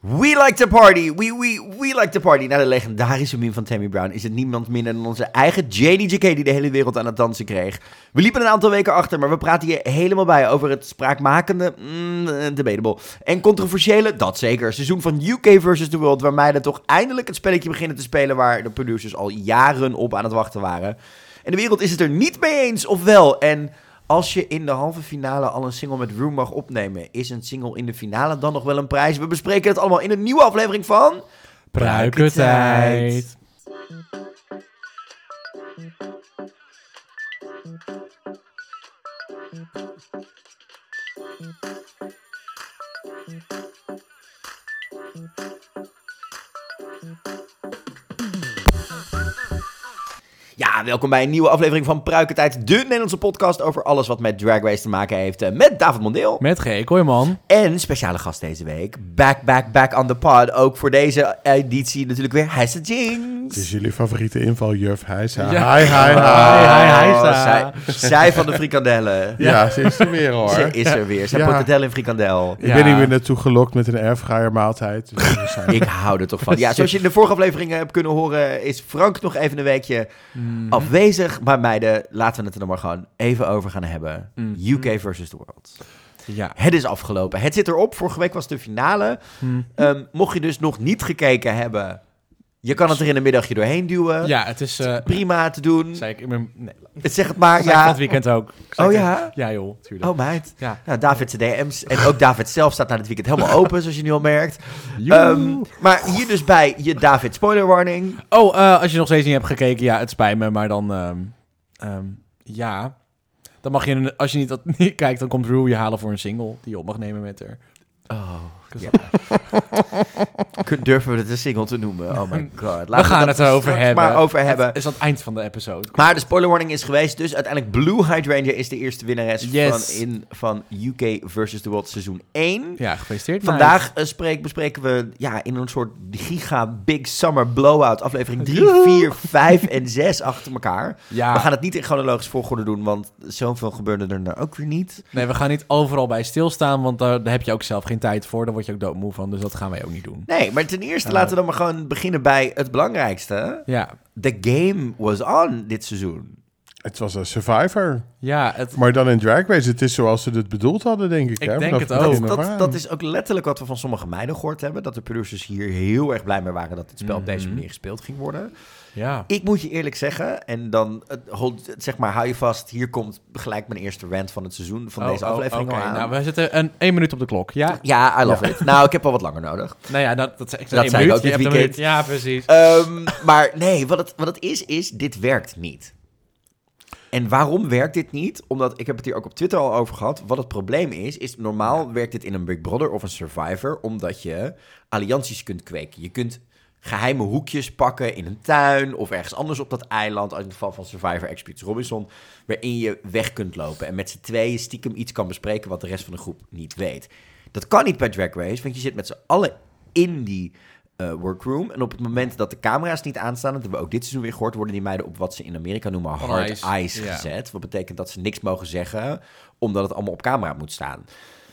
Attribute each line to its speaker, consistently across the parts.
Speaker 1: We like to party, we, we, we like to party. Na de legendarische meme van Tammy Brown is het niemand minder dan onze eigen JDJK die de hele wereld aan het dansen kreeg. We liepen een aantal weken achter, maar we praten hier helemaal bij over het spraakmakende, mm, eh, debatable en controversiële, dat zeker, seizoen van UK versus the World, waar meiden toch eindelijk het spelletje beginnen te spelen waar de producers al jaren op aan het wachten waren. En de wereld is het er niet mee eens, of wel? En als je in de halve finale al een single met Room mag opnemen, is een single in de finale dan nog wel een prijs? We bespreken het allemaal in een nieuwe aflevering van.
Speaker 2: Pruikentijd.
Speaker 1: Ja, welkom bij een nieuwe aflevering van Pruikentijd, de Nederlandse podcast over alles wat met Drag Race te maken heeft. eh, Met David Mondeel.
Speaker 2: Met G. Kooi, man.
Speaker 1: En speciale gast deze week. Back, back, back on the pod. Ook voor deze editie natuurlijk weer Hesse Jinx.
Speaker 3: Het is jullie favoriete invaljuf, Heisa.
Speaker 2: Ja.
Speaker 3: Hi, hi, hi.
Speaker 2: Hi, hi, hi,
Speaker 1: Oh,
Speaker 2: Sa.
Speaker 1: zij, zij van de frikandellen.
Speaker 3: Ja, ze is er weer hoor.
Speaker 1: Ze is er weer. Zij
Speaker 3: Ja.
Speaker 1: portadel in frikandel.
Speaker 3: Ik ben hier weer naartoe gelokt met een airfryer maaltijd. Dus we zijn-
Speaker 1: Ik hou er toch van. Ja, zoals je in de vorige aflevering eh, hebt kunnen horen, is Frank nog even een weekje Mm. afwezig. Maar meiden, laten we het er dan maar gewoon even over gaan hebben. UK versus the world.
Speaker 2: Ja.
Speaker 1: Het is afgelopen. Het zit erop. Vorige week was de finale.
Speaker 2: Hm.
Speaker 1: Ehm, mocht je dus nog niet gekeken hebben, je kan het er in een middagje doorheen duwen.
Speaker 2: Ja, het is... eh
Speaker 1: Prima te doen.
Speaker 2: zei ik, ik ben, nee,
Speaker 1: Zeg het maar.
Speaker 2: zei ik
Speaker 1: Ah, Ja.
Speaker 2: dit weekend ook. Zei
Speaker 1: Oh
Speaker 2: ik-
Speaker 1: ja?
Speaker 2: Ja joh, tuurlijk.
Speaker 1: Oh meid.
Speaker 2: Ja.
Speaker 1: Nou, David's DM's en ook David zelf staat na dit weekend helemaal open, zoals je nu al merkt.
Speaker 2: Joe.
Speaker 1: Ehm, maar hier dus bij je David spoiler warning.
Speaker 2: oh, eh, als je nog steeds niet hebt gekeken, ja, het spijt me, maar dan... ehm, ehm, ja, dan mag je, een- als je niet, dat, niet kijkt, dan komt Rue je halen voor een single die je op mag nemen met haar.
Speaker 1: Oh, ja. Kun- Durven we het een single te noemen? Oh my god. Laten
Speaker 2: We gaan
Speaker 1: dat
Speaker 2: het erover
Speaker 1: straks
Speaker 2: hebben.
Speaker 1: Maar over hebben.
Speaker 2: Is dat het eind van de episode?
Speaker 1: Maar de spoiler warning is geweest, dus uiteindelijk Blue Hydrangea is de eerste winnares
Speaker 2: Yes.
Speaker 1: van, in, van UK versus the World seizoen 1.
Speaker 2: Ja, gefeliciteerd.
Speaker 1: Vandaag eh, spreek, bespreken we ja, in een soort giga big summer blowout aflevering 3,
Speaker 2: Joehoe.
Speaker 1: 4, 5 en 6 achter elkaar.
Speaker 2: meid. Ja.
Speaker 1: We gaan het niet in chronologische volgorde doen, want zoveel gebeurde er nou ook weer niet.
Speaker 2: Nee, we gaan niet overal bij stilstaan, want daar daar heb je ook zelf geen tijd voor. Daar word je ook doodmoe van, dus dat gaan wij ook niet doen.
Speaker 1: Nee, maar ten eerste
Speaker 2: Ja.
Speaker 1: laten we dan maar gewoon beginnen bij het belangrijkste.
Speaker 2: Ja,
Speaker 1: The game was on dit seizoen.
Speaker 3: Het was een survivor.
Speaker 2: ja het,
Speaker 3: Maar dan in Drag Race. Het is zoals ze het bedoeld hadden, denk ik.
Speaker 2: Ik
Speaker 3: hè?
Speaker 2: denk
Speaker 3: Vanaf
Speaker 2: het
Speaker 3: begin
Speaker 2: ook.
Speaker 3: af
Speaker 1: Dat,
Speaker 3: aan.
Speaker 1: dat is ook letterlijk wat we van sommige meiden gehoord hebben. Dat de producers hier heel erg blij mee waren dat het spel op deze
Speaker 2: Mhm.
Speaker 1: manier gespeeld ging worden.
Speaker 2: ja.
Speaker 1: Ik moet je eerlijk zeggen, en dan het hold- het- zeg maar, hou je vast, hier komt gelijk mijn eerste rant van het seizoen van
Speaker 2: Oh,
Speaker 1: deze
Speaker 2: oh,
Speaker 1: aflevering
Speaker 2: oké.
Speaker 1: al aan.
Speaker 2: Nou, we zitten een één minuut op de klok. Ja,
Speaker 1: Ja, I love it. Nou, ik heb al wat langer nodig.
Speaker 2: nou ja, dat, dat, zei- ik
Speaker 1: Dat
Speaker 2: één
Speaker 1: zei ik
Speaker 2: minuut,
Speaker 1: ook dit
Speaker 2: je hebt een
Speaker 1: weekend.
Speaker 2: minuut. Ja, precies.
Speaker 1: Ehm, maar nee, wat het, wat het is, is dit werkt niet. En waarom werkt dit niet? Omdat, ik heb het hier ook op Twitter al over gehad, wat het probleem is, is normaal werkt dit in een Big Brother of een Survivor, omdat je allianties kunt kweken. Je kunt geheime hoekjes pakken in een tuin of ergens anders op dat eiland, als in het geval van Survivor Expeditie Robinson, waarin je weg kunt lopen en met z'n tweeën stiekem iets kan bespreken wat de rest van de groep niet weet. Dat kan niet bij Drag Race, want je zit met z'n allen in die eh, workroom. En op het moment dat de camera's niet aanstaan, dat hebben we ook dit seizoen weer gehoord, worden die meiden op wat ze in Amerika noemen hard
Speaker 2: ice.
Speaker 1: ice
Speaker 2: Ja.
Speaker 1: gezet. Wat betekent dat ze niks mogen zeggen, omdat het allemaal op camera moet staan.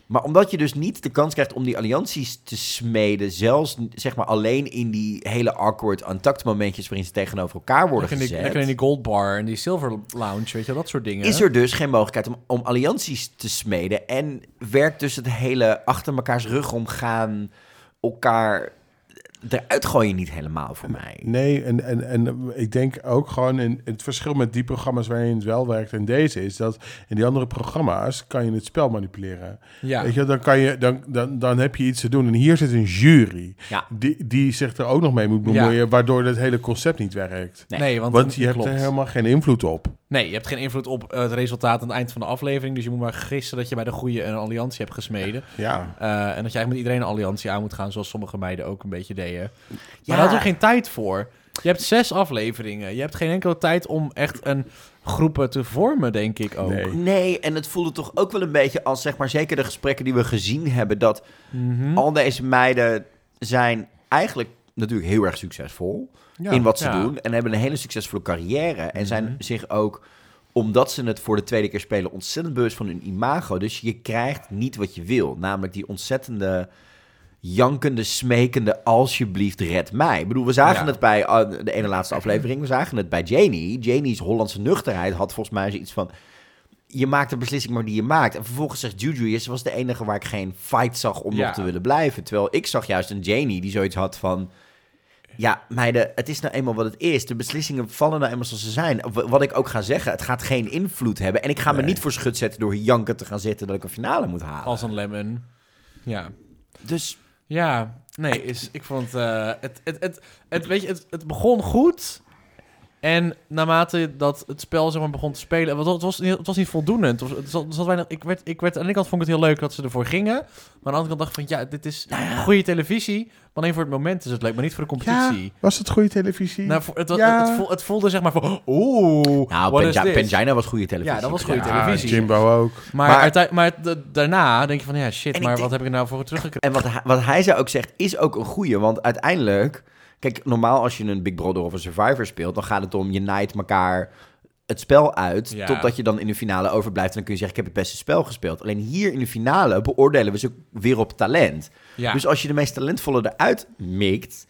Speaker 1: Maar omdat je dus niet de kans krijgt om die allianties te smeden, zelfs zeg maar alleen in die hele awkward untact momentjes waarin ze tegenover elkaar worden
Speaker 2: Lekker in, die,
Speaker 1: gezet
Speaker 2: lekker in die gold bar en die silver lounge, weet je, dat soort dingen.
Speaker 1: is er dus geen mogelijkheid om, om allianties te smeden. En werkt dus het hele achter mekaars rug omgaan, elkaar eruit gooien niet helemaal voor mij.
Speaker 3: Nee, en, en, en ik denk ook gewoon in het verschil met die programma's waarin het wel werkt en deze is dat in die andere programma's kan je het spel manipuleren.
Speaker 2: Ja.
Speaker 3: Weet je, dan, kan je, dan, dan, dan heb je iets te doen. En hier zit een jury
Speaker 1: Ja.
Speaker 3: die, die zich er ook nog mee moet bemoeien,
Speaker 2: Ja.
Speaker 3: waardoor het hele concept niet werkt.
Speaker 1: Nee,
Speaker 2: Nee, want,
Speaker 3: Want je hebt
Speaker 2: klopt.
Speaker 3: er helemaal geen invloed op.
Speaker 2: Nee, je hebt geen invloed op eh, het resultaat aan het eind van de aflevering. Dus je moet maar gissen dat je bij de goede een alliantie hebt gesmeden.
Speaker 3: Ja.
Speaker 2: Eh, en dat je eigenlijk met iedereen een alliantie aan moet gaan, zoals sommige meiden ook een beetje deden. Maar
Speaker 1: Ja.
Speaker 2: daar had ook geen tijd voor. Je hebt zes afleveringen. Je hebt geen enkele tijd om echt een groepen te vormen, denk ik ook.
Speaker 3: Nee.
Speaker 1: Nee, en het voelde toch ook wel een beetje als, zeg maar, zeker de gesprekken die we gezien hebben, dat
Speaker 2: Mhm.
Speaker 1: al deze meiden zijn eigenlijk natuurlijk heel erg succesvol.
Speaker 3: Ja.
Speaker 1: in wat ze
Speaker 2: ja. Mhm.
Speaker 1: doen. En hebben een hele succesvolle carrière. En zijn zich ook, omdat ze het voor de tweede keer spelen, ontzettend bewust van hun imago. Dus je krijgt niet wat je wil. Namelijk die ontzettende jankende, smekende, alsjeblieft red mij. Ik bedoel, we zagen
Speaker 2: Ja.
Speaker 1: het bij eh, de ene laatste aflevering, we zagen het bij Janie. Janie's Hollandse nuchterheid had volgens mij zoiets van... Je maakt de beslissing maar die je maakt. En vervolgens zegt Juju, "Ja, ze was de enige waar ik geen fight zag om
Speaker 2: Ja.
Speaker 1: nog te willen blijven. Terwijl ik zag juist een Janie die zoiets had van... Ja, meiden, het is nou eenmaal wat het is. De beslissingen vallen nou eenmaal zoals ze zijn. W- Wat ik ook ga zeggen, het gaat geen invloed hebben. En ik ga me
Speaker 3: Nee.
Speaker 1: niet voor schut zetten door hier janken te gaan zitten dat ik een finale moet halen.
Speaker 2: Als een lemon. Ja.
Speaker 1: Dus
Speaker 2: Ja, nee, is, ik vond eh, het, het, het, het, weet je, het, het begon goed. En naarmate dat het spel zeg maar, begon te spelen, want het was, niet- het was niet voldoende. Het was, het zat- er zat weinig, ik werd, ik werd, aan de ene kant vond ik het heel leuk dat ze ervoor gingen. Maar aan de andere kant dacht ik van, ja, dit is goede televisie. Maar alleen voor het moment is het leuk, maar niet voor de competitie.
Speaker 3: was het goede televisie?
Speaker 2: Nou, voor- het, was-
Speaker 3: Ja.
Speaker 2: het, voel- het voelde zeg maar van, oeh,
Speaker 1: Nou,
Speaker 2: what is
Speaker 1: Penja-
Speaker 2: this?
Speaker 1: Penjana was goede televisie.
Speaker 2: Ja, dat was goede
Speaker 1: Ja.
Speaker 2: televisie.
Speaker 3: Jimbo ook.
Speaker 2: Maar,
Speaker 1: Maar-
Speaker 2: uite- maar da- daarna denk je van, ja, shit,
Speaker 1: En ik
Speaker 2: maar
Speaker 1: denk-
Speaker 2: wat heb ik er nou voor teruggekregen?
Speaker 1: En wat hij, wat hij zou ook zegt, is ook een goeie. Want uiteindelijk... Kijk, normaal als je een Big Brother of een Survivor speelt... dan gaat het om, je naait elkaar het spel uit...
Speaker 2: Ja.
Speaker 1: totdat je dan in de finale overblijft. En dan kun je zeggen, ik heb het beste spel gespeeld. Alleen hier in de finale beoordelen we ze weer op talent.
Speaker 2: Ja.
Speaker 1: Dus als je de meest talentvolle eruit mikt...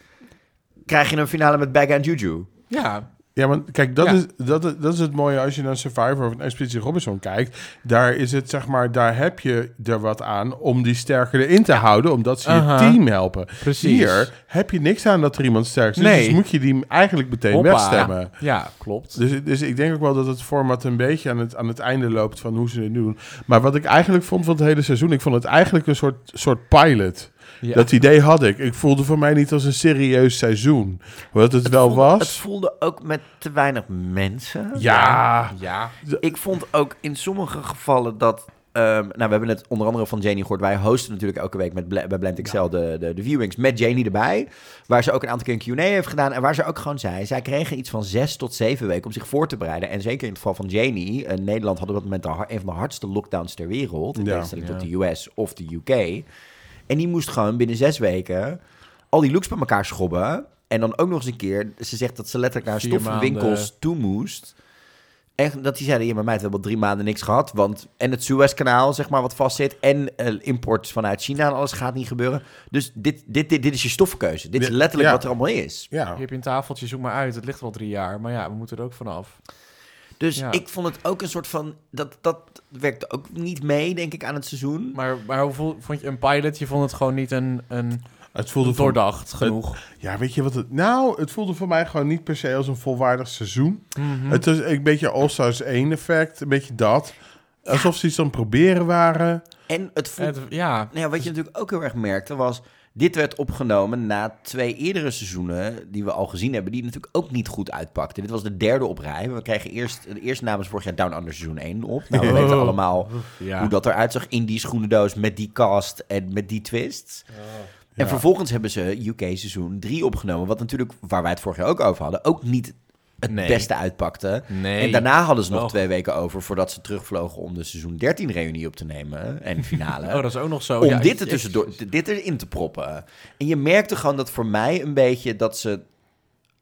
Speaker 1: krijg je een finale met Bagga en Juju.
Speaker 2: ja,
Speaker 3: Ja, want kijk, dat,
Speaker 2: Ja.
Speaker 3: Is, dat, is- dat is het mooie als je naar Survivor of een Expeditie Robinson kijkt. Daar is het, zeg maar, daar heb je er wat aan om die sterker erin te houden, omdat ze
Speaker 2: Aha.
Speaker 3: je team helpen.
Speaker 2: Precies.
Speaker 3: Hier heb je niks aan dat er iemand sterk is,
Speaker 2: Nee.
Speaker 3: dus moet je die eigenlijk meteen
Speaker 2: Hoppa.
Speaker 3: wegstemmen.
Speaker 2: ja, klopt.
Speaker 3: Dus, dus ik denk ook wel dat het format een beetje aan het, aan het einde loopt van hoe ze het nu doen. Maar wat ik eigenlijk vond van het hele seizoen, ik vond het eigenlijk een soort, soort pilot.
Speaker 2: Ja.
Speaker 3: Dat idee had ik. Ik voelde voor mij niet als een serieus seizoen. Wat het, wel
Speaker 1: voelde- Het
Speaker 3: was.
Speaker 1: voelde ook met te weinig mensen.
Speaker 3: Ja.
Speaker 2: Ja. Dus
Speaker 1: Ik vond ook in sommige gevallen dat... ehm, nou, we hebben het onder andere van Janie gehoord. Wij hosten natuurlijk elke week met Bla- bij Blend Excel de, de, de viewings met Janie erbij. Waar ze ook een aantal keer een Q&A heeft gedaan. En waar ze ook gewoon zei, zij kregen iets van zes tot zeven weken om zich voor te bereiden. En zeker in het geval van Janie. eh, Nederland had op dat moment de har- een van de hardste lockdowns ter wereld. In
Speaker 3: Ja.
Speaker 1: tegenstelling tot
Speaker 2: Ja.
Speaker 1: de US of de UK. En die moest gewoon binnen zes weken al die looks bij elkaar schobben. En dan ook nog eens een keer, ze zegt dat ze letterlijk naar
Speaker 2: Vier
Speaker 1: stoffenwinkels
Speaker 2: maanden.
Speaker 1: toe moest. En dat die zeiden, ja, maar meid, we hebben al drie maanden niks gehad. Want en het Suezkanaal, zeg maar, wat vastzit. En eh, imports vanuit China en alles gaat niet gebeuren. Dus dit, dit, dit, dit is je stoffenkeuze. Dit is
Speaker 3: Ja.
Speaker 1: letterlijk
Speaker 3: Ja.
Speaker 1: wat er allemaal is.
Speaker 3: Ja.
Speaker 2: Hier heb je een tafeltje, zoek maar uit. Het ligt er al drie jaar, maar ja, we moeten er ook vanaf.
Speaker 1: Dus
Speaker 2: Ja.
Speaker 1: ik vond het ook een soort van... Dat, dat werkte ook niet mee, denk ik, aan het seizoen.
Speaker 2: Maar, maar hoe voel- vond je een pilot? Je vond het gewoon niet een, een
Speaker 3: Het voelde voor,
Speaker 2: doordacht genoeg.
Speaker 3: ja, weet je wat het... Nou, het voelde voor mij gewoon niet per se als een volwaardig seizoen. Het is een beetje All-Stars 1 effect. Een beetje dat. Alsof ze iets aan het proberen waren.
Speaker 1: En het voelt
Speaker 2: Het, ja,
Speaker 1: Nou ja, wat je natuurlijk ook heel erg merkte was... Dit werd opgenomen na twee eerdere seizoenen die we al gezien hebben... die natuurlijk ook niet goed uitpakten. Dit was de derde op rij. We kregen eerst, de eerste namens vorig jaar Down Under seizoen 1 op. Nou, we
Speaker 2: Oh.
Speaker 1: weten allemaal
Speaker 2: ja.
Speaker 1: hoe dat eruit zag in die schoenendoos... met die cast en met die twist. En
Speaker 3: Ja.
Speaker 1: vervolgens hebben ze UK seizoen 3 opgenomen... wat natuurlijk, waar wij het vorig jaar ook over hadden... ook niet het
Speaker 2: Nee.
Speaker 1: beste uitpakte.
Speaker 2: Nee.
Speaker 1: En daarna hadden ze nog
Speaker 2: Oh.
Speaker 1: twee weken over... voordat ze terugvlogen om de seizoen 13 reunie op te nemen... en finale
Speaker 2: Oh, dat is ook nog zo.
Speaker 1: om
Speaker 2: Ja,
Speaker 1: dit,
Speaker 2: ik-
Speaker 1: er tussendoor, dit erin te proppen. En je merkte gewoon dat voor mij een beetje dat ze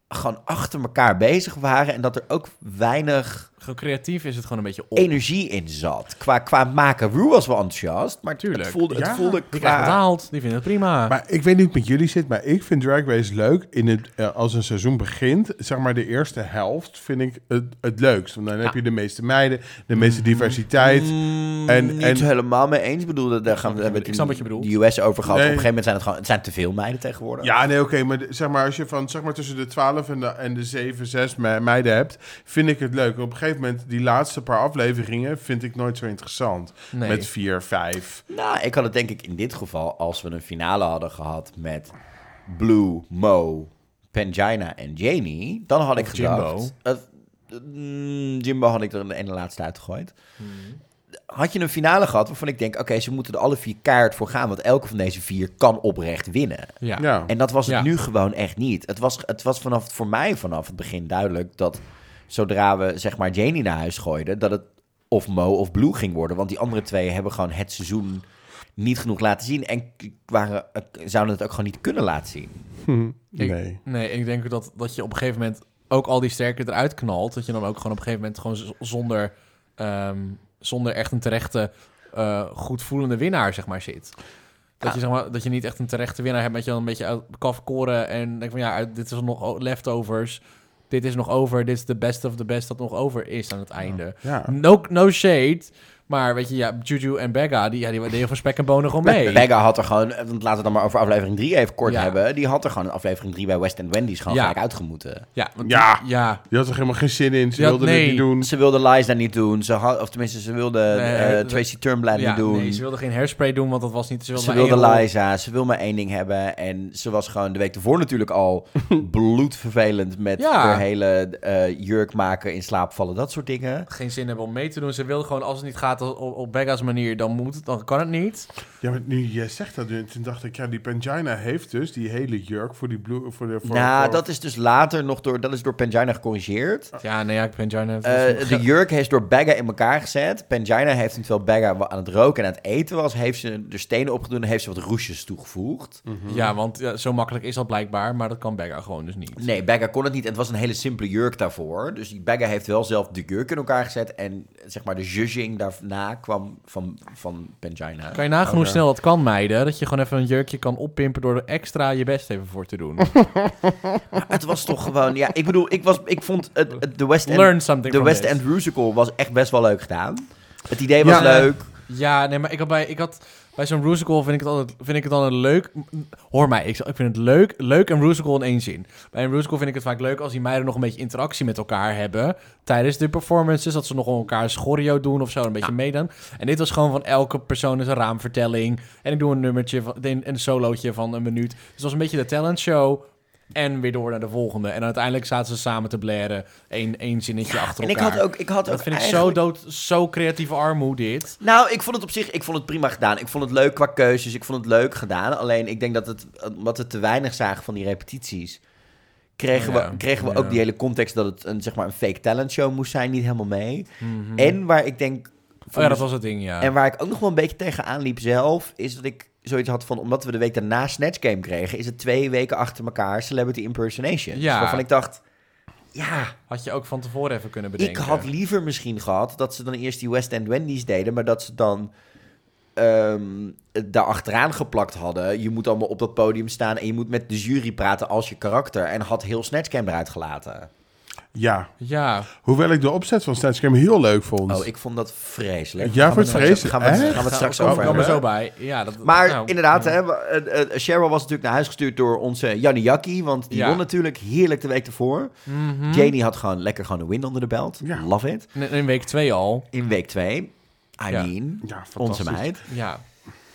Speaker 1: gewoon achter elkaar bezig waren. En dat er ook weinig
Speaker 2: ik- Gewoon creatief is het gewoon een beetje op.
Speaker 1: energie in zat. Qua, qua maken. Ru was wel enthousiast, maar
Speaker 2: Tuurlijk.
Speaker 1: het voelde,
Speaker 3: Ja,
Speaker 1: het voelde
Speaker 2: Die krijgen
Speaker 1: qua...
Speaker 2: betaald, die vinden het prima.
Speaker 3: Maar ik weet niet hoe het met jullie zit, maar ik vind Drag Race leuk in het, eh, als een seizoen begint. Zeg maar de eerste helft vind ik het, het leukst. Want dan heb je de meeste meiden, de meeste diversiteit.
Speaker 1: Mm,
Speaker 3: en-
Speaker 1: niet
Speaker 3: en-
Speaker 1: helemaal mee eens. Ik bedoel, daar gaan we
Speaker 2: wat je bedoelt. Ik snap wat je bedoelt.
Speaker 1: De US over gehad.
Speaker 3: Nee.
Speaker 1: Op een gegeven moment zijn het gewoon... Het zijn te veel meiden tegenwoordig.
Speaker 3: Ja, nee, oké, maar de- zeg maar als je van zeg maar tussen de 12 en de, en de 7, 6 me- meiden hebt, vind ik het leuk. Op een gegeven moment, die laatste paar afleveringen vind ik nooit zo interessant.
Speaker 2: nee.
Speaker 3: Met 4, 5.
Speaker 1: Nou, ik had het denk ik in dit geval... als we een finale hadden gehad met Blue, Mo, Pangina en Janie... dan had ik
Speaker 2: Of
Speaker 1: gedacht...
Speaker 2: Jimbo.
Speaker 1: eh, mm, Jimbo had ik er in de ene laatste uitgegooid.
Speaker 2: Hmm.
Speaker 1: Had je een finale gehad waarvan ik denk... oké, ze moeten er alle vier kaart voor gaan... want elke van deze vier kan oprecht winnen.
Speaker 2: ja.
Speaker 3: Ja.
Speaker 1: En dat was het
Speaker 2: Ja.
Speaker 1: nu gewoon echt niet. Het was, het was vanaf, voor mij vanaf het begin duidelijk dat... zodra we zeg maar Janie naar huis gooiden... dat het of Mo of Blue ging worden. Want die andere twee hebben gewoon het seizoen niet genoeg laten zien. En k- waren, eh, k- zouden het ook gewoon niet kunnen laten zien.
Speaker 2: Ik-
Speaker 3: Hm. Nee.
Speaker 2: Nee, ik denk dat, dat je op een gegeven moment ook al die sterke eruit knalt. Dat je dan ook gewoon op een gegeven moment gewoon z- zonder, ehm, zonder echt een terechte, eh, goed voelende winnaar, zeg maar, zit. Dat,
Speaker 1: Ja.
Speaker 2: je, zeg maar, dat je niet echt een terechte winnaar hebt, met je dan een beetje uit kafkoren en denk van ja, uit- dit is nog o- leftovers. Dit is nog over, dit is de best of the best dat nog over is aan het einde.
Speaker 3: Ja.
Speaker 2: No, no shade, maar weet je, ja, Juju en Begga, die, ja, die deden voor spek en bonen gewoon mee.
Speaker 1: Begga had er gewoon, want laten we het dan maar over aflevering 3 even kort
Speaker 2: Ja.
Speaker 1: hebben. Die had er gewoon in aflevering 3 bij West End Wendy's gewoon
Speaker 2: Ja.
Speaker 1: gelijk uitgemoeten.
Speaker 2: Ja, want
Speaker 3: Ja.
Speaker 2: die- ja.
Speaker 3: Je had er helemaal geen zin in. Ze
Speaker 2: Ja,
Speaker 3: wilden
Speaker 2: nee.
Speaker 3: het niet doen.
Speaker 1: Ze wilde Lies daar niet doen. Ze had, of tenminste, ze wilde
Speaker 2: Nee,
Speaker 1: eh,
Speaker 2: dat-
Speaker 1: Tracy Turnblad
Speaker 2: Ja,
Speaker 1: niet doen.
Speaker 2: nee, ze wilde geen hairspray doen, want dat was niet... Ze wilde,
Speaker 1: Ze
Speaker 2: maar
Speaker 1: wilde
Speaker 2: één rol.
Speaker 1: Liza, ze wil maar één ding hebben. En ze was gewoon de week ervoor natuurlijk al bloedvervelend met
Speaker 2: Ja.
Speaker 1: haar hele eh, jurk maken, in slaap vallen, dat soort dingen.
Speaker 2: geen zin hebben om mee te doen. Ze wilde gewoon, als het niet gaat op, op Begga's manier, dan moet het, dan kan het niet.
Speaker 3: Ja, maar nu je zegt dat, nu, toen dacht ik, ja, die Pangina heeft dus die hele jurk voor die blue, voor de. Voor,
Speaker 1: nou,
Speaker 3: voor-
Speaker 1: dat is dus later nog door, dat is door Pangina gecorrigeerd.
Speaker 2: Ja, nee, ja, ik ben Jarna.
Speaker 1: Eh, de jurk heeft door Bagga in elkaar gezet. Pangina heeft hem, terwijl Bagga wa- aan het roken en aan het eten was, heeft ze er stenen opgedaan en heeft ze wat roesjes toegevoegd.
Speaker 2: Ja, want ja, zo makkelijk is dat blijkbaar, maar dat kan Begga gewoon dus niet.
Speaker 1: Nee, Bagga kon het niet. En het was een hele simpele jurk daarvoor. Dus die Bagga heeft wel zelf de jurk in elkaar gezet. En zeg maar de judging daarna kwam van, van Pangina.
Speaker 2: Kan je nagaan hoe
Speaker 3: Oké.
Speaker 2: snel dat kan, meiden? Dat je gewoon even een jurkje kan oppimpen door er extra je best even voor te doen.
Speaker 1: Het was toch gewoon, ja, ik bedoel, ik, was, ik vond het, het- de West End,
Speaker 2: Learn something
Speaker 1: de
Speaker 2: from
Speaker 1: West
Speaker 2: this.
Speaker 1: End Musical was echt best wel leuk gedaan. Het idee was
Speaker 3: Ja.
Speaker 1: leuk.
Speaker 2: Ja, nee, maar ik had bij, ik had, bij zo'n musical vind ik, het altijd, vind ik het dan een leuk... Hoor mij, ik, ik vind het leuk, leuk en musical in één zin. Bij een musical vind ik het vaak leuk als die meiden nog een beetje interactie met elkaar hebben... tijdens de performances, dat ze nog wel elkaar choreo doen of zo, een beetje meedoen. En dit was gewoon van elke persoon is een raamvertelling... en ik doe een nummertje van, en een solootje van een minuut. Dus het was een beetje de talent show... En weer door naar de volgende. En uiteindelijk zaten ze samen te blaren. Eén, één zinnetje achter
Speaker 1: En ik
Speaker 2: elkaar.
Speaker 1: had ook, ik had ook
Speaker 2: dat vind ik zo
Speaker 1: eigenlijk-
Speaker 2: dood, zo creatieve armoe dit.
Speaker 1: Nou, ik vond het op zich, ik vond het prima gedaan. Ik vond het leuk qua keuzes, ik vond het leuk gedaan. Alleen, ik denk dat het, omdat we te weinig zagen van die repetities... kregen
Speaker 2: Ja,
Speaker 1: we, kregen we
Speaker 2: ja.
Speaker 1: ook die hele context dat het een, zeg maar, een fake talent show moest zijn niet helemaal mee. En waar ik denk...
Speaker 2: Mhm. Oh ja, dat was het ding, ja.
Speaker 1: En waar ik ook nog wel een beetje tegenaan liep zelf, is dat ik zoiets had van, omdat we de week daarna Snatch Game kregen, is het twee weken achter elkaar Celebrity Impersonation.
Speaker 2: Ja.
Speaker 1: Waarvan ik dacht, ja,
Speaker 2: Had je ook van tevoren even kunnen bedenken.
Speaker 1: ik had liever misschien gehad dat ze dan eerst die West End Wendy's deden, maar dat ze dan ehm het daar achteraan geplakt hadden. Je moet allemaal op dat podium staan en je moet met de jury praten als je karakter. En had heel Snatch Game eruit gelaten.
Speaker 3: Ja,
Speaker 2: Ja,
Speaker 3: hoewel ik de opzet van Snatch Game heel leuk vond.
Speaker 1: Oh, ik vond dat vreselijk.
Speaker 3: Ja,
Speaker 1: Gaan we
Speaker 3: vond je
Speaker 1: het
Speaker 3: het
Speaker 1: straks- Gaan we, het-
Speaker 3: vreselijk?
Speaker 1: gaan we het
Speaker 2: Daar
Speaker 1: straks
Speaker 2: kom-
Speaker 1: over
Speaker 2: kom er
Speaker 1: hebben.
Speaker 2: zo bij. Ja, dat,
Speaker 1: Maar
Speaker 2: nou,
Speaker 1: inderdaad,
Speaker 2: ja.
Speaker 1: hè, we- eh, eh, Cheryl was natuurlijk naar huis gestuurd door onze Janny Jackie. Want die
Speaker 2: Ja.
Speaker 1: won natuurlijk heerlijk de week ervoor.
Speaker 2: Mhm.
Speaker 1: Janie had gewoon lekker gewoon een win onder de belt.
Speaker 3: Ja.
Speaker 1: Love it.
Speaker 2: In, in week twee al.
Speaker 1: In week 2, I
Speaker 2: Ja.
Speaker 1: mean,
Speaker 3: ja,
Speaker 1: onze
Speaker 3: fantastisch.
Speaker 1: meid.
Speaker 2: Ja.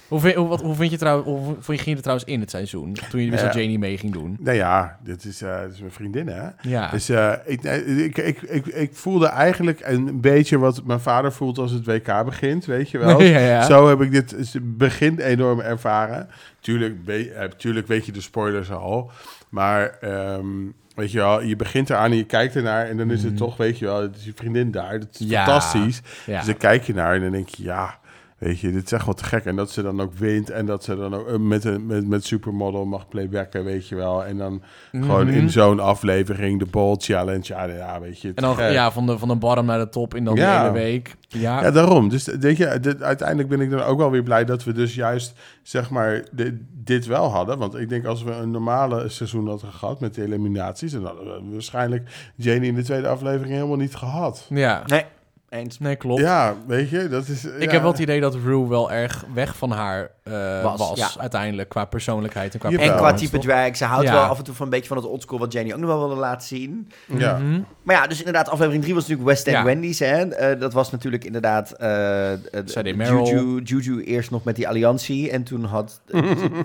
Speaker 2: Hoe vind, hoe, wat, hoe vind je trouwens, hoe vond je ging je er trouwens in het seizoen? Toen je dus
Speaker 3: Ja.
Speaker 2: dat Janie mee ging doen.
Speaker 3: Nou ja, dit is, eh, dit is mijn vriendin, hè?
Speaker 2: Ja.
Speaker 3: Dus eh, ik, nee, ik, ik, ik, ik voelde eigenlijk een beetje wat mijn vader voelt als het WK begint, weet je wel.
Speaker 2: Ja, ja.
Speaker 3: Zo heb ik dit s- begin enorm ervaren. Tuurlijk, be- eh, tuurlijk weet je de spoilers al, maar ehm, weet je wel, je begint eraan en je kijkt ernaar en dan is het toch, weet je wel, het is je vriendin daar, dat is
Speaker 2: Mm. Ja.
Speaker 3: fantastisch.
Speaker 2: Ja.
Speaker 3: Dus dan kijk je naar en dan denk je, ja, weet je, dit is echt wel te gek. En dat ze dan ook wint en dat ze dan ook eh, met, een- met, met Supermodel mag playbacken, weet je wel. En dan gewoon in zo'n aflevering de Ball Challenge, ja, ja weet je. te
Speaker 2: Mhm. en dan
Speaker 3: gek.
Speaker 2: ja, van, de, van de bottom naar de top in dan
Speaker 3: Ja.
Speaker 2: de hele week. Ja.
Speaker 3: Ja, daarom. Dus denk je, dit- uiteindelijk ben ik dan ook wel weer blij dat we dus juist, zeg maar, dit, dit wel hadden. Want ik denk als we een normale seizoen hadden gehad met de eliminaties, dan hadden we waarschijnlijk Janie in de tweede aflevering helemaal niet gehad.
Speaker 2: Ja.
Speaker 1: Nee, eens.
Speaker 2: Nee, klopt.
Speaker 3: Ja, weet je, dat is...
Speaker 2: Ik heb wel het idee dat Rue wel erg weg van haar eh,
Speaker 1: Was,
Speaker 2: was,
Speaker 1: ja.
Speaker 2: uiteindelijk. Qua persoonlijkheid en qua
Speaker 3: En
Speaker 1: En
Speaker 3: Jawel.
Speaker 1: qua
Speaker 2: performance,
Speaker 1: type
Speaker 2: toch?
Speaker 1: drag, ze houdt
Speaker 2: Ja.
Speaker 1: wel af en toe van een beetje van het oldschool... wat Janie ook nog wel wilde laten zien.
Speaker 3: Ja.
Speaker 2: Mhm.
Speaker 1: Maar ja, dus inderdaad, aflevering 3 was natuurlijk West End
Speaker 2: Ja.
Speaker 1: Wendy's. Hè? Eh, dat was natuurlijk inderdaad eh, eh,
Speaker 2: Sadie Merrill.
Speaker 1: Juju, Juju eerst nog met die alliantie. En toen had...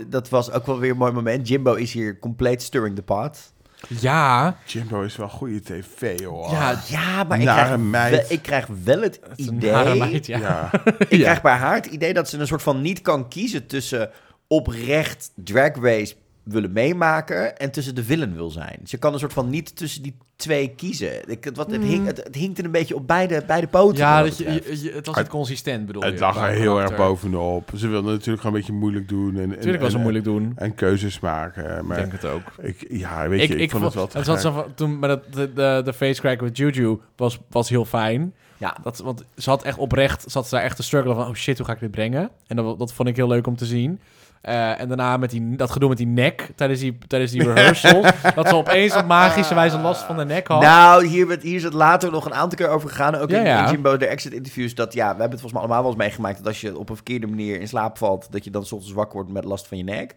Speaker 1: dat was ook wel weer een mooi moment. Jimbo is hier compleet stirring the pot.
Speaker 2: Ja.
Speaker 3: Jimbo is wel goede tv, hoor.
Speaker 2: Ja,
Speaker 1: Ja, maar ik
Speaker 3: Nare
Speaker 1: krijg,
Speaker 3: meid.
Speaker 1: wel, ik krijg wel het
Speaker 2: Het is een
Speaker 1: idee...
Speaker 2: nare meid, ja.
Speaker 3: Ja.
Speaker 1: Ik krijg bij haar het idee dat ze een soort van niet kan kiezen... tussen oprecht drag race willen meemaken... en tussen de villain wil zijn. Ze kan een soort van niet tussen die twee kiezen. Ik, het, wat, het, hing, het, het hinkt er een beetje op beide, beide poten.
Speaker 2: Ja,
Speaker 1: wat
Speaker 2: dat je,
Speaker 1: betreft.
Speaker 2: je- je- het was niet consistent, bedoel je?
Speaker 3: Het lag
Speaker 2: qua
Speaker 3: er heel erg
Speaker 2: karakter.
Speaker 3: bovenop. Ze wilden natuurlijk gewoon een beetje moeilijk doen. En, en-
Speaker 2: Natuurlijk was
Speaker 3: en-
Speaker 2: het moeilijk doen.
Speaker 3: En keuzes maken.
Speaker 2: Ik
Speaker 3: Maar
Speaker 2: denk het ook.
Speaker 3: ik, ja, weet je, ik, vond het wel te
Speaker 2: het was
Speaker 3: gek.
Speaker 2: zo van- toen, maar dat, de, de, de facecrack met Juju was, was heel fijn.
Speaker 1: Ja.
Speaker 2: Dat, want ze had echt oprecht, zat ze daar echt te struggelen van, oh shit, hoe ga ik dit brengen? En dat, dat vond ik heel leuk om te zien. Eh, en daarna met die, dat gedoe met die nek tijdens die, tijdens die rehearsal. dat ze opeens op magische wijze last van de nek had.
Speaker 1: Nou, hier, werd- hier is het later nog een aantal keer over gegaan. Ook
Speaker 2: Ja,
Speaker 1: in,
Speaker 2: ja.
Speaker 1: in Jimbo de Exit interviews. Dat ja, we hebben het volgens mij allemaal wel eens meegemaakt. Dat als je op een verkeerde manier in slaap valt. dat je dan 's ochtends wakker wordt met last van je nek.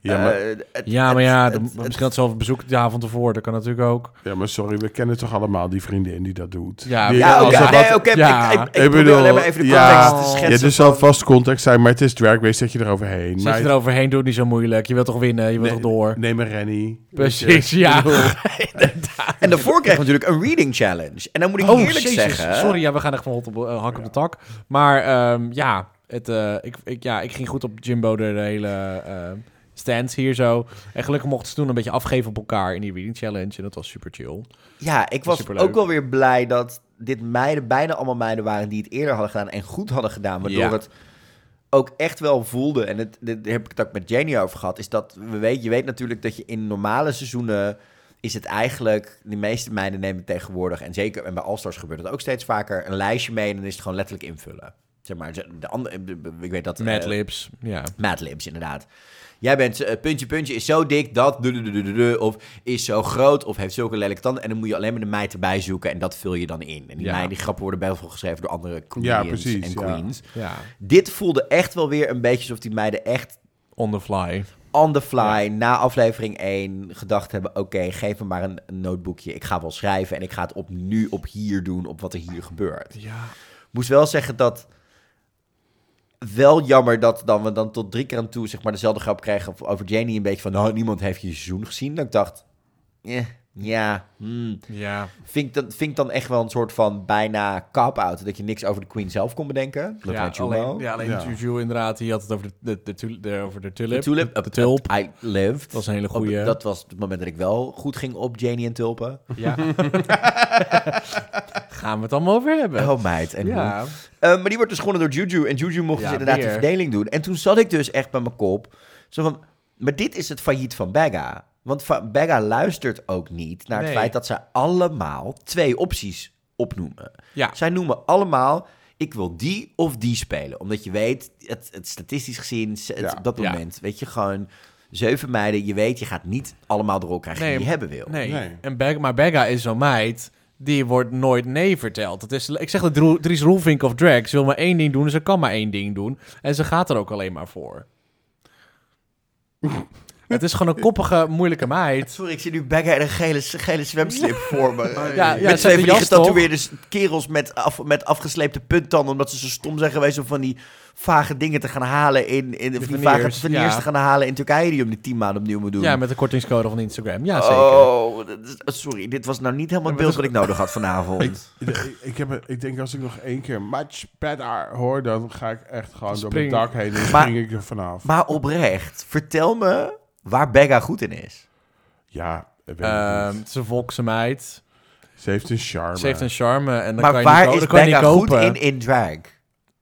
Speaker 3: Ja, maar,
Speaker 1: Eh, het-
Speaker 2: Ja, maar
Speaker 1: het-
Speaker 2: ja,
Speaker 1: het-
Speaker 2: dan-
Speaker 1: het-
Speaker 2: misschien had ze zelf bezoek de avond ervoor. Dat kan natuurlijk ook.
Speaker 3: ja, maar sorry, we kennen toch allemaal die vriendin die dat doet.
Speaker 2: Ja,
Speaker 3: Die-
Speaker 1: Ja,
Speaker 3: als
Speaker 1: oké.
Speaker 3: er wat-
Speaker 1: Nee, oké.
Speaker 2: Ja.
Speaker 1: Ik, ik, ik
Speaker 3: Ik
Speaker 1: probeer
Speaker 3: bedoel,
Speaker 1: alleen maar even de
Speaker 3: ja.
Speaker 1: context te
Speaker 2: Ja,
Speaker 1: schetsen.
Speaker 3: Ja, dus zal vast context zijn, maar het is drag race, zet je eroverheen.
Speaker 2: Zet
Speaker 3: Maar-
Speaker 2: je eroverheen, doe het niet zo moeilijk. Je wilt toch winnen, je wilt toch door.
Speaker 3: Neem een Rennie.
Speaker 2: Precies, ja.
Speaker 1: En daarvoor kreeg ik natuurlijk een reading challenge. En dan moet ik
Speaker 2: Oh,
Speaker 1: eerlijk
Speaker 2: jezus.
Speaker 1: zeggen...
Speaker 2: Sorry, ja, we gaan echt van hot op, eh, hak op de tak. Maar ehm, ja, het, eh, ik, ik, ja, ik ging goed op Jimbo de hele ehm, stand stands hier zo. En gelukkig mochten ze toen een beetje afgeven op elkaar in die reading challenge. En dat was super chill.
Speaker 1: Ja, ik was
Speaker 2: Superleuk.
Speaker 1: ook wel weer blij dat dit meiden, bijna allemaal meiden waren... die het eerder hadden gedaan en goed hadden gedaan. Waardoor
Speaker 2: Ja.
Speaker 1: het ook echt wel voelde... en het, dit, daar heb ik het ook met Jenny over gehad... is dat, we weet, je weet natuurlijk dat je in normale seizoenen... is het eigenlijk, de meeste meiden nemen tegenwoordig... en zeker en bij All-Stars gebeurt dat ook steeds vaker... een lijstje mee en dan is het gewoon letterlijk invullen. Zeg maar, de andere, ik weet dat... eh,
Speaker 2: Mad Lips, ja.
Speaker 1: Mad Libs, inderdaad. Jij bent, eh, puntje, puntje, is zo dik dat, du- du- du- du- du- du, of is zo groot, of heeft zulke lelijke tanden. En dan moet je alleen maar de meid erbij zoeken en dat vul je dan in. En die
Speaker 2: Ja.
Speaker 1: meiden, die grappen worden bijvoorbeeld geschreven door andere
Speaker 3: Ja,
Speaker 1: comedians
Speaker 3: precies,
Speaker 1: en
Speaker 3: ja.
Speaker 1: queens.
Speaker 2: Ja,
Speaker 1: Dit voelde echt wel weer een beetje alsof die meiden echt
Speaker 2: on the fly.
Speaker 1: on the fly, na aflevering 1, gedacht hebben... oké, geef me maar een een notebookje, ik ga wel schrijven en ik ga het op nu, op hier doen, op wat er hier gebeurt
Speaker 2: Ja.
Speaker 1: moest wel zeggen dat wel jammer dat dan we dan tot drie keer aan toe zeg maar dezelfde grap kregen over Janie een beetje van nou niemand heeft je seizoen gezien dat ik dacht eh, ja hmm.
Speaker 2: Ja.
Speaker 1: vind ik dan vind ik dan echt wel een soort van bijna cop-out dat je niks over de queen zelf kon bedenken Look
Speaker 2: Ja,
Speaker 1: at you
Speaker 2: alleen,
Speaker 1: now.
Speaker 2: ja, alleen
Speaker 3: Ja.
Speaker 2: Juju inderdaad, die had het over de, de, de, tul- de- over de
Speaker 1: De
Speaker 2: tulip.
Speaker 1: tulip,
Speaker 2: De tulp.
Speaker 1: I lived.
Speaker 2: Dat is een hele goeie.
Speaker 1: Op- Dat was het moment dat ik wel goed ging op Janie en tulpen.
Speaker 2: Ja. Gaan we het allemaal over hebben.
Speaker 1: Oh meid. En hoe?
Speaker 2: ja.
Speaker 1: Eh, maar die wordt dus gewonnen door Juju. En Juju mocht
Speaker 2: Ja,
Speaker 1: dus inderdaad
Speaker 2: weer.
Speaker 1: de verdeling doen. En toen zat ik dus echt bij mijn kop. Zo van, maar dit is het failliet van Bagga. Want Fa- Bagga luistert ook niet naar het
Speaker 2: Nee.
Speaker 1: feit dat zij allemaal twee opties opnoemen.
Speaker 2: Ja.
Speaker 1: Zij noemen allemaal, ik wil die of die spelen. Omdat je weet, het, het statistisch gezien, het,
Speaker 3: Ja.
Speaker 1: op dat
Speaker 2: Ja.
Speaker 1: moment, weet je gewoon... Zeven meiden, je weet, je gaat niet allemaal de rol krijgen
Speaker 2: Nee,
Speaker 1: die je hebben wil.
Speaker 2: Nee.
Speaker 3: Nee.
Speaker 2: En Beg- maar Begga is zo'n meid. Die wordt nooit nee verteld. Het is, ik zeg dat Dro- Dries Roelvink of Drag. Ze wil maar één ding doen. Ze kan maar één ding doen. En ze gaat er ook alleen maar voor. het is gewoon een koppige, moeilijke meid.
Speaker 1: Sorry, ik zie nu Bagga in een gele, gele zwemslip voor me.
Speaker 2: Ja, ja,
Speaker 1: met
Speaker 2: ze heeft
Speaker 1: twee
Speaker 2: een
Speaker 1: van die
Speaker 2: jas toch?
Speaker 1: getatoeëerde s- kerels met, af, met afgesleepte punttanden... omdat ze zo stom zijn geweest om van die vage dingen te gaan halen... in, in van die vage
Speaker 2: veneers,
Speaker 1: veneers
Speaker 2: ja.
Speaker 1: te gaan halen in Turkije... die om die tien maanden opnieuw moet doen.
Speaker 2: Ja, met de kortingscode van Instagram. Ja, zeker.
Speaker 1: oh, dat is- sorry, dit was nou niet helemaal het beeld wat ik nodig had vanavond.
Speaker 3: Ik, ik, heb, ik denk als ik nog één keer much better hoor, dan ga ik echt gewoon
Speaker 2: Spring.
Speaker 3: door mijn dak heen en
Speaker 1: Maar-
Speaker 3: spring ik er vanaf.
Speaker 1: maar oprecht, vertel me waar Bagga goed in is.
Speaker 3: ja, ik weet het
Speaker 2: Ehm,
Speaker 3: niet.
Speaker 2: ze volkse meid.
Speaker 3: ze heeft een charme.
Speaker 2: Ze heeft een charme. En dan
Speaker 1: maar
Speaker 2: kan je niet,
Speaker 1: waar
Speaker 2: ko-
Speaker 1: is
Speaker 2: dan kan je
Speaker 1: Bagga
Speaker 2: niet
Speaker 1: goed
Speaker 2: kopen.
Speaker 1: in in drag?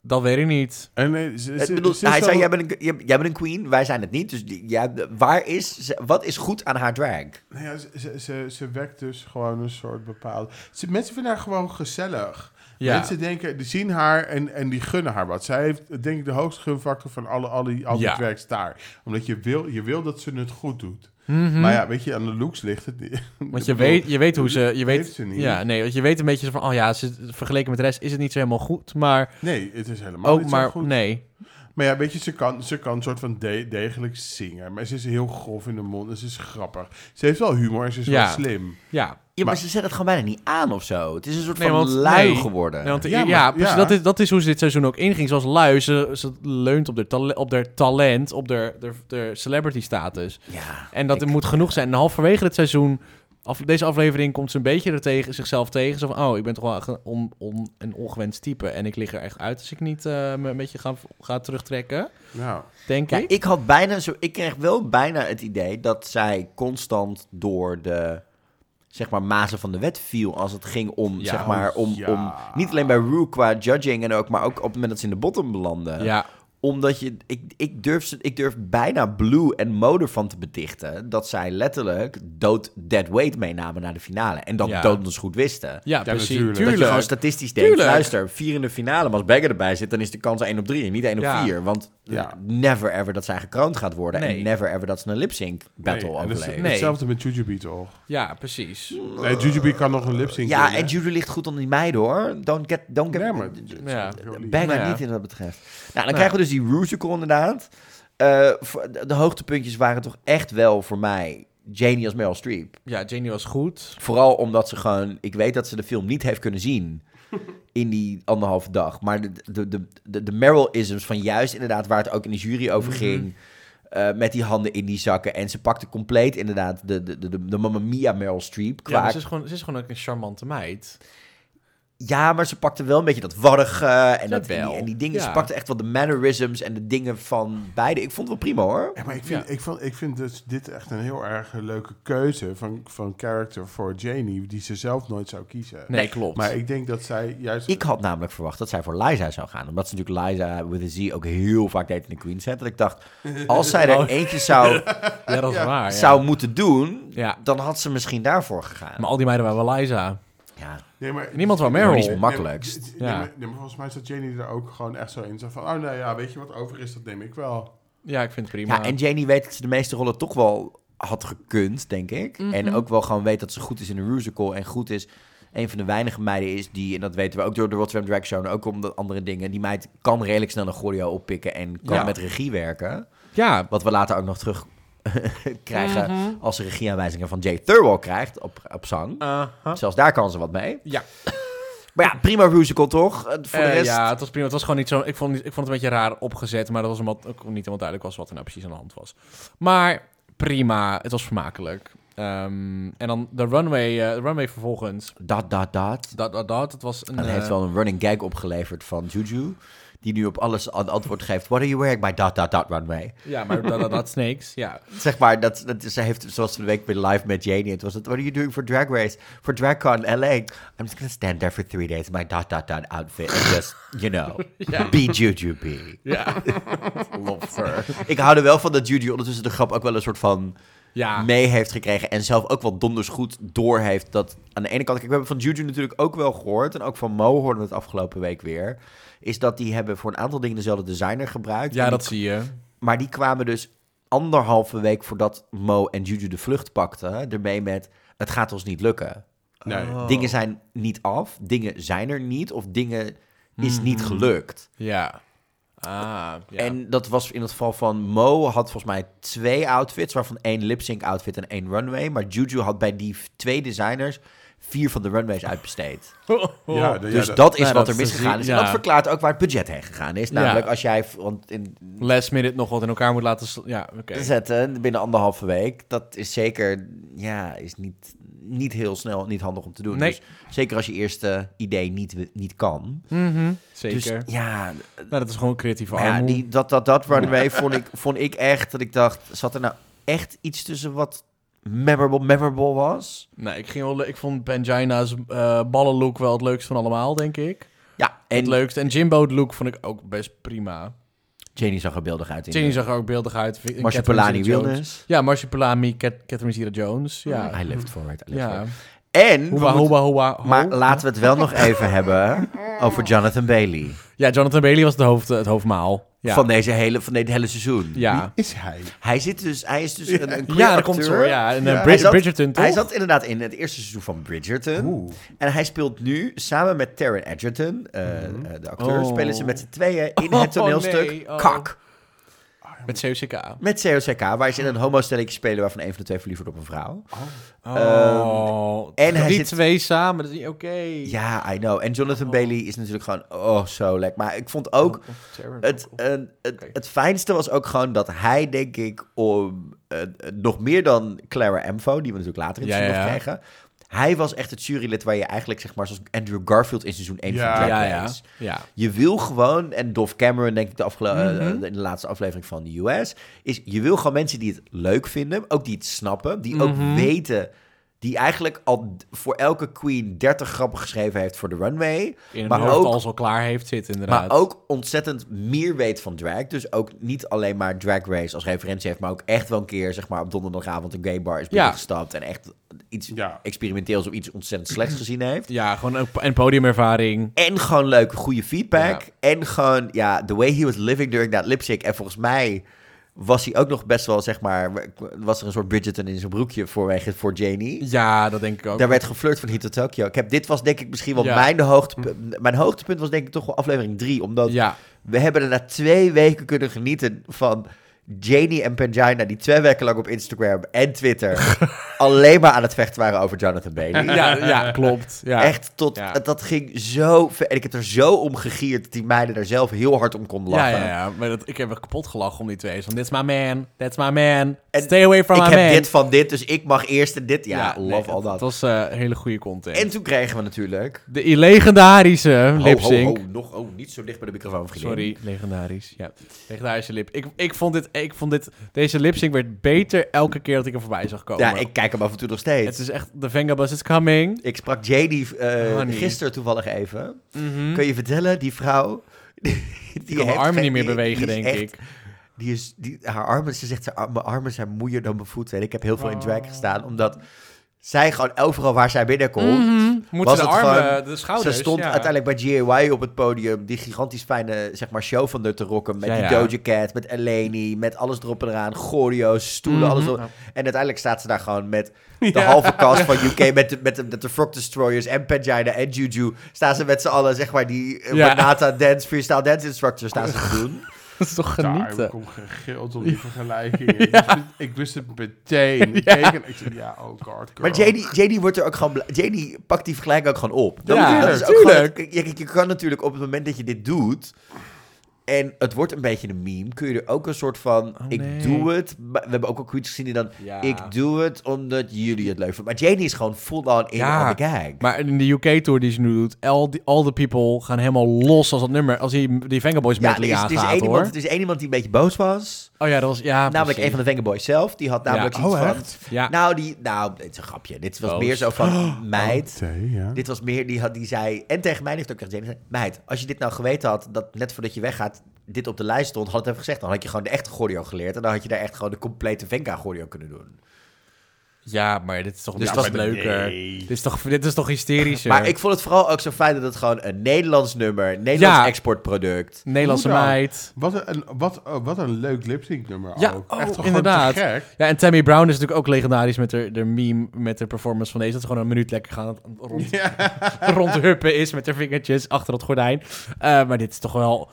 Speaker 2: Dat weet ik niet.
Speaker 3: En nee, ze,
Speaker 2: Dus,
Speaker 1: Ik
Speaker 3: ze-
Speaker 2: eh,
Speaker 1: bedoel,
Speaker 3: ze is
Speaker 1: hij
Speaker 3: wel-
Speaker 1: zei, jij bent, een, jij, jij bent een queen, wij zijn het niet. Dus die- ja, waar is, ze- wat is goed aan haar drag?
Speaker 3: Nou ja, ze, ze, ze, ze wekt dus gewoon een soort bepaalde... Ze, mensen vinden haar gewoon gezellig.
Speaker 2: Ja.
Speaker 3: Mensen denken, die zien haar en, en die gunnen haar wat. Zij heeft, denk ik, de hoogste gunfactor van alle, alle, alle
Speaker 2: Ja.
Speaker 3: tracks daar. Omdat je wil, je wil dat ze het goed doet. Maar ja, weet je, aan de looks ligt het niet.
Speaker 2: Mhm. Want je weet, je weet hoe ze... Je weet,
Speaker 3: heeft ze niet.
Speaker 2: Ja, nee, want je weet een beetje zo van... Oh ja, ze, vergeleken met de rest is het niet zo helemaal goed. Maar
Speaker 3: Nee, het is helemaal
Speaker 2: ook
Speaker 3: niet maar,
Speaker 2: maar...
Speaker 3: zo goed.
Speaker 2: Nee.
Speaker 3: Maar ja, weet je, ze kan, ze kan een soort van de- degelijk zingen. Maar ze is heel grof in de mond en ze is grappig. Ze heeft wel humor en ze is
Speaker 2: Ja.
Speaker 3: wel slim.
Speaker 2: Ja.
Speaker 1: Ja, maar,
Speaker 3: Maar-
Speaker 1: ze zet het gewoon bijna niet aan of zo. Het is een soort
Speaker 2: Nee,
Speaker 1: van
Speaker 2: want-
Speaker 1: lui
Speaker 2: nee.
Speaker 1: geworden.
Speaker 2: Nee, want, eh,
Speaker 3: Ja,
Speaker 2: ja,
Speaker 3: maar-
Speaker 2: precies,
Speaker 3: ja.
Speaker 2: Dat, is, dat is hoe ze dit seizoen ook inging. Zoals lui, ze, ze leunt op haar tale- op haar talent, op haar, haar, haar celebrity status.
Speaker 1: ja.
Speaker 2: En dat
Speaker 1: Ik-
Speaker 2: moet genoeg zijn. En halverwege het seizoen, af, deze aflevering, komt ze een beetje er tegen, zichzelf tegen. Zo van, oh, ik ben toch wel echt een on, on, een ongewenst type. En ik lig er echt uit als ik niet eh, me een beetje ga, ga terugtrekken,
Speaker 3: Nou,
Speaker 2: denk
Speaker 1: Ja,
Speaker 2: ik.
Speaker 1: ik had bijna zo... Ik kreeg wel bijna het idee dat zij constant door de... Zeg maar, mazen van de wet viel als het ging om,
Speaker 2: Ja, oh,
Speaker 1: zeg maar, om,
Speaker 3: ja.
Speaker 1: om... Niet alleen bij Rue qua judging en ook, maar ook op het moment dat ze in de bottom belanden.
Speaker 2: Ja,
Speaker 1: Omdat je, ik, ik, durf, ze- ik durf bijna Blue en Mode van te bedichten dat zij letterlijk dood dead weight meenamen naar de finale. En dat
Speaker 2: Ja.
Speaker 1: dood ons goed wisten.
Speaker 2: Ja,
Speaker 3: Ja,
Speaker 2: precies.
Speaker 3: natuurlijk.
Speaker 1: Dat je
Speaker 2: Tuurlijk.
Speaker 1: gewoon statistisch denkt,
Speaker 2: Tuurlijk.
Speaker 1: luister, vier in de finale, maar als Bagger erbij zit, dan is de kans 1 op 3 en niet 1 op
Speaker 2: Ja.
Speaker 1: 4. Want
Speaker 3: Ja.
Speaker 1: never ever dat zij gekroond gaat worden en
Speaker 2: Nee.
Speaker 1: never ever dat ze een lip-sync battle
Speaker 3: Nee, en dat is
Speaker 1: overleven.
Speaker 2: Nee.
Speaker 3: Hetzelfde met Jujubee toch?
Speaker 2: Ja, precies.
Speaker 3: Nee, Jujubee kan nog een lip sync
Speaker 1: Ja,
Speaker 3: doen, hè?
Speaker 1: en Judy ligt goed onder die meiden hoor. Don't get, don't get
Speaker 3: Nee, maar...
Speaker 2: Ja.
Speaker 1: Bijna
Speaker 2: Nou ja.
Speaker 1: niet in wat betreft. Nou, dan krijgen we dus die Rusical inderdaad. Eh, voor- de, de hoogtepuntjes waren toch echt wel voor mij Janie als Meryl Streep.
Speaker 2: Ja, Janie was goed.
Speaker 1: Vooral omdat ze gewoon... Ik weet dat ze de film niet heeft kunnen zien in die anderhalve dag. Maar de, de, de, de, de Meryl-isms van juist inderdaad waar het ook in de jury over
Speaker 2: Mhm.
Speaker 1: ging... eh, met die handen in die zakken. En ze pakte compleet inderdaad de, de, de, de, de Mamma Mia Meryl Streep.
Speaker 2: Ja,
Speaker 1: Qua
Speaker 2: maar ze, is gewoon, ze is gewoon ook een charmante meid.
Speaker 1: Ja, maar ze pakte wel een beetje dat warrige en, dat, en,
Speaker 2: Jawel.
Speaker 1: die, en die dingen. Ze
Speaker 2: Ja.
Speaker 1: pakte echt wel de mannerisms en de dingen van beide. Ik vond het wel prima hoor.
Speaker 3: Ja, maar ik vind,
Speaker 2: Ja.
Speaker 3: ik vond, ik vind dus dit echt een heel erg leuke keuze van, van character voor Janie, die ze zelf nooit zou kiezen.
Speaker 2: Nee, klopt.
Speaker 3: Maar ik denk dat zij juist...
Speaker 1: Ik had namelijk verwacht dat zij voor Liza zou gaan. Omdat ze natuurlijk Liza with a Z ook heel vaak deed in de Queen set. Dat ik dacht, als zij er
Speaker 2: Oh.
Speaker 1: eentje zou,
Speaker 2: ja, dat is waar. Ja.
Speaker 1: zou moeten doen,
Speaker 2: Ja.
Speaker 1: dan had ze misschien daarvoor gegaan.
Speaker 2: Maar al die meiden waren wel Liza.
Speaker 1: ja,
Speaker 3: Nee, maar,
Speaker 2: Niemand wou
Speaker 1: maar niet
Speaker 2: Meryl.
Speaker 1: zo makkelijkst.
Speaker 3: Nee,
Speaker 2: Ja.
Speaker 3: maar- nee, maar- nee, maar volgens mij zat Janie er ook gewoon echt zo in. Zo van, oh nou ja, weet je wat over is, dat neem ik wel.
Speaker 2: Ja, ik vind het prima.
Speaker 1: Ja, en Janie weet dat ze de meeste rollen toch wel had gekund, denk ik.
Speaker 2: Mhm.
Speaker 1: En ook wel gewoon weet dat ze goed is in een musical en goed is. Een van de weinige meiden is die, en dat weten we ook door de Rotterdam Drag Show en ook om de andere dingen, die meid kan redelijk snel een choreo oppikken en kan
Speaker 2: Ja.
Speaker 1: met regie werken.
Speaker 2: ja,
Speaker 1: Wat we later ook nog terug krijgen
Speaker 2: Mhm.
Speaker 1: als ze regieaanwijzingen van Jay Thurwell krijgt op, op zang.
Speaker 2: aha.
Speaker 1: Zelfs daar kan ze wat mee.
Speaker 2: ja.
Speaker 1: Maar ja, prima musical toch? Eh, Voor de
Speaker 2: Eh,
Speaker 1: rest...
Speaker 2: ja, het was prima. Het was gewoon niet zo. Ik vond, niet- ik vond het een beetje raar opgezet, maar dat was omdat ook niet helemaal duidelijk was wat er nou precies aan de hand was. Maar prima, het was vermakelijk. Ehm, en dan de runway, eh, de runway vervolgens.
Speaker 1: Dat, dat, dat.
Speaker 2: Dat, dat, dat, het was een.
Speaker 1: En dat
Speaker 2: eh,
Speaker 1: heeft wel een running gag opgeleverd van Juju. Die nu op alles een antwoord geeft. What are you wearing by dot dot dot runway?
Speaker 2: Ja, maar dat, dat, dat snakes. Ja.
Speaker 1: Zeg maar, dat, dat, ze heeft zoals de week bij live met Janie. Het was het, what are you doing for drag race? For DragCon LA. I'm just gonna stand there for three days in my dot dot dot outfit. And just, you know, be Juju be.
Speaker 2: Ja.
Speaker 1: Love her. Ik hou er wel van dat Juju ondertussen de grap ook wel een soort van
Speaker 2: ja.
Speaker 1: mee heeft gekregen. En zelf ook wel donders goed door heeft. Dat aan de ene kant, kijk, we hebben van Juju natuurlijk ook wel gehoord. En ook van Mo hoorden we het afgelopen week weer. Is dat die hebben voor een aantal dingen dezelfde designer gebruikt.
Speaker 2: ja,
Speaker 1: En
Speaker 2: dat
Speaker 1: die-
Speaker 2: zie je.
Speaker 1: Maar die kwamen dus anderhalve week voordat Mo en Juju de vlucht pakten. Ermee met, het gaat ons niet lukken.
Speaker 3: Nee.
Speaker 2: Oh.
Speaker 1: Dingen zijn niet af. Dingen zijn er niet. Of dingen is niet
Speaker 2: Hmm.
Speaker 1: gelukt.
Speaker 2: Ja. Ah, ja.
Speaker 1: En dat was in het geval van Mo had volgens mij twee outfits, waarvan één lip-sync outfit en één runway. Maar Juju had bij die v- twee designers vier van de runways uitbesteed.
Speaker 2: Oh.
Speaker 3: Ja, de- ja,
Speaker 1: dus
Speaker 3: de-
Speaker 1: dat is
Speaker 2: Nou,
Speaker 1: wat
Speaker 2: dat
Speaker 1: er
Speaker 2: is te
Speaker 1: misgegaan
Speaker 2: zien,
Speaker 1: is.
Speaker 2: ja.
Speaker 1: En dat verklaart ook waar het budget heen gegaan is. Namelijk
Speaker 2: Ja.
Speaker 1: als jij v- want in,
Speaker 2: last minute nog wat in elkaar moet laten. sl- Ja, oké.
Speaker 1: zetten binnen anderhalve week, dat is zeker ja, is niet, niet heel snel, niet handig om te doen.
Speaker 2: Nee.
Speaker 1: Dus zeker als je eerste idee niet, w- niet kan.
Speaker 2: Mhm, Zeker.
Speaker 1: Dus ja,
Speaker 2: nou, dat is gewoon creatieve
Speaker 1: Maar Ja,
Speaker 2: armoede.
Speaker 1: die, dat, dat, dat runway vond ik, vond ik echt dat ik dacht, zat er nou echt iets tussen wat memorable, memorable was?
Speaker 2: Nou, ik, ging wel, le- ik vond Benjina's eh ballenlook wel het leukst van allemaal, denk ik.
Speaker 1: Ja,
Speaker 2: het
Speaker 1: en
Speaker 2: leukste. En Jimbo's look vond ik ook best prima.
Speaker 1: Jenny zag er beeldig uit
Speaker 2: Jenny
Speaker 1: in.
Speaker 2: zag er ook beeldig uit. Vi- en
Speaker 1: Marcia
Speaker 2: Catherine
Speaker 1: Polani
Speaker 2: Zeta-Jones.
Speaker 1: Wilnes.
Speaker 2: Ja, Marcia Polani, Cat- Catherine Zeta-Jones. Ja.
Speaker 1: Hij leeft vooruit. hij leeft
Speaker 2: ja.
Speaker 1: vooruit. En, we
Speaker 2: Hoeba,
Speaker 1: moeten-
Speaker 2: hoeba, hoeba, ho.
Speaker 1: maar eh, laten we het wel nog even hebben over Jonathan Bailey.
Speaker 2: Ja, Jonathan Bailey was de hoofd, het hoofdmaal. Ja.
Speaker 1: Van, deze hele, van dit hele seizoen.
Speaker 3: Wie
Speaker 2: ja.
Speaker 3: is hij?
Speaker 1: Hij, zit dus, hij is dus een, een queer
Speaker 2: Ja, dat
Speaker 1: acteur.
Speaker 2: komt zo. Ja, en eh,
Speaker 3: Ja.
Speaker 2: Brid-
Speaker 1: Hij zat-
Speaker 2: Bridgerton, toch?
Speaker 1: Hij zat inderdaad in het eerste seizoen van Bridgerton.
Speaker 3: Oeh.
Speaker 1: En hij speelt nu samen met Taron Edgerton, eh, eh, de acteur,
Speaker 2: Oh.
Speaker 1: spelen ze met z'n tweeën in het
Speaker 2: Oh,
Speaker 1: toneelstuk
Speaker 2: nee, oh.
Speaker 1: Kak.
Speaker 2: Met COCK.
Speaker 1: Met COCK, waar ze in een homostelletje spelen waarvan een van de twee verliefd wordt op een vrouw.
Speaker 2: Oh.
Speaker 1: Ehm, en
Speaker 2: en
Speaker 1: hij
Speaker 2: die
Speaker 1: zit-
Speaker 2: twee samen, dat is niet oké.
Speaker 1: Ja, I know. En Jonathan Bailey is natuurlijk gewoon, oh, zo lekker. Maar ik vond ook,
Speaker 2: Oh.
Speaker 1: het, een- het,
Speaker 2: Oké.
Speaker 1: het fijnste was ook gewoon dat hij, denk ik, om, eh, eh, nog meer dan Clara Emfo, die we natuurlijk later in het
Speaker 2: Ja,
Speaker 1: seizoen
Speaker 2: ja,
Speaker 1: nog
Speaker 2: ja.
Speaker 1: krijgen. Hij was echt het jurylid waar je eigenlijk, zeg maar, zoals Andrew Garfield in seizoen 1
Speaker 3: Ja.
Speaker 1: van Drag
Speaker 2: ja,
Speaker 1: Race.
Speaker 2: ja. ja.
Speaker 1: Je wil gewoon, en Dov Cameron denk ik de afgelo-
Speaker 2: Mhm.
Speaker 1: eh, in de laatste aflevering van de
Speaker 2: Mhm.
Speaker 1: US, is je wil gewoon mensen die het leuk vinden, ook die het snappen, die ook weten Die eigenlijk al d- voor elke queen 30 grappen geschreven heeft voor de runway.
Speaker 2: In
Speaker 1: Maar
Speaker 2: maar hoofd
Speaker 1: ook-
Speaker 2: alles al klaar heeft zitten, inderdaad.
Speaker 1: Maar ook ontzettend meer weet van drag. Dus ook niet alleen maar Drag Race als referentie heeft. Maar ook echt wel een keer zeg maar, op donderdagavond een gay bar is binnengestapt. En echt iets
Speaker 3: Ja.
Speaker 1: experimenteels op iets ontzettend slechts gezien heeft.
Speaker 2: Ja, gewoon een, en podiumervaring.
Speaker 1: En gewoon leuke, goede feedback. En gewoon, ja, the way he was living during that lip sync. En volgens mij was hij ook nog best wel, zeg maar... was er een soort Bridgerton in zijn broekje voorwege voor Janie.
Speaker 2: Ja, dat denk ik ook.
Speaker 1: Daar werd geflirt van Heat to Tokyo. Ik heb, dit was denk ik misschien wel
Speaker 2: Ja. Hm.
Speaker 1: mijn hoogtepunt. Mijn hoogtepunt was denk ik toch wel aflevering 3. Omdat
Speaker 2: Ja,
Speaker 1: we hebben er na twee weken kunnen genieten van Janie en Pangina... die twee weken lang op Instagram en Twitter... alleen maar aan het vechten waren over Jonathan Bailey.
Speaker 2: ja, ja klopt. Ja.
Speaker 1: Echt tot,
Speaker 2: Ja.
Speaker 1: dat ging zo ver. En ik heb er zo om gegierd dat die meiden daar zelf heel hard om kon
Speaker 2: Ja,
Speaker 1: lachen.
Speaker 2: ja, ja. Maar dat, ik heb er kapot gelachen om die twee. Van, that's my man, that's my man, stay away from
Speaker 1: Ik
Speaker 2: my
Speaker 1: heb
Speaker 2: man.
Speaker 1: dit van dit, dus ik mag eerst en dit. Ja,
Speaker 2: nee,
Speaker 1: love all
Speaker 2: Het
Speaker 1: that.
Speaker 2: was eh, hele goede content.
Speaker 1: En toen kregen we natuurlijk...
Speaker 2: de legendarische
Speaker 1: Ho,
Speaker 2: lip
Speaker 1: ho,
Speaker 2: sync.
Speaker 1: ho, nog, oh, niet zo dicht bij de microfoon, vriendin.
Speaker 2: Sorry, legendarisch. Ja, legendarische lip. Ik, ik vond dit, ik vond dit, deze lip sync werd beter elke keer dat ik er voorbij zag komen.
Speaker 1: Ja, ik kijk hem af en toe nog steeds.
Speaker 2: Oh, Het is echt, the Vengabus is coming.
Speaker 1: Ik sprak Janie eh,
Speaker 2: Honey.
Speaker 1: gisteren toevallig even.
Speaker 2: Mhm.
Speaker 1: Kun je vertellen, die vrouw... Die,
Speaker 2: Ik kan mijn
Speaker 1: heeft
Speaker 2: armen
Speaker 1: geen-
Speaker 2: niet meer
Speaker 1: die-
Speaker 2: bewegen,
Speaker 1: die is
Speaker 2: denk
Speaker 1: echt-
Speaker 2: ik.
Speaker 1: Die is, die, haar armen, ze zegt, haar ar- mijn armen zijn moeier dan mijn voeten. En ik heb heel veel in
Speaker 2: Oh.
Speaker 1: drag gestaan, omdat zij gewoon overal waar zij binnenkomt...
Speaker 2: Mm. Moeten de
Speaker 1: het
Speaker 2: armen,
Speaker 1: gewoon-
Speaker 2: de schouders.
Speaker 1: Ze stond
Speaker 2: ja.
Speaker 1: uiteindelijk bij GAY op het podium. Die gigantisch fijne zeg maar, show van Nutte Rocken. Met
Speaker 2: Ja,
Speaker 1: die
Speaker 2: ja.
Speaker 1: Doja Cat, met Eleni, met alles erop en eraan. Choreo's, stoelen,
Speaker 2: Mhm.
Speaker 1: alles erop.
Speaker 2: Ja.
Speaker 1: En uiteindelijk staat ze daar gewoon met de halve cast van UK. Met de, met de, met de Frog Destroyers en Pangina en Juju. Staan ze met z'n allen, zeg maar, die eh,
Speaker 2: Ja.
Speaker 1: Renata Dance, Freestyle Dance Instructor staan ze te doen.
Speaker 2: Dat is toch
Speaker 3: Daar
Speaker 2: genieten.
Speaker 3: kom gegild op die vergelijking. Ik wist het- Ik wist het meteen. Ik keek en ik zei, ja, oh god, girl.
Speaker 1: Maar JD, JD wordt er ook gewoon... bla- JD pakt die vergelijking ook gewoon op. Dat,
Speaker 2: Ja,
Speaker 1: dat is ook
Speaker 2: tuurlijk.
Speaker 1: gewoon... het- je, je kan natuurlijk op het moment dat je dit doet... En het wordt een beetje een meme. Kun je er ook een soort van...
Speaker 2: Oh, nee.
Speaker 1: Ik doe het. maar- We hebben ook al iets gezien die dan...
Speaker 2: Ja.
Speaker 1: Ik doe het omdat jullie het leuk vinden. Maar JD is gewoon full-on in
Speaker 2: Ja.
Speaker 1: on the gag.
Speaker 2: Maar in de UK-tour die ze nu doet, all the, all the people gaan helemaal los als dat nummer, als die, die Vengaboys
Speaker 1: ja,
Speaker 2: ja,
Speaker 1: er is, er, is
Speaker 2: aangaat,
Speaker 1: één
Speaker 2: hoor.
Speaker 1: iemand, er is één iemand die een beetje boos was.
Speaker 2: Oh ja, dat was, ja,
Speaker 1: namelijk een
Speaker 2: precies.
Speaker 1: van de Vengaboys zelf. Die had namelijk
Speaker 2: Ja.
Speaker 1: iets
Speaker 2: Oh,
Speaker 1: van...
Speaker 2: echt? Ja.
Speaker 1: Nou, die, nou, dit is een grapje. Dit was
Speaker 2: Boos.
Speaker 1: meer zo van... meid,
Speaker 3: Thee, ja.
Speaker 1: Dit was meer, die, had, die zei... En tegen mij heeft ook gezegd... zei, Meid, als je dit nou geweten had... dat net voordat je weggaat dit op de lijst stond... had het even gezegd... dan had je gewoon de echte choreo geleerd... en dan had je daar echt gewoon de complete Venka choreo kunnen doen.
Speaker 2: Ja, maar dit is toch
Speaker 1: Dus
Speaker 2: dit
Speaker 1: dat-
Speaker 2: is toch leuker.
Speaker 3: nee.
Speaker 2: Dit, is toch, dit is toch hysterischer.
Speaker 1: Maar ik vond het vooral ook zo fijn... dat het gewoon een Nederlands nummer... Nederlands
Speaker 2: Ja.
Speaker 1: exportproduct...
Speaker 2: Nederlandse
Speaker 3: Hoe dan?
Speaker 2: meid.
Speaker 3: Wat een, wat, oh, wat een leuk lipsync nummer
Speaker 2: Ja,
Speaker 3: ook.
Speaker 2: oh,
Speaker 3: Echt gewoon
Speaker 2: inderdaad.
Speaker 3: te gek.
Speaker 2: Ja, en Tammy Brown is natuurlijk ook legendarisch met haar, haar meme, met de performance van deze. Dat ze gewoon een minuut lekker gaan rond, rondhuppen is met haar vingertjes achter het gordijn. Eh, maar dit is toch wel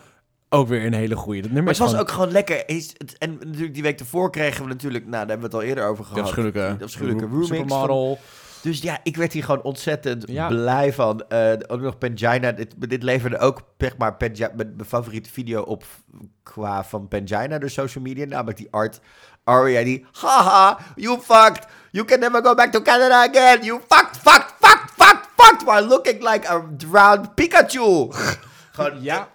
Speaker 2: ook weer een hele goeie. Dat nummer
Speaker 1: Maar
Speaker 2: is
Speaker 1: het was
Speaker 2: gewoon-
Speaker 1: ook gewoon lekker. Is het- En natuurlijk die week ervoor kregen we natuurlijk... nou, daar hebben we het al eerder over
Speaker 2: De
Speaker 1: gehad.
Speaker 2: afschuwelijke,
Speaker 1: De afschuwelijke
Speaker 2: ro-
Speaker 1: remix van-
Speaker 2: supermodel.
Speaker 1: Dus ja, ik werd hier gewoon ontzettend
Speaker 2: Ja.
Speaker 1: blij van. Eh, ook nog Pangina. Dit, dit leverde ook, zeg maar, Pangina, mijn, mijn favoriete video op qua van Pangina door social media. Namelijk die art Aria die... Haha, you fucked. You can never go back to Canada again. You fucked, fucked, fucked, fucked, fucked. While looking like a drowned Pikachu. gewoon,
Speaker 2: Ja.
Speaker 1: ja.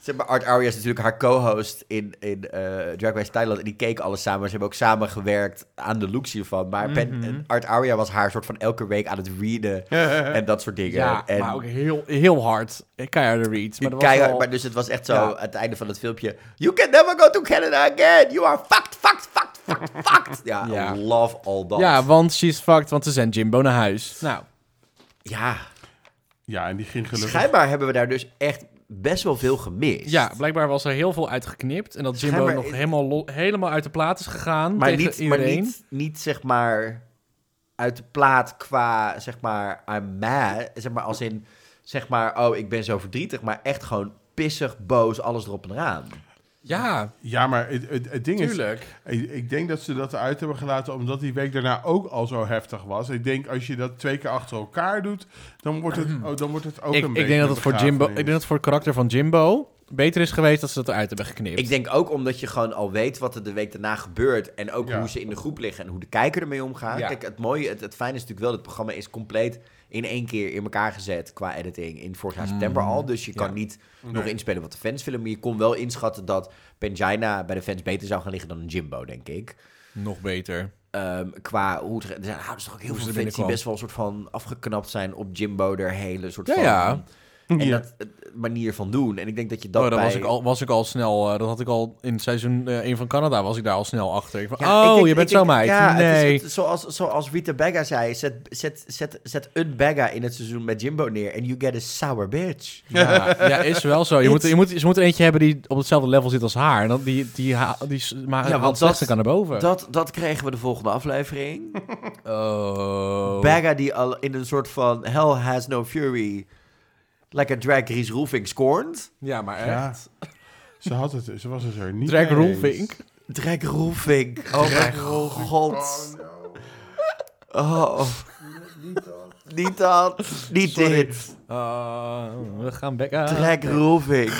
Speaker 1: Zeg maar, Art Aria is natuurlijk haar co-host in, in eh, Drag Race Thailand. En die keken alles samen. Ze hebben ook samen gewerkt aan de looks hiervan. Maar Pen-
Speaker 2: Mhm.
Speaker 1: en Art Aria was haar soort van elke week aan het readen. en dat soort dingen.
Speaker 2: Ja,
Speaker 1: en
Speaker 2: maar ook heel, heel hard. Eh, Keiharde reads. Maar dat was
Speaker 1: keihard-
Speaker 2: wel-
Speaker 1: maar dus het was echt zo,
Speaker 2: Ja.
Speaker 1: aan het einde van het filmpje... You can never go to Canada again! You are fucked, fucked, fucked, fucked, fucked! Ja,
Speaker 2: Ja.
Speaker 1: love all that.
Speaker 2: Ja, want she's fucked, want ze zendt Jimbo naar huis. Nou,
Speaker 1: ja,
Speaker 3: Ja, en die ging gelukkig...
Speaker 1: schijnbaar hebben we daar dus echt best wel veel gemist.
Speaker 2: ja, blijkbaar was er heel veel uitgeknipt. En dat Jimbo
Speaker 1: Schijnbaar
Speaker 2: nog
Speaker 1: is-
Speaker 2: helemaal, lo- helemaal uit de plaat is gegaan
Speaker 1: eh, maar
Speaker 2: tegen
Speaker 1: niet, maar
Speaker 2: iedereen.
Speaker 1: niet, niet zeg maar uit de plaat qua zeg maar I'm mad, zeg maar als in zeg maar oh ik ben zo verdrietig, maar echt gewoon pissig, boos, alles erop en eraan.
Speaker 2: Ja,
Speaker 3: Ja, maar het, het, het ding is...
Speaker 2: tuurlijk.
Speaker 3: Ik, ik denk dat ze dat eruit hebben gelaten omdat die week daarna ook al zo heftig was. Ik denk als je dat twee keer achter elkaar doet, dan wordt het, oh, dan wordt het ook
Speaker 2: Ik,
Speaker 3: een
Speaker 2: ik
Speaker 3: beetje
Speaker 2: denk dat het
Speaker 3: een
Speaker 2: voor Jimbo, ik
Speaker 3: begrafenis.
Speaker 2: denk dat het voor het karakter van Jimbo beter is geweest dat ze dat eruit hebben geknipt.
Speaker 1: Ik denk ook omdat je gewoon al weet wat er de week daarna gebeurt en ook
Speaker 3: Ja.
Speaker 1: hoe ze in de groep liggen en hoe de kijker ermee omgaat.
Speaker 2: Ja.
Speaker 1: Kijk, het mooie, het, het fijne is natuurlijk wel dat het programma is compleet in één keer in elkaar gezet qua editing in vorig jaar september al, dus je kan
Speaker 2: Ja.
Speaker 1: niet
Speaker 3: Nee.
Speaker 1: nog inspelen wat de fans willen, maar je kon wel inschatten dat Pangina bij de fans beter zou gaan liggen dan een Jimbo, denk ik.
Speaker 2: Nog beter.
Speaker 1: ehm, qua hoe het, er zijn houders toch ook heel
Speaker 2: Hoe ze
Speaker 1: veel
Speaker 2: er
Speaker 1: fans die
Speaker 2: binnenkwam.
Speaker 1: best wel een soort van afgeknapt zijn op Jimbo er hele soort
Speaker 2: Ja,
Speaker 1: van
Speaker 2: ja.
Speaker 1: En
Speaker 3: Ja.
Speaker 1: dat eh, manier van doen. En ik denk dat je dat
Speaker 2: Dat, oh, dat
Speaker 1: bij...
Speaker 2: was, ik al, was ik al snel. eh, dat had ik al in seizoen 1 van Canada. Was ik daar al snel achter. Ik van,
Speaker 1: Ja,
Speaker 2: oh,
Speaker 1: ik denk-
Speaker 2: je bent
Speaker 1: ik
Speaker 2: zo
Speaker 1: denk-
Speaker 2: meid.
Speaker 1: Ja, het is-
Speaker 2: nee.
Speaker 1: het- zoals, zoals Rita Begga zei, zet, zet, zet, zet een Begga in het seizoen met Jimbo neer en you get a sour bitch.
Speaker 2: Ja, ja, is wel zo. Je moet, je moet, ze moeten eentje hebben die op hetzelfde level zit als haar. En dan die, die, ha- die, s- maar
Speaker 1: Ja,
Speaker 2: ja,
Speaker 1: want
Speaker 2: want
Speaker 1: dat-
Speaker 2: kan naar boven.
Speaker 1: Dat, dat kregen we de volgende aflevering.
Speaker 2: oh.
Speaker 1: Begga die al in een soort van hell has no fury, like a drag Reese Roofing scorned.
Speaker 2: Ja, maar
Speaker 3: Ja.
Speaker 2: echt.
Speaker 3: Ze, had het, ze was het er niet
Speaker 2: Drag
Speaker 3: mee eens.
Speaker 2: Roelvink.
Speaker 1: Drag Roofing, oh mijn god. Oh, niet dat, niet
Speaker 2: Sorry.
Speaker 1: dit.
Speaker 2: Eh, we gaan Becca.
Speaker 1: Drag Roofing.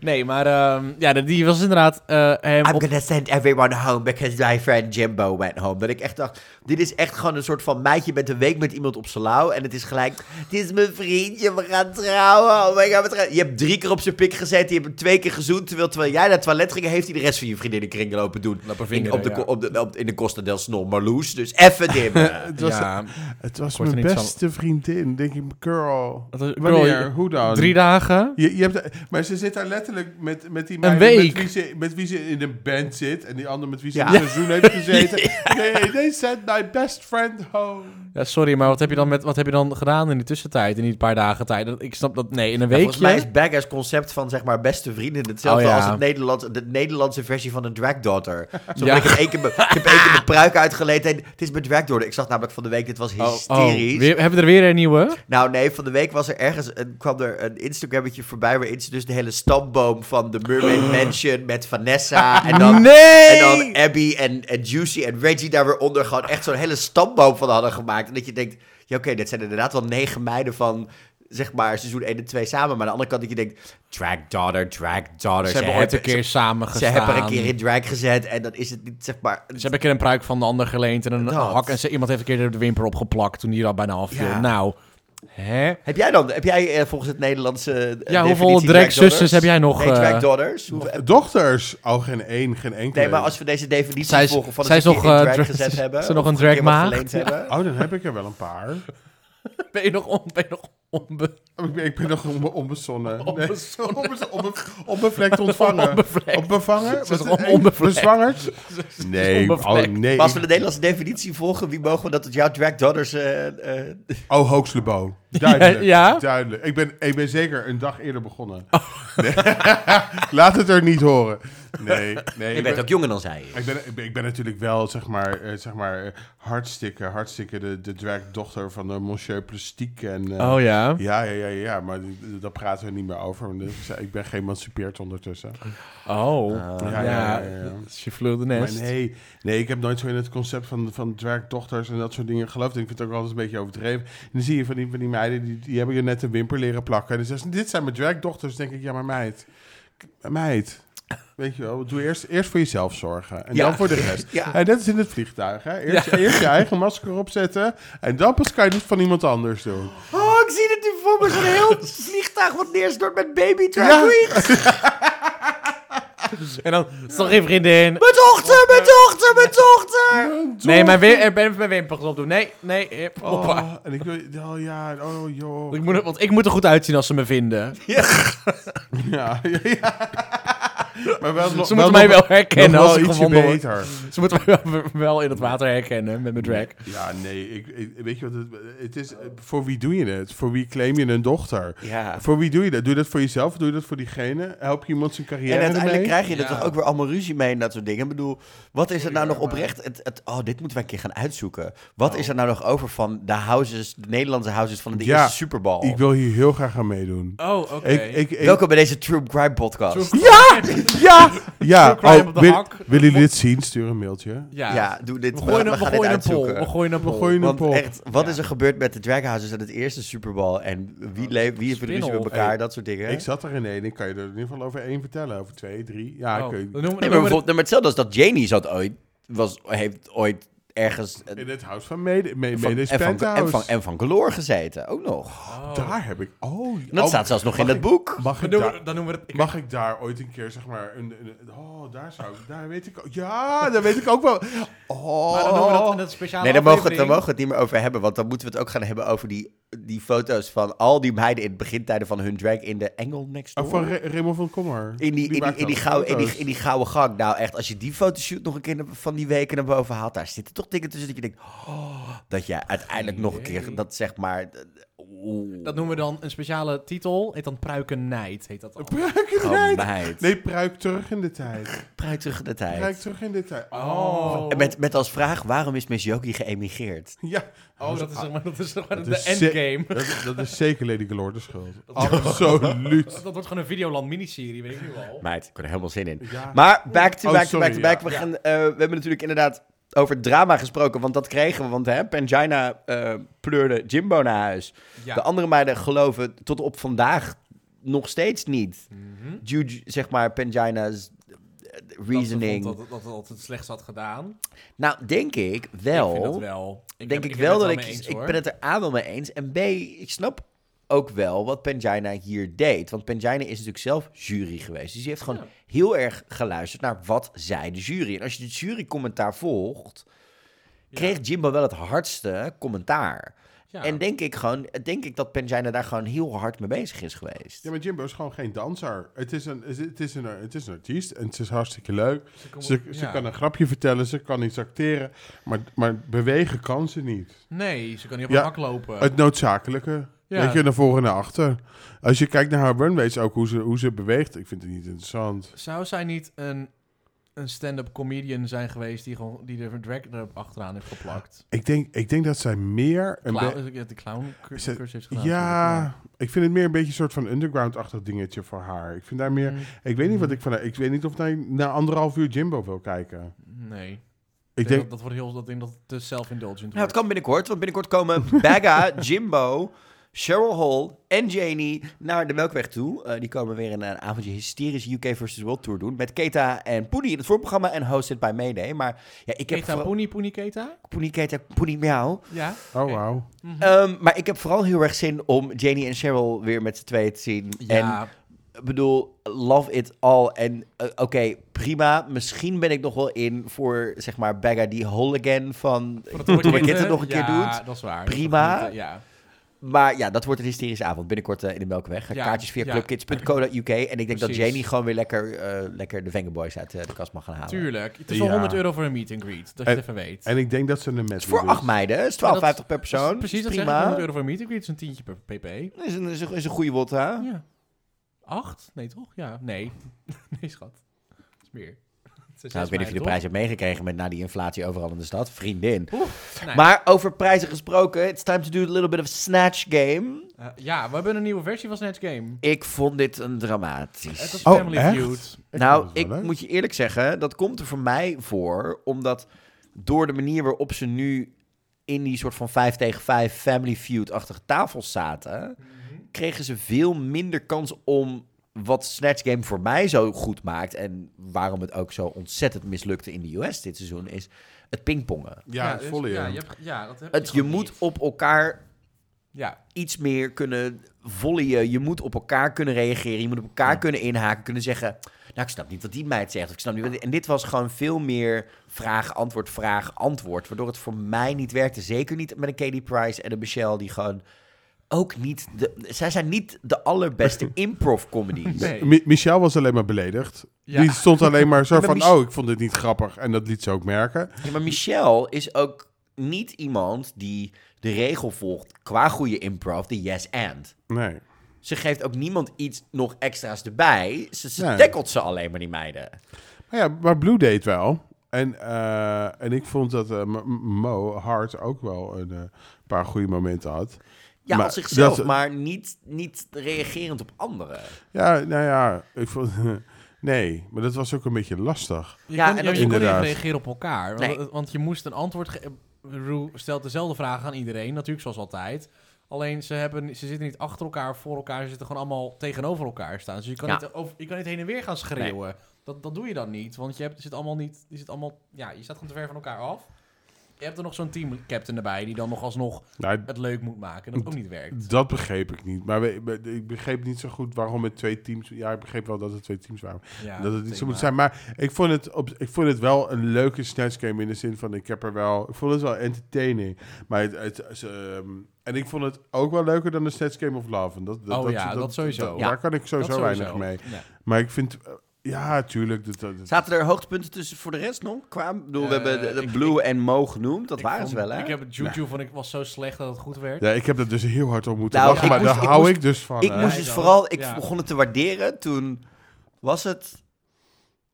Speaker 2: Nee, maar ehm, ja, de- die was inderdaad eh, hem
Speaker 1: I'm
Speaker 2: op...
Speaker 1: gonna send everyone home because my friend Jimbo went home. Dat ik echt dacht, dit is echt gewoon een soort van meidje met een week met iemand op salau. En het is gelijk, dit is mijn vriendje, we gaan trouwen. Oh my god, we trouwen. Je hebt drie keer op zijn pik gezet, je hebt hem twee keer gezoend. Terwijl, terwijl jij naar het toilet ging, heeft hij de rest van je vriendinnen kring lopen doen.
Speaker 2: Lopen
Speaker 1: In,
Speaker 2: vingeren,
Speaker 1: op de,
Speaker 2: ja.
Speaker 1: ko- op de, op, in de Costa del Snol Marloes. Dus even dimmen.
Speaker 3: Het was,
Speaker 2: Ja,
Speaker 3: het was
Speaker 2: Ik word er
Speaker 3: mijn
Speaker 2: niet
Speaker 3: beste vriendin. Denk ik, girl.
Speaker 2: Dat is- girl,
Speaker 3: Wanneer?
Speaker 2: je-
Speaker 3: Hoe dan?
Speaker 2: drie dagen.
Speaker 3: Je, je hebt, de- maar ze zit daar letterlijk met, met die
Speaker 2: Een
Speaker 3: meiden
Speaker 2: week.
Speaker 3: Met, wie ze, met wie ze in een band zit. En die andere met wie ze
Speaker 1: Ja.
Speaker 3: in een seizoen heeft gezeten. Nee, they sent my best friend home.
Speaker 2: Ja, sorry, maar wat heb, je dan met, wat heb je dan gedaan in die tussentijd? In die paar dagen tijd? Dat- Ik snap dat... Nee, in een weekje...
Speaker 1: Volgens mij is Bagger's concept van zeg maar beste vrienden hetzelfde
Speaker 2: Oh, ja.
Speaker 1: als het Nederlands, de Nederlandse versie van een dragdaughter. Zo
Speaker 2: Ja.
Speaker 1: ik, heb één keer mijn- ik heb één keer mijn pruik uitgeleend. En het is mijn dragdaughter. Ik zag namelijk van de week, dit was
Speaker 2: Oh,
Speaker 1: hysterisch.
Speaker 2: weer, hebben we er weer een nieuwe?
Speaker 1: Nou nee, van de week was er ergens een, kwam er een Instagrammetje voorbij waarin ze dus de hele stamboom van de Mermaid Mansion met Vanessa en dan...
Speaker 2: Oh. nee!
Speaker 1: En dan Abby en, en Juicy en Reggie daar weer onder gewoon echt zo'n hele stamboom van hadden gemaakt. En dat je denkt, ja oké, dit zijn inderdaad wel negen meiden van zeg maar seizoen 1 en 2 samen. Maar aan de andere kant dat je denkt, drag daughter, drag daughter.
Speaker 2: Ze hebben ooit een keer samen
Speaker 1: ze,
Speaker 2: gestaan.
Speaker 1: ze hebben er een keer in drag gezet en dan is het niet zeg maar...
Speaker 2: Ze hebben een keer een pruik van de ander geleend en een
Speaker 1: Dat.
Speaker 2: hak. En ze, iemand heeft een keer de wimper opgeplakt toen die er al bijna afviel.
Speaker 1: Ja.
Speaker 2: Nou, hè?
Speaker 1: Heb jij dan, heb jij eh, volgens het Nederlandse eh,
Speaker 2: Ja, hoeveel
Speaker 1: definitie dragdaughters?
Speaker 2: dragzusters heb jij nog,
Speaker 1: Nee,
Speaker 2: eh,
Speaker 1: drag daughters. Hoeveel-
Speaker 3: Dochters. Oh, geen één, geen enkele.
Speaker 1: Nee, maar als we deze definitie
Speaker 2: Zij is-
Speaker 1: volgen van
Speaker 2: zij
Speaker 1: het
Speaker 2: is
Speaker 1: een
Speaker 2: nog,
Speaker 1: keer in
Speaker 2: eh,
Speaker 1: drag
Speaker 2: drag-
Speaker 1: gezet
Speaker 2: is-
Speaker 1: hebben...
Speaker 2: is er nog
Speaker 1: of
Speaker 2: een
Speaker 1: keer wat
Speaker 2: dragmaagd?
Speaker 1: geleend hebben.
Speaker 3: Oh, dan heb ik er wel een paar.
Speaker 2: Ben je nog, on, ben je nog onbe,
Speaker 3: Ik ben, ik ben nog onbe, onbezonnen. Nee,
Speaker 2: Onbezonnen.
Speaker 3: onbe- onbe- onbevlekt ontvangen.
Speaker 2: Onbevlekt.
Speaker 3: Op bevangen?
Speaker 2: Ze is
Speaker 3: Wat-
Speaker 2: on-
Speaker 3: eh,
Speaker 2: onbevlekt.
Speaker 3: Bezwangerd? Nee, oh,
Speaker 2: onbevlekt.
Speaker 3: nee.
Speaker 1: Maar als we
Speaker 3: ik-
Speaker 1: de Nederlandse definitie volgen, wie mogen we dat het jouw drag daughters... eh, eh,
Speaker 3: Oh, Hoogslebo. Duidelijk.
Speaker 2: Ja, Oh. ja?
Speaker 3: Duidelijk. Ik ben, ik ben zeker een dag eerder begonnen. Nee. Laat het er niet horen. Nee, nee.
Speaker 1: je
Speaker 3: ik
Speaker 1: bent
Speaker 3: ben-
Speaker 1: ook jonger dan zij.
Speaker 3: ik ben, ik, ben, ik ben natuurlijk wel, zeg maar, eh, zeg maar eh, hartstikke, hartstikke de, de dragdochter van de monsieur Plastique. En, eh,
Speaker 2: Oh ja.
Speaker 3: ja, ja, ja, ja, maar d- daar praten we niet meer over. want ik- Ik ben geëmancipeerd ondertussen.
Speaker 2: Oh.
Speaker 3: ja, ja, ja, ja.
Speaker 2: She flew the
Speaker 3: Maar
Speaker 2: nest.
Speaker 3: nee, nee, ik heb nooit zo in het concept van, van dragdochters en dat soort dingen geloofd. Ik vind het ook altijd een beetje overdreven. En dan zie je van die, van die meiden, die, die hebben je net een wimper leren plakken. En dan zeggen ze, dit zijn mijn dragdochters. Dan denk ik, ja maar meid, meid. Weet je wel, doe eerst, eerst voor jezelf zorgen. En
Speaker 1: Ja.
Speaker 3: dan voor de rest.
Speaker 1: Ja.
Speaker 3: En dat is in het vliegtuig. Hè? Eerst, eerst je eigen masker opzetten. En dan pas kan je het van iemand anders doen.
Speaker 1: Oh, ik zie het nu voor me. Zo'n heel vliegtuig wat neerstort met baby drag
Speaker 3: Ja.
Speaker 1: queens.
Speaker 2: En dan, is toch geen vriendin.
Speaker 1: Mijn dochter, mijn dochter, mijn dochter.
Speaker 2: Nee, mijn, wim, eh, ben mijn wimpers opdoen. Nee, nee. eh, Hoppa.
Speaker 3: Oh, en ik wil, oh ja, oh joh.
Speaker 2: Ik moet, er- want ik moet er goed uitzien als ze me vinden.
Speaker 3: Ja, ja, ja. Maar wel, nog-
Speaker 2: Ze moeten mij
Speaker 3: nog-
Speaker 2: wel herkennen
Speaker 3: nog wel
Speaker 2: als ik
Speaker 3: ietsje
Speaker 2: gevonden word.
Speaker 3: beter.
Speaker 2: Ze moeten mij wel, wel in het water herkennen met mijn drag.
Speaker 3: Ja, nee, ik, ik- weet je wat het, het is? eh, Voor wie doe je het? Voor wie claim je een dochter?
Speaker 1: Ja.
Speaker 3: Voor wie doe je dat? Doe je dat voor jezelf? of Doe je dat voor diegene? Help je iemand zijn carrière
Speaker 1: En uiteindelijk
Speaker 3: ermee?
Speaker 1: krijg je er
Speaker 2: Ja.
Speaker 1: toch ook weer allemaal ruzie mee en dat soort dingen. Ik bedoel, wat is er nou nog oprecht? Het, het- oh, dit moeten wij een keer gaan uitzoeken. Wat
Speaker 2: Oh.
Speaker 1: is er nou nog over van de houses, de Nederlandse houses van de
Speaker 3: Ja,
Speaker 1: eerste Super Bowl?
Speaker 3: Ik wil hier heel graag aan meedoen.
Speaker 2: Oh, oké.
Speaker 3: Ik, ik, ik-
Speaker 1: Welkom bij deze True Crime podcast.
Speaker 2: Ja!
Speaker 3: ja! Ja!
Speaker 2: True crime
Speaker 3: Oh,
Speaker 2: op de
Speaker 3: wil-
Speaker 2: hak.
Speaker 3: willen jullie dit zien? Stuur een mailtje.
Speaker 2: Ja.
Speaker 1: Ja, doe dit.
Speaker 2: We
Speaker 1: We,
Speaker 2: gooien,
Speaker 1: we
Speaker 2: een- we
Speaker 1: gaan dit
Speaker 2: gooien een pol.
Speaker 1: uitzoeken.
Speaker 2: We gooien een
Speaker 3: We
Speaker 2: pol.
Speaker 3: gooien een
Speaker 1: Want
Speaker 3: pol.
Speaker 1: echt, wat
Speaker 2: Ja.
Speaker 1: is er gebeurd met de Drag Houses aan het eerste Super Bowl? En wie, le- wie heeft er ruzie met
Speaker 2: Spinel.
Speaker 1: elkaar?
Speaker 3: Hey,
Speaker 1: dat soort dingen.
Speaker 3: Ik zat er in één. Ik kan je er in ieder geval over één vertellen. Over twee, drie. Ja,
Speaker 2: Oh,
Speaker 3: ik
Speaker 2: dan noemen
Speaker 3: weet-
Speaker 2: we-
Speaker 1: nee,
Speaker 2: dan
Speaker 1: maar
Speaker 2: noemen we-
Speaker 1: bijvoorbeeld, nee, maar hetzelfde als dat Janie zat ooit, was, heeft ooit ergens... eh,
Speaker 3: In het huis van Mede, Mede,
Speaker 1: van-
Speaker 3: Mede's
Speaker 1: en, van, en,
Speaker 3: Penthouse.
Speaker 1: van, en van Galore gezeten, ook nog.
Speaker 3: Daar heb ik... Oh,
Speaker 1: En dat
Speaker 3: oh,
Speaker 1: staat zelfs nog in
Speaker 3: mag
Speaker 1: het
Speaker 3: ik-
Speaker 1: boek.
Speaker 3: Mag
Speaker 2: Dan
Speaker 3: ik,
Speaker 2: noemen we-
Speaker 3: daar,
Speaker 2: dan noemen we het... ik-
Speaker 3: mag ik daar ooit een keer, zeg maar... Een, een- oh, daar zou ik... Daar weet ik ook... Ja, daar weet ik ook wel... Oh.
Speaker 2: maar dan noemen we dat in het speciale
Speaker 1: Nee, daar mogen, we het- daar
Speaker 2: aflevering.
Speaker 1: mogen we het niet meer over hebben. Want dan moeten we het ook gaan hebben over die, die foto's van al die meiden in het begintijden van hun drag in de Engel Next Door.
Speaker 3: Oh, van Re- Raymond van Kommer.
Speaker 1: in die, in, die,
Speaker 3: maakt
Speaker 1: in, die
Speaker 3: wel
Speaker 1: gouden, in, die,
Speaker 3: foto's.
Speaker 1: in die gouden gang. Nou echt, als je die fotoshoot nog een keer naar- van die weken naar boven haalt... daar zitten toch dingen tussen dat je denkt... oh, dat je uiteindelijk nog een keer dat zeg maar... eh, Oeh,
Speaker 2: Dat noemen we dan een speciale titel. Heet dan Pruikennijd, heet dat dan.
Speaker 3: Pruik in de tijd.
Speaker 1: gemeid.
Speaker 3: Nee, pruik terug in de tijd.
Speaker 1: Pruik terug in de tijd.
Speaker 3: Pruik terug in de tijd. Oh.
Speaker 2: Oh.
Speaker 1: En Met, met als vraag, waarom is Miss Yogi geëmigreerd?
Speaker 3: Ja.
Speaker 2: Oh,
Speaker 1: ah.
Speaker 2: dat is zeg maar, dat is zeg maar
Speaker 3: Dat
Speaker 2: de
Speaker 3: is
Speaker 2: endgame.
Speaker 3: ze- Dat, dat is zeker Lady Galore de schuld. Absoluut.
Speaker 2: Dat wordt gewoon een Videoland miniserie, weet ik nu al.
Speaker 1: Meid, ik kon er helemaal zin in.
Speaker 3: Ja.
Speaker 1: Maar back to
Speaker 3: Oh,
Speaker 1: back to
Speaker 3: sorry,
Speaker 1: back to back.
Speaker 3: ja.
Speaker 1: We,
Speaker 3: Ja.
Speaker 1: gaan, eh, we hebben natuurlijk inderdaad over drama gesproken, want dat kregen we. Want hè, Pangina eh, pleurde Jimbo naar huis.
Speaker 2: Ja.
Speaker 1: De andere meiden geloven tot op vandaag nog steeds niet.
Speaker 2: Mhm.
Speaker 1: Juju, zeg maar, Pangina's eh, reasoning.
Speaker 2: Dat, ze vond dat, dat, dat het slechts had gedaan.
Speaker 1: Nou, denk ik
Speaker 2: Ik vind
Speaker 1: wel.
Speaker 2: dat wel.
Speaker 1: denk
Speaker 2: heb-
Speaker 1: ik,
Speaker 2: ben
Speaker 1: wel
Speaker 2: het
Speaker 1: dat ik...
Speaker 2: mee eens,
Speaker 1: ik
Speaker 2: hoor.
Speaker 1: ben het er A wel mee eens. En B, ik snap ook wel wat Pangina hier deed. Want Pangina is natuurlijk zelf jury geweest. Dus die heeft gewoon
Speaker 2: Ja.
Speaker 1: heel erg geluisterd naar wat zei de jury. En als je het jurycommentaar volgt... kreeg Jimbo wel het hardste commentaar.
Speaker 2: Ja.
Speaker 1: En denk ik, gewoon, denk ik dat Pangina daar gewoon heel hard mee bezig is geweest.
Speaker 3: Ja, maar Jimbo is gewoon geen danser. Het is een, het is een, het is een artiest en het is hartstikke leuk.
Speaker 2: kon-
Speaker 3: Ze, ze
Speaker 2: ja.
Speaker 3: kan een grapje vertellen, ze kan iets acteren, maar, maar bewegen kan ze niet.
Speaker 2: Nee, ze kan niet op
Speaker 3: Ja,
Speaker 2: haar hak lopen.
Speaker 3: Het noodzakelijke.
Speaker 2: Ja.
Speaker 3: Weet je, naar voren en naar achter. Als je kijkt naar haar runways ook, hoe ze, hoe ze beweegt, ik vind het niet interessant.
Speaker 2: Zou zij niet een, een stand-up comedian zijn geweest die, gewoon, die de drag er achteraan heeft geplakt?
Speaker 3: Ik denk, ik denk dat zij meer... Een be-
Speaker 2: Clown, eh, de clown cur-
Speaker 3: Ze-
Speaker 2: cursus heeft gedaan.
Speaker 3: ja, ik vind het meer een beetje een soort van underground-achtig dingetje voor haar. Ik vind daar meer...
Speaker 2: Mm,
Speaker 3: Ik weet niet wat ik van haar... Ik weet niet of hij na anderhalf uur Jimbo wil kijken.
Speaker 2: Mm, Nee. Ik
Speaker 3: Ik
Speaker 2: denk,
Speaker 3: denk...
Speaker 2: dat, dat wordt heel dat ding dat het te self-indulgent
Speaker 1: Nou,
Speaker 2: wordt.
Speaker 1: het kan binnenkort, want binnenkort komen Bagga, Jimbo, Cheryl Hall en Janie naar de Melkweg toe. Eh, die komen weer een, een avondje hysterische UK versus World Tour doen met Keta en Poenie in het voorprogramma en hosted by Mayday. Maar ja, ik heb
Speaker 2: Keta,
Speaker 1: vooral...
Speaker 2: Poenie, Poenie, Keta?
Speaker 1: Poenie, Keta, Poenie, miauw.
Speaker 2: Ja.
Speaker 3: Oh, wauw.
Speaker 2: Mhm.
Speaker 1: Ehm, maar ik heb vooral heel erg zin om Janie en Cheryl weer met z'n tweeën te zien. En
Speaker 2: Ja,
Speaker 1: ik bedoel, love it all. En eh, oké, prima. Misschien ben ik nog wel in voor, zeg maar, Bagga die hooligan van...
Speaker 2: voor het
Speaker 1: Toen ik
Speaker 2: weekend,
Speaker 1: het nog een keer
Speaker 2: Ja,
Speaker 1: doet.
Speaker 2: dat is waar.
Speaker 1: Prima.
Speaker 2: Dat is goed, Ja.
Speaker 1: Maar ja, dat wordt een hysterische avond. Binnenkort eh, in de Melkweg.
Speaker 2: Ja,
Speaker 1: Kaartjes via
Speaker 2: ja.
Speaker 1: clubkids.co.uk. En ik denk dat
Speaker 2: Precies.
Speaker 1: Janie gewoon weer lekker, eh, lekker de Vengerboys uit eh, de kast mag gaan halen.
Speaker 2: Tuurlijk. Het is wel
Speaker 3: Ja.
Speaker 2: 100 euro voor een meet and greet. Dat je
Speaker 3: En-
Speaker 2: het even weet.
Speaker 3: En ik denk dat ze een
Speaker 1: Het
Speaker 3: medley
Speaker 1: is voor
Speaker 3: doet.
Speaker 1: acht meiden. Het is 12,50 per persoon.
Speaker 2: Precies, dat zeg ik.
Speaker 1: prima.
Speaker 2: 100 euro voor een meet and greet is een tientje per pp.
Speaker 1: is een, is, een, is een goede wotta.
Speaker 2: Ja. Acht? Nee, toch? Ja. Nee. nee, schat. Dat is meer. Het zijn
Speaker 1: Nou,
Speaker 2: zes
Speaker 1: ik weet niet of je de
Speaker 2: meiden,
Speaker 1: prijs hebt meegekregen met na die inflatie overal in de stad. Vriendin.
Speaker 2: toch? Nee.
Speaker 1: Maar over prijzen gesproken, it's time to do a little bit of snatch game.
Speaker 2: Eh, ja, we hebben een nieuwe versie van Snatch Game.
Speaker 1: Ik vond dit een
Speaker 2: Het
Speaker 1: dramatisch.
Speaker 2: was
Speaker 3: Oh,
Speaker 2: Family
Speaker 3: echt?
Speaker 2: Feud.
Speaker 3: Ik
Speaker 1: nou,
Speaker 3: vond het
Speaker 1: ik
Speaker 3: wel leuk.
Speaker 1: moet je eerlijk zeggen, dat komt er voor mij voor, omdat door de manier waarop ze nu in die soort van 5 tegen 5 Family Feud-achtige tafels zaten,
Speaker 2: Mhm.
Speaker 1: kregen ze veel minder kans om wat Snatch Game voor mij zo goed maakt en waarom het ook zo ontzettend mislukte in de US dit seizoen, is het pingpongen.
Speaker 3: Ja, het
Speaker 2: dus-
Speaker 3: volley.
Speaker 2: Ja,
Speaker 3: Ja,
Speaker 2: je, hebt- ja, dat heb
Speaker 1: Het, je
Speaker 2: gewoon
Speaker 1: moet
Speaker 2: niet.
Speaker 1: op elkaar
Speaker 2: Ja,
Speaker 1: iets meer kunnen volleyen. Je moet op elkaar kunnen reageren. Je moet op elkaar kunnen inhaken. Kunnen zeggen, nou, ik snap niet wat die meid zegt. Of ik snap niet wat die- En dit was gewoon veel meer vraag, antwoord, vraag, antwoord. Waardoor het voor mij niet werkte. Zeker niet met een Katie Price en een Michelle die gewoon ook niet... De, zij zijn niet de allerbeste improv-comedies.
Speaker 2: Nee.
Speaker 3: Mi- Michel was alleen maar beledigd.
Speaker 2: Ja.
Speaker 3: Die stond alleen maar zo
Speaker 1: Maar
Speaker 3: van,
Speaker 1: Mich-
Speaker 3: oh, ik vond dit niet grappig. En dat liet ze ook merken.
Speaker 1: Ja, maar Michelle is ook niet iemand die de regel volgt qua goede improv, de yes and.
Speaker 3: Nee.
Speaker 1: Ze geeft ook niemand iets nog extra's erbij. Ze, ze
Speaker 3: Nee.
Speaker 1: tackelt ze alleen maar, die meiden.
Speaker 3: Maar Nou ja, maar Blue deed wel. En, eh, en ik vond dat eh, M- M- Mo Hart ook wel een eh, paar goede momenten had.
Speaker 1: Ja,
Speaker 3: Maar
Speaker 1: als zichzelf,
Speaker 3: dat-
Speaker 1: maar niet, niet reagerend op anderen.
Speaker 3: Ja, nou ja, ik vond... Nee, maar dat was ook een beetje lastig.
Speaker 2: je
Speaker 1: Ja,
Speaker 2: kon,
Speaker 1: en
Speaker 2: ja,
Speaker 1: dat-
Speaker 2: je kon niet
Speaker 3: Inderdaad.
Speaker 2: reageren op elkaar.
Speaker 1: Nee.
Speaker 2: Want, want je moest een antwoord geven. Rue stelt dezelfde vraag aan iedereen, natuurlijk zoals altijd. Alleen ze, hebben, ze zitten niet achter elkaar, voor elkaar. Ze zitten gewoon allemaal tegenover elkaar staan. Dus je kan,
Speaker 1: Ja.
Speaker 2: niet, over, je kan niet heen en weer gaan schreeuwen. Dat, dat doe je dan niet. Want je, hebt, je zit allemaal niet. Je, zit allemaal, ja, je staat gewoon te ver van elkaar af. je hebt er nog zo'n teamcaptain erbij die dan nog alsnog
Speaker 3: Nou,
Speaker 2: het leuk moet maken. Dat ook niet werkt.
Speaker 3: Dat begreep ik niet. Maar we- we- ik begreep niet zo goed waarom het twee teams... Ja, ik begreep wel dat het twee teams waren.
Speaker 2: Ja,
Speaker 3: dat het niet zo
Speaker 2: thema.
Speaker 3: moet zijn. Maar ik vond, het op, ik vond het wel een leuke snatch game in de zin van... Ik heb er wel... Ik vond het wel entertaining. Maar het... het ze, ehm, en ik vond het ook wel leuker dan de Snatch Game of Love. En dat, dat,
Speaker 2: Oh ja, dat sowieso.
Speaker 3: dat-
Speaker 1: Ja.
Speaker 3: Daar kan ik sowieso,
Speaker 2: Dat
Speaker 3: weinig mee.
Speaker 2: Nee.
Speaker 3: Maar ik vind... eh, ja, tuurlijk. Dat, dat, dat-
Speaker 1: Zaten er hoogtepunten tussen voor de rest nog? Qua, Ik bedoel, we
Speaker 2: Eh,
Speaker 1: hebben de, de
Speaker 2: ik-
Speaker 1: Blue en Mo genoemd. Dat
Speaker 2: Ik
Speaker 1: waren
Speaker 2: vond-
Speaker 1: ze wel, hè?
Speaker 2: Ik heb het Juju van ik was zo slecht dat het goed werd.
Speaker 3: ja, ik heb er dus heel hard op moeten
Speaker 1: Nou,
Speaker 3: lachen.
Speaker 2: ik
Speaker 3: Maar
Speaker 1: moest-
Speaker 3: daar
Speaker 1: ik
Speaker 3: hou
Speaker 1: moest-
Speaker 3: ik dus van.
Speaker 1: Ik
Speaker 3: hè.
Speaker 1: moest
Speaker 2: Nee,
Speaker 1: het
Speaker 2: dan-
Speaker 1: vooral, ik
Speaker 2: ja.
Speaker 1: begon het te waarderen. Toen was het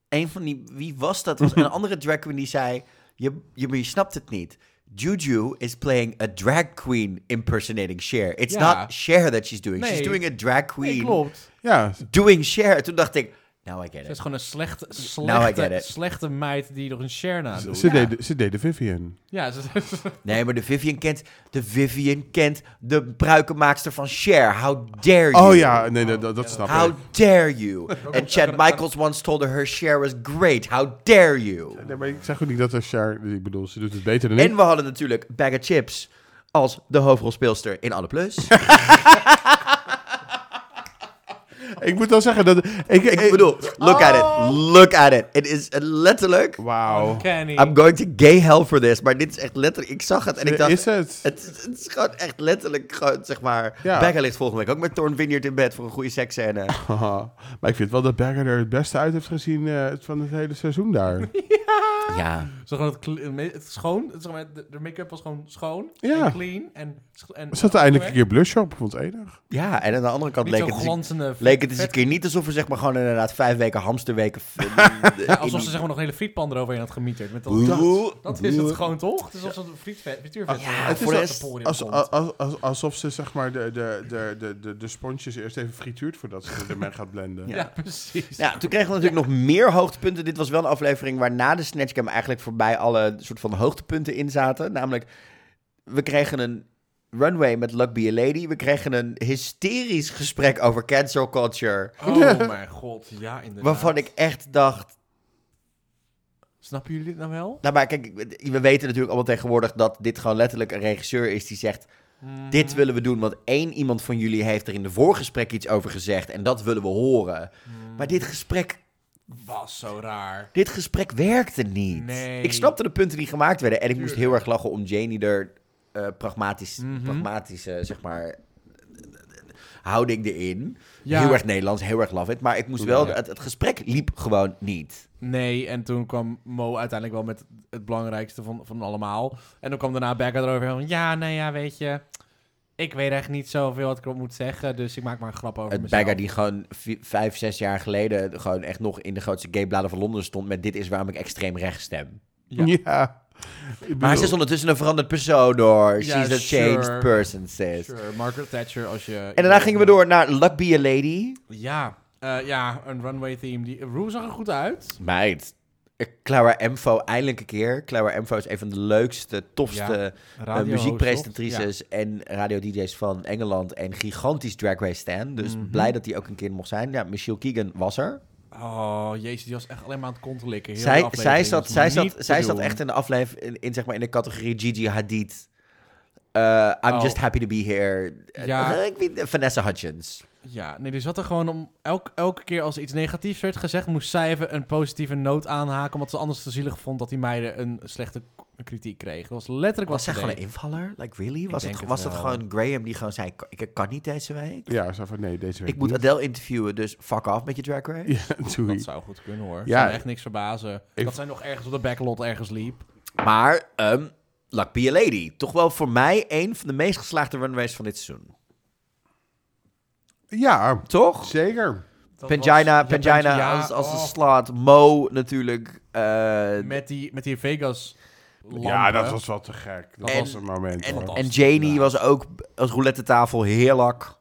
Speaker 1: een van die, wie was dat? Was een andere drag queen die zei: je, je, maar je snapt het niet. Juju is playing a drag queen impersonating Cher. It's
Speaker 2: Ja.
Speaker 1: not Cher that she's doing. She's
Speaker 2: Nee.
Speaker 1: doing a drag
Speaker 2: Nee,
Speaker 1: queen
Speaker 2: klopt.
Speaker 3: Ja,
Speaker 1: doing Cher. Toen dacht ik: nou, I get
Speaker 2: Het is
Speaker 1: it.
Speaker 2: gewoon een slechte,
Speaker 1: Nou, I get
Speaker 2: slechte,
Speaker 1: it.
Speaker 2: slechte meid die nog een share na doet.
Speaker 3: ze,
Speaker 2: ja.
Speaker 3: deden, ze deden Vivian.
Speaker 2: Ja, ze-
Speaker 1: Nee, maar de Vivian kent, de Vivian kent de pruikenmaakster van Cher. How dare you?
Speaker 3: Oh ja, nee, dat, dat, dat snap ik.
Speaker 1: How dare you? And Chad Michaels once told her her share was great. How dare you?
Speaker 3: Nee, maar ik zeg ook niet dat er Cher... Ik bedoel, ze doet het beter dan
Speaker 1: En
Speaker 3: ik.
Speaker 1: we hadden natuurlijk Bag of Chips als de hoofdrolspeelster in Alle Plus.
Speaker 3: Ik moet wel zeggen dat... Ik,
Speaker 1: ik bedoel, look at
Speaker 3: Oh.
Speaker 1: it. Look at it. Het is letterlijk...
Speaker 3: Wauw.
Speaker 2: Kenny.
Speaker 1: I'm going to gay hell for this. Maar dit is echt letterlijk... Ik zag het en ik dacht...
Speaker 3: Is het?
Speaker 1: Het, is- het is gewoon echt letterlijk, gewoon, zeg maar...
Speaker 3: Ja.
Speaker 1: Becca ligt volgende week ook met Thorn Vineyard in bed voor een goede seksscène.
Speaker 3: Haha. maar ik vind wel dat Berger er het beste uit heeft gezien eh, van het hele seizoen daar.
Speaker 1: Ja.
Speaker 2: Zo gewoon het, kle- het me- het schoon. het- zeg maar, de, de make-up was gewoon schoon.
Speaker 3: Ja.
Speaker 2: En clean. En, scho- en
Speaker 3: Er zat eindelijk een keer blush op, ik vond het enig.
Speaker 1: Ja, en aan de andere kant
Speaker 2: Niet
Speaker 1: leek
Speaker 2: zo'n
Speaker 1: het, eens,
Speaker 2: glanzende...
Speaker 1: leek het eens
Speaker 2: vet-
Speaker 1: een keer niet alsof er zeg maar gewoon inderdaad vijf weken hamsterweken...
Speaker 2: Ja, alsof ze zeg maar nog hele frietpan eroverheen had gemieterd. Met dat,
Speaker 1: Oeh.
Speaker 2: dat is het gewoon toch? Het is alsof een frietvet, frituurvet.
Speaker 1: Ah, Ja,
Speaker 2: eh,
Speaker 1: het is
Speaker 2: op de
Speaker 1: als- ah,
Speaker 2: podium
Speaker 3: Als,
Speaker 2: komt.
Speaker 3: als, als- alsof ze zeg maar de, de, de, de, de, de sponsjes eerst even frituurt voordat ze ermee gaat blenden.
Speaker 2: ja. precies.
Speaker 1: Ja, toen kregen we natuurlijk nog meer hoogtepunten. Dit was wel een aflevering waar na de Snatchcam eigenlijk voorbij alle soort van hoogtepunten in zaten. Namelijk, we kregen een runway met Luck Be A Lady. We kregen een hysterisch gesprek over cancel culture.
Speaker 2: Oh mijn god, ja inderdaad.
Speaker 1: Waarvan ik echt dacht...
Speaker 2: Snappen jullie dit nou wel?
Speaker 1: Nou, maar kijk, we weten natuurlijk allemaal tegenwoordig dat dit gewoon letterlijk een regisseur is die zegt...
Speaker 2: Mhm. Mm.
Speaker 1: Dit willen we doen, want één iemand van jullie heeft er in de voorgesprek iets over gezegd. En dat willen we horen.
Speaker 2: Mhm.
Speaker 1: Maar dit gesprek
Speaker 2: Mm. was zo raar.
Speaker 1: Dit gesprek werkte niet.
Speaker 2: Nee.
Speaker 1: Ik snapte de punten die gemaakt werden. En ik moest heel erg lachen om Janie er eh, pragmatisch,
Speaker 2: Mhm.
Speaker 1: pragmatische, zeg maar, houding erin.
Speaker 2: Ja.
Speaker 1: Heel erg Nederlands, heel erg love it. Maar ik moest wel,
Speaker 2: Ja.
Speaker 1: het, het gesprek liep gewoon niet.
Speaker 2: Nee, en toen kwam Mo uiteindelijk wel met het belangrijkste van, van allemaal. En dan kwam daarna Becca erover van... Ja, nee, ja, weet je... Ik weet echt niet zoveel wat ik erop moet zeggen, dus ik maak maar een grap over
Speaker 1: Het
Speaker 2: mezelf.
Speaker 1: bagger die gewoon vi- vijf, zes jaar geleden gewoon echt nog in de grootste gaybladen van Londen stond met dit is waarom ik extreem rechts stem.
Speaker 2: Ja.
Speaker 3: Ik
Speaker 1: Maar ze
Speaker 3: bedoel-
Speaker 1: is ondertussen een veranderd persoon hoor.
Speaker 2: Ja,
Speaker 1: She's a
Speaker 2: sure.
Speaker 1: changed person, sis.
Speaker 2: Sure, Margaret Thatcher als je...
Speaker 1: En daarna gingen we door naar Luck Be A Lady.
Speaker 2: Ja, eh, ja een runway theme. Die... Rue zag er goed uit.
Speaker 1: Meid. eh, Clara Emfo, eindelijk een keer. Clara Emfo is een van de leukste, tofste
Speaker 2: Ja,
Speaker 1: eh,
Speaker 2: Radio
Speaker 1: muziekpresentatrices en radio-dj's van Engeland. En gigantisch Drag Race stan. Dus
Speaker 2: Mhm.
Speaker 1: blij dat die ook een keer mocht zijn. Ja, Michelle Keegan was er.
Speaker 2: Oh, jezus, die was echt alleen maar aan het konten likken. Heel de
Speaker 1: Zij,
Speaker 2: aflevering
Speaker 1: zij,
Speaker 2: was
Speaker 1: zat, zij,
Speaker 2: niet
Speaker 1: zat,
Speaker 2: te
Speaker 1: zij zat
Speaker 2: doen.
Speaker 1: echt in de aflevering in, in, zeg maar, in de categorie Gigi Hadid. Eh, I'm
Speaker 2: Oh.
Speaker 1: just happy to be here. Eh,
Speaker 2: Ja.
Speaker 1: ik weet- eh, Vanessa Hutchins.
Speaker 2: Ja, nee, die zat er gewoon om... Elk, elke keer als er iets negatiefs werd gezegd... moest zij even een positieve noot aanhaken... omdat ze anders te zielig vond dat die meiden een slechte k- kritiek kregen. Dat was letterlijk wat
Speaker 1: Was zij
Speaker 2: ze
Speaker 1: gewoon een
Speaker 2: deed.
Speaker 1: invaller? Like, really? Was,
Speaker 2: denk
Speaker 1: het,
Speaker 2: het
Speaker 1: was het
Speaker 2: wel.
Speaker 1: gewoon Graham die gewoon zei, ik kan niet deze week?
Speaker 3: Ja, ze van nee, deze week
Speaker 1: Ik moet
Speaker 3: niet.
Speaker 1: Adele interviewen, dus fuck off met je drag race.
Speaker 3: Ja, doei.
Speaker 2: Dat zou goed kunnen, hoor.
Speaker 3: Ja.
Speaker 2: Ja. echt niks verbazen.
Speaker 3: Ik-
Speaker 2: Dat zij nog ergens op de backlot ergens liep.
Speaker 1: Maar, ehm Luck Be A Lady. Toch wel voor mij een van de meest geslaagde runways van dit seizoen.
Speaker 3: Ja,
Speaker 1: Toch?
Speaker 3: zeker.
Speaker 2: Dat
Speaker 1: Pangina,
Speaker 2: was- ja,
Speaker 1: Pangina
Speaker 2: ja,
Speaker 1: als, als
Speaker 2: oh,
Speaker 1: een slaat. Mo natuurlijk. eh,
Speaker 2: met, die, met die Vegas
Speaker 3: Ja, dat was wel te gek. Dat
Speaker 1: En-
Speaker 3: was een moment.
Speaker 1: en,
Speaker 3: hoor.
Speaker 1: en
Speaker 2: fantastisch,
Speaker 1: Janie
Speaker 2: ja.
Speaker 1: was ook als roulette tafel heerlijk.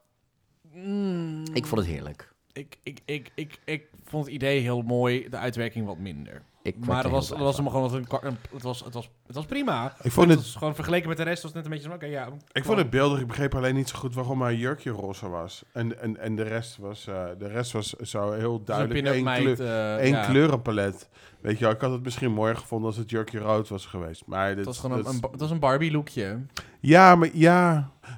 Speaker 2: Mm.
Speaker 1: Ik vond het heerlijk.
Speaker 2: Ik, ik, ik, ik, ik vond het idee heel mooi, de uitwerking wat minder.
Speaker 1: Ik
Speaker 2: Maar
Speaker 1: kwam
Speaker 2: dat was,
Speaker 1: er
Speaker 2: dat
Speaker 1: heel
Speaker 2: was
Speaker 1: blij
Speaker 2: hem gewoon dat een kwart- een- het, was, het, was, het was prima.
Speaker 3: Ik vond het,
Speaker 2: was gewoon vergeleken met de rest was het net een beetje zo, oké, ja.
Speaker 3: ik vond het beeldig. Ik begreep alleen niet zo goed waarom mijn jurkje roze was. En, en, en de rest was, eh, de rest was zo
Speaker 2: Dus
Speaker 3: heel duidelijk één kleur.
Speaker 1: eh,
Speaker 2: eh,
Speaker 3: Eén kleurenpalet. Weet je wel, ik had het misschien mooier gevonden als het jurkje rood was geweest. Maar dit,
Speaker 2: Het was gewoon een,
Speaker 3: dat-
Speaker 2: een, ba- het was een Barbie lookje.
Speaker 3: ja, maar, ja,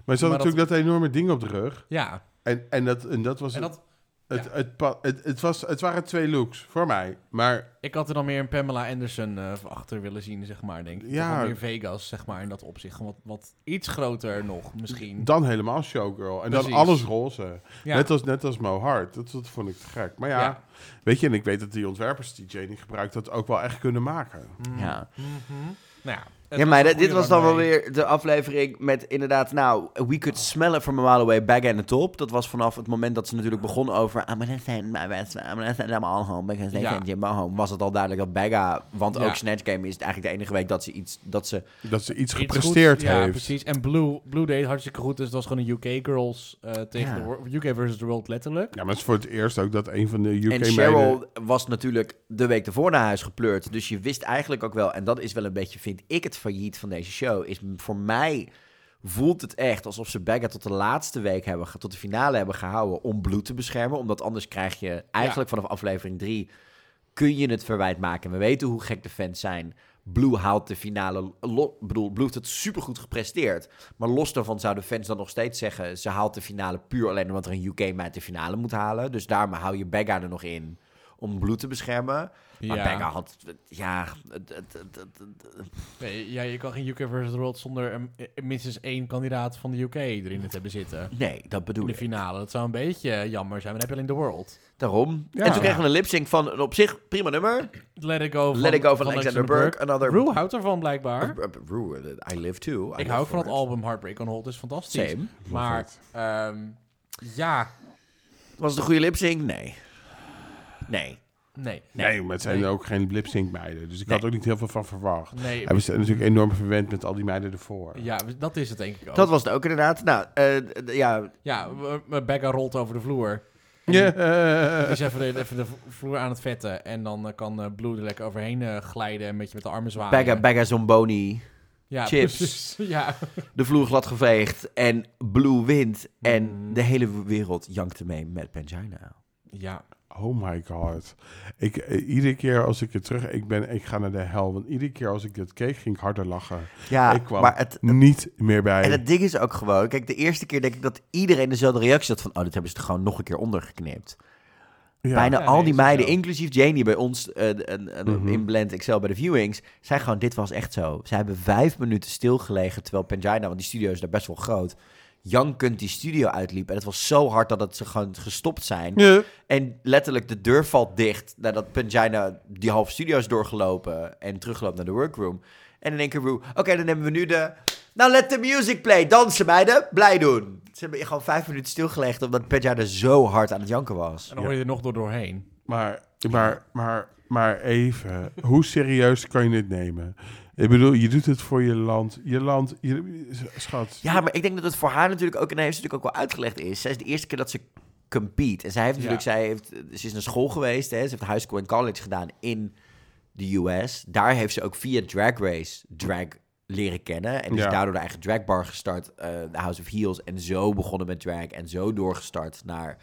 Speaker 3: maar ze had
Speaker 2: Maar
Speaker 3: natuurlijk dat... enorme ding op de rug.
Speaker 2: Ja.
Speaker 3: En, en, dat, en dat was
Speaker 2: En
Speaker 3: het-
Speaker 2: dat,
Speaker 3: het, het, pa- het, het, was, het waren twee looks voor mij. Maar
Speaker 2: ik had er dan meer een Pamela Anderson eh, van achter willen zien, zeg maar, denk ik.
Speaker 3: Ja.
Speaker 2: Ja. Meer Vegas, zeg maar, in dat opzicht. Gewoon Wat, wat iets groter nog, misschien.
Speaker 3: dan helemaal showgirl. En dan
Speaker 2: Precies.
Speaker 3: alles roze.
Speaker 2: Ja.
Speaker 3: Net, als, net als Mo Hart. Dat, dat vond ik te gek. Maar ja,
Speaker 2: Ja.
Speaker 3: weet je, en ik weet dat die ontwerpers die Janie gebruikt, dat ook wel echt kunnen maken.
Speaker 1: van.
Speaker 2: Mm.
Speaker 1: Ja.
Speaker 2: Mhm. Nou ja. het
Speaker 1: Ja, maar
Speaker 2: een
Speaker 1: dit- dit
Speaker 2: goede
Speaker 1: was dan wel
Speaker 2: runway.
Speaker 1: weer de aflevering met inderdaad, nou, we could smell it from a mile away, back in the top. Dat was vanaf het moment dat ze natuurlijk begon over, I'm gonna send my best, I'm gonna send them all home, because they
Speaker 2: Ja.
Speaker 1: sent you home. Was het al duidelijk dat Bagga, want
Speaker 2: Ja.
Speaker 1: ook Snatch Game is het eigenlijk de enige week dat ze iets, dat ze,
Speaker 3: Dat ze iets
Speaker 2: Iets
Speaker 3: gepresteerd
Speaker 2: goed, Ja,
Speaker 3: heeft.
Speaker 2: precies. En Blue, Blue deed hartstikke goed. Dus het was gewoon een UK girls eh, tegen
Speaker 1: Ja.
Speaker 2: de wor- UK versus the world letterlijk.
Speaker 3: Ja, maar het is voor het eerst ook dat een van de UK
Speaker 1: en Cheryl was natuurlijk de week ervoor naar huis gepleurd. Dus je wist eigenlijk ook wel, en dat is wel een beetje, vind ik, het failliet van deze show. Is m- voor mij voelt het echt alsof ze Bagga tot de laatste week hebben, ge- tot de finale hebben gehouden om bloed te beschermen. Omdat anders krijg je eigenlijk vanaf aflevering 3 kun je het verwijt maken. We weten hoe gek de fans zijn. Blue haalt de finale. lo- Ik bedoel, Blue heeft het supergoed gepresteerd. Maar los daarvan zouden fans dan nog steeds zeggen... ze haalt de finale puur alleen omdat er een UK-meid de finale moet halen. Dus daarom hou je Bagga er nog in om Blue te beschermen. Maar Bagga had... Ja, het- het- het- het- het-
Speaker 2: Nee, ja, je kan geen UK versus the world zonder een, eh, minstens één kandidaat van de UK erin te hebben zitten.
Speaker 1: nee, dat
Speaker 2: In
Speaker 1: bedoel
Speaker 2: de
Speaker 1: ik.
Speaker 2: finale. Dat zou een beetje eh, jammer zijn. Maar dan heb je alleen de world.
Speaker 1: Daarom.
Speaker 3: Ja.
Speaker 1: En toen kregen we een lip-sync van een op zich prima nummer.
Speaker 2: Let it go van,
Speaker 1: Let It Go van Alexander Burke. Another...
Speaker 2: Rue houdt ervan blijkbaar.
Speaker 1: Rue, I live too. I
Speaker 2: Ik
Speaker 1: live
Speaker 2: hou
Speaker 1: for
Speaker 2: van het
Speaker 1: it.
Speaker 2: album Heartbreak on Hold. is fantastisch.
Speaker 1: Same.
Speaker 2: Maar ehm, ja,
Speaker 1: Was het een goede lip-sync? Nee. Nee.
Speaker 2: nee.
Speaker 3: Nee, maar het zijn
Speaker 2: Nee.
Speaker 3: ook geen lipsync meiden. Dus ik
Speaker 1: Nee.
Speaker 3: had er ook niet heel veel van verwacht.
Speaker 2: Nee.
Speaker 3: En we zijn natuurlijk enorm verwend met al die meiden ervoor.
Speaker 2: Ja, dat is het denk ik ook.
Speaker 1: Dat was het ook inderdaad. Nou, eh, d- ja,
Speaker 2: Ja, w- w- Becca rolt over de vloer.
Speaker 3: Ja.
Speaker 2: Is even de, even de v- vloer aan het vetten. En dan eh, kan eh, Blue er lekker overheen eh, glijden. Een beetje met de armen zwaaien.
Speaker 1: Bagga, Bagga Zomboni,
Speaker 2: ja,
Speaker 1: chips.
Speaker 2: precies. Ja.
Speaker 1: de vloer glad geveegd en Blue wint. En
Speaker 2: Mm.
Speaker 1: de hele wereld jankte mee met Pangina.
Speaker 2: ja.
Speaker 3: Oh my god. Ik, eh, iedere keer als ik er terug... Ik, ben, ik ga naar de hel. Want iedere keer als ik dat keek, ging ik harder lachen.
Speaker 1: Ja,
Speaker 3: Ik kwam
Speaker 1: maar het...
Speaker 3: Niet meer bij.
Speaker 1: En het ding is ook gewoon, kijk, de eerste keer denk ik dat iedereen dezelfde reactie had van, oh, dit hebben ze er gewoon nog een keer ondergeknipt.
Speaker 3: Ja.
Speaker 1: Bijna
Speaker 2: Ja,
Speaker 1: al
Speaker 2: nee,
Speaker 1: die
Speaker 2: is ook
Speaker 1: meiden,
Speaker 2: zo.
Speaker 1: inclusief Janie bij ons eh, d- en- en
Speaker 3: Mhm.
Speaker 1: in Blend Excel bij de viewings, zei gewoon, dit was echt zo. Ze hebben vijf minuten stilgelegen, terwijl Pangina, want die studio is daar best wel groot, jankend die studio uitliep. En het was zo hard dat het ze gewoon gestopt zijn.
Speaker 3: Ja.
Speaker 1: En letterlijk, de deur valt dicht nadat Pangina die half studio is doorgelopen en terugloopt naar de workroom. En in één keer Rue, oké, dan hebben we nu de... Nou, let the music play. Dansen, meiden. Blij doen. Ze hebben gewoon vijf minuten stilgelegd omdat Pangina zo hard aan het janken was.
Speaker 2: En dan hoor je er nog door doorheen.
Speaker 3: Maar, maar, maar, maar even, hoe serieus kan je dit nemen? Ik bedoel, je doet het voor je land. Je land, je, schat.
Speaker 1: Ja, maar ik denk dat het voor haar natuurlijk ook... En hij heeft natuurlijk ook wel uitgelegd is. Zij is de eerste keer dat ze compete. En zij heeft
Speaker 2: Ja.
Speaker 1: natuurlijk... Zij heeft, ze is naar school geweest. Hè. Ze heeft high school en college gedaan in de US. Daar heeft ze ook via Drag Race drag leren kennen. En is
Speaker 3: Ja.
Speaker 1: daardoor de eigen dragbar gestart. eh, de House of Heels. En zo begonnen met drag. En zo doorgestart naar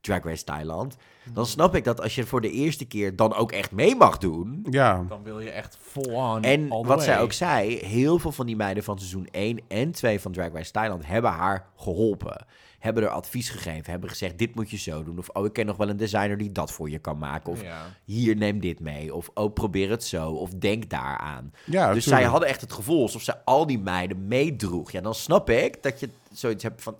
Speaker 1: Drag Race Thailand. Dan snap ik dat als je voor de eerste keer dan ook echt mee mag doen...
Speaker 3: Ja,
Speaker 2: Dan wil je echt full on.
Speaker 1: En
Speaker 2: Mm, all the
Speaker 1: wat zij
Speaker 2: way.
Speaker 1: ook zei, heel veel van die meiden van seizoen 1 en 2 van Drag Race Thailand hebben haar geholpen. Hebben er advies gegeven, hebben gezegd dit moet je zo doen. Of oh, ik ken nog wel een designer die dat voor je kan maken. Of
Speaker 2: Ja.
Speaker 1: hier neem dit mee. Of oh, probeer het zo. Of denk daaraan.
Speaker 3: ja.
Speaker 1: dus zij
Speaker 3: tuurlijk.
Speaker 1: hadden echt het gevoel alsof ze al die meiden meedroeg. Ja, dan snap ik dat je zoiets hebt van...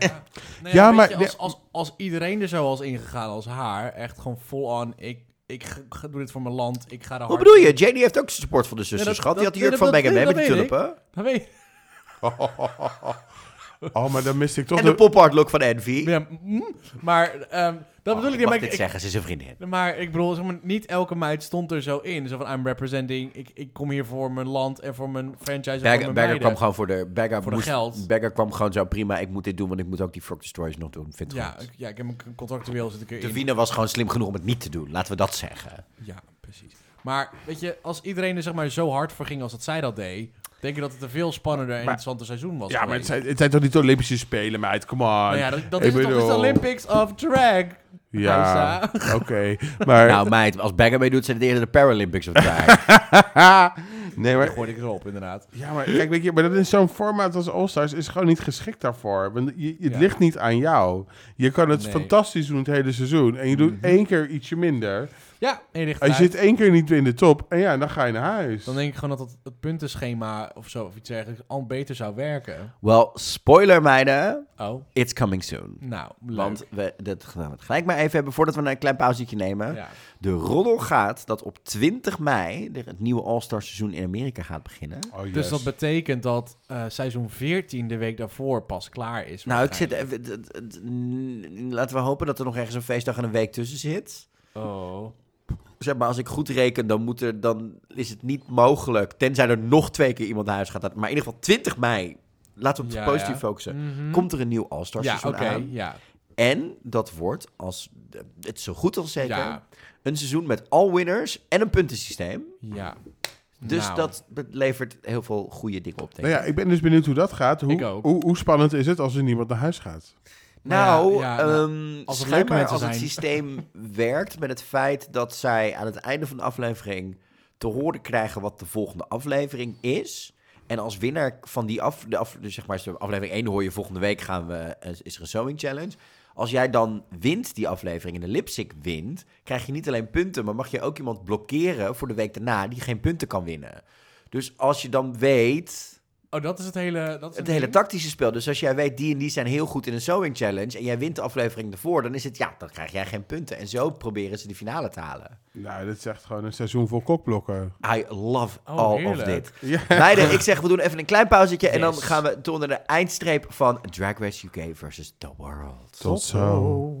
Speaker 2: Ja, nee,
Speaker 3: Ja,
Speaker 2: weet
Speaker 3: maar-
Speaker 2: je, als, als, als iedereen er zo was ingegaan als haar, echt gewoon full on, ik, ik g- g- doe dit voor mijn land, ik ga er hard
Speaker 1: Hoe bedoel je? Jenny heeft ook zijn support van de zussen,
Speaker 2: dat-
Speaker 1: schat. Die
Speaker 2: dat-
Speaker 1: had de jurk
Speaker 2: dat-
Speaker 1: van
Speaker 2: dat-
Speaker 1: Meghan Mee
Speaker 2: dat
Speaker 1: met die
Speaker 2: weet ik.
Speaker 1: tulpen.
Speaker 2: Dan Nou, weet je-
Speaker 3: Oh, maar dan mist ik toch
Speaker 1: En de
Speaker 3: de...
Speaker 1: pop-art look van Envy.
Speaker 2: Ja, mm, maar ehm, dat bedoel ik niet.
Speaker 1: mag
Speaker 2: Maar
Speaker 1: dit
Speaker 2: ik, ik-
Speaker 1: zeggen, ze is een vriendin.
Speaker 2: maar ik bedoel, zeg maar, niet elke meid stond er zo in. Zo van, I'm representing, ik, ik kom hier voor mijn land en voor mijn franchise en voor
Speaker 1: Bagger,
Speaker 2: mijn
Speaker 1: Bagger kwam
Speaker 2: meiden.
Speaker 1: gewoon voor de... Bagger
Speaker 2: Voor de
Speaker 1: moest-
Speaker 2: geld.
Speaker 1: Bagger kwam gewoon zo prima. Ik moet dit doen, want ik moet ook die Frog Destroyers nog doen. Vind
Speaker 2: ja,
Speaker 1: ja,
Speaker 2: ik, ja, ik heb een contractueel zit ik
Speaker 1: De
Speaker 2: erin.
Speaker 1: Wiener was gewoon slim genoeg om het niet te doen. Laten we dat zeggen.
Speaker 2: Ja, precies. Maar weet je, als iedereen er zeg maar zo hard voor ging als dat zij dat deed, denk ik dat het een veel spannender en
Speaker 3: Maar-
Speaker 2: interessanter seizoen was.
Speaker 3: Ja, maar het
Speaker 2: geweest.
Speaker 3: zijn, het zijn toch niet de Olympische Spelen, meid? Come on.
Speaker 2: Nou ja, dat, dat
Speaker 3: Ik
Speaker 2: is toch het is de
Speaker 3: bedoel-
Speaker 2: Olympics of drag. eh,
Speaker 3: Ja,
Speaker 2: Rosa.
Speaker 3: oké. Maar...
Speaker 1: Nou meid, als Bagger mee doet, zijn het eerder de Paralympics of daar.
Speaker 3: nee,
Speaker 2: Daar
Speaker 3: maar...
Speaker 2: gooi ik eens op, inderdaad.
Speaker 3: Ja, maar kijk, weet je, maar dat is zo'n formaat als All-Stars is gewoon niet geschikt daarvoor. Want je, het
Speaker 2: Ja.
Speaker 3: ligt niet aan jou. Je kan het
Speaker 2: Nee. Mhm.
Speaker 3: fantastisch doen het hele seizoen. En je doet één keer ietsje minder.
Speaker 2: Ja, en je ligt
Speaker 3: Als je
Speaker 2: eruit.
Speaker 3: het één keer niet in de top, en ja, dan ga je naar huis.
Speaker 2: Dan denk ik gewoon dat het, het puntenschema of zo, of iets dergelijks, al beter zou werken.
Speaker 1: Wel, spoiler meiden,
Speaker 2: Oh,
Speaker 1: it's coming soon.
Speaker 2: nou, leuk.
Speaker 1: Want we dat gaan we het gelijk maar even hebben voordat we een klein pauzetje nemen.
Speaker 2: Ja.
Speaker 1: De roddel gaat dat op 20 mei er het nieuwe All-Star seizoen in Amerika gaat beginnen.
Speaker 3: Oh, yes.
Speaker 2: Dus dat betekent dat eh, seizoen 14 de week daarvoor pas klaar is.
Speaker 1: Nou, ik zit even, d- d- d- n- laten we hopen dat er nog ergens een feestdag en een week tussen zit.
Speaker 2: Oh.
Speaker 1: Zeg maar, als ik goed reken, dan, moet er, dan is het niet mogelijk. Tenzij er nog twee keer iemand naar huis gaat. Maar in ieder geval 20 mei, laten we op het
Speaker 2: Ja,
Speaker 1: positief
Speaker 2: ja.
Speaker 1: focussen.
Speaker 2: Mhm.
Speaker 1: Komt er een nieuw All-Star
Speaker 2: ja, oké,
Speaker 1: seizoen aan.
Speaker 2: ja.
Speaker 1: En dat wordt, als het is zo goed als zeker,
Speaker 2: Ja,
Speaker 1: een seizoen met all winners en een puntensysteem.
Speaker 2: ja.
Speaker 1: Dus
Speaker 2: Nou,
Speaker 1: dat be- levert heel veel goede dingen op, denk
Speaker 3: Nou
Speaker 1: ik.
Speaker 3: ja, ik ben dus benieuwd hoe dat gaat. Hoe,
Speaker 2: Ik ook.
Speaker 3: Hoe, hoe spannend is het als er niemand naar huis gaat?
Speaker 1: Nou,
Speaker 2: Nou ja, ja,
Speaker 1: ehm,
Speaker 2: als het leuke
Speaker 1: schijnbaar
Speaker 2: mensen
Speaker 1: als het
Speaker 2: zijn.
Speaker 1: systeem werkt met het feit dat zij aan het einde van de aflevering te horen krijgen wat de volgende aflevering is. En als winnaar van die af, de af, dus zeg maar, aflevering 1 hoor je volgende week gaan we, eh, is er een sewing challenge. Als jij dan wint die aflevering en de lipstick wint, krijg je niet alleen punten, maar mag je ook iemand blokkeren voor de week daarna die geen punten kan winnen. Dus als je dan weet
Speaker 2: Oh, dat is het hele... Dat is
Speaker 1: het
Speaker 2: een
Speaker 1: hele
Speaker 2: ding?
Speaker 1: tactische spel. Dus als jij weet, die en die zijn heel goed in een sewing challenge... en jij wint de aflevering ervoor, dan is het... ja, dan krijg jij geen punten. En zo proberen ze de finale te halen.
Speaker 3: Nou, dat is echt gewoon een seizoen vol kokblokken.
Speaker 1: I love
Speaker 2: Oh,
Speaker 1: all
Speaker 2: heerlijk.
Speaker 1: of dit.
Speaker 3: Ja.
Speaker 1: Meiden, ik zeg, we doen even een klein pauzetje... en dan
Speaker 2: Yes.
Speaker 1: gaan we tot naar de eindstreep van Drag Race UK versus The World.
Speaker 3: Tot zo.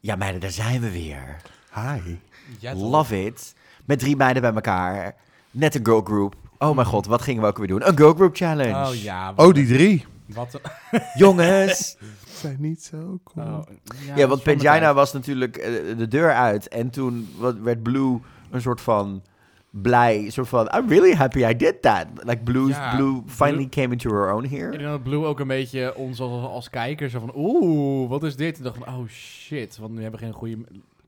Speaker 1: Ja, meiden, daar zijn we weer.
Speaker 3: Hi.
Speaker 2: Ja, toch?
Speaker 1: Love it. Met drie meiden bij elkaar. Net een girl group. Oh mijn god, wat gingen we ook weer doen? Een girl group challenge.
Speaker 2: Oh ja, wat,
Speaker 3: Oh, die drie.
Speaker 2: wat oh, een-
Speaker 1: Jongens,
Speaker 3: Zijn niet zo cool.
Speaker 2: Oh,
Speaker 1: Ja, nou want Pangina was natuurlijk eh, de deur uit. En toen wa- werd Blue een soort van blij. Een soort van, I'm really happy I did that. Like, Blue's,
Speaker 2: Ja,
Speaker 1: Blue finally
Speaker 2: Blue-
Speaker 1: came into her own
Speaker 2: Ik
Speaker 1: here.
Speaker 2: denk dat Blue ook een beetje ons als, als kijkers zo van, oeh, wat is dit? En dacht van, oh shit, want nu hebben we geen goede...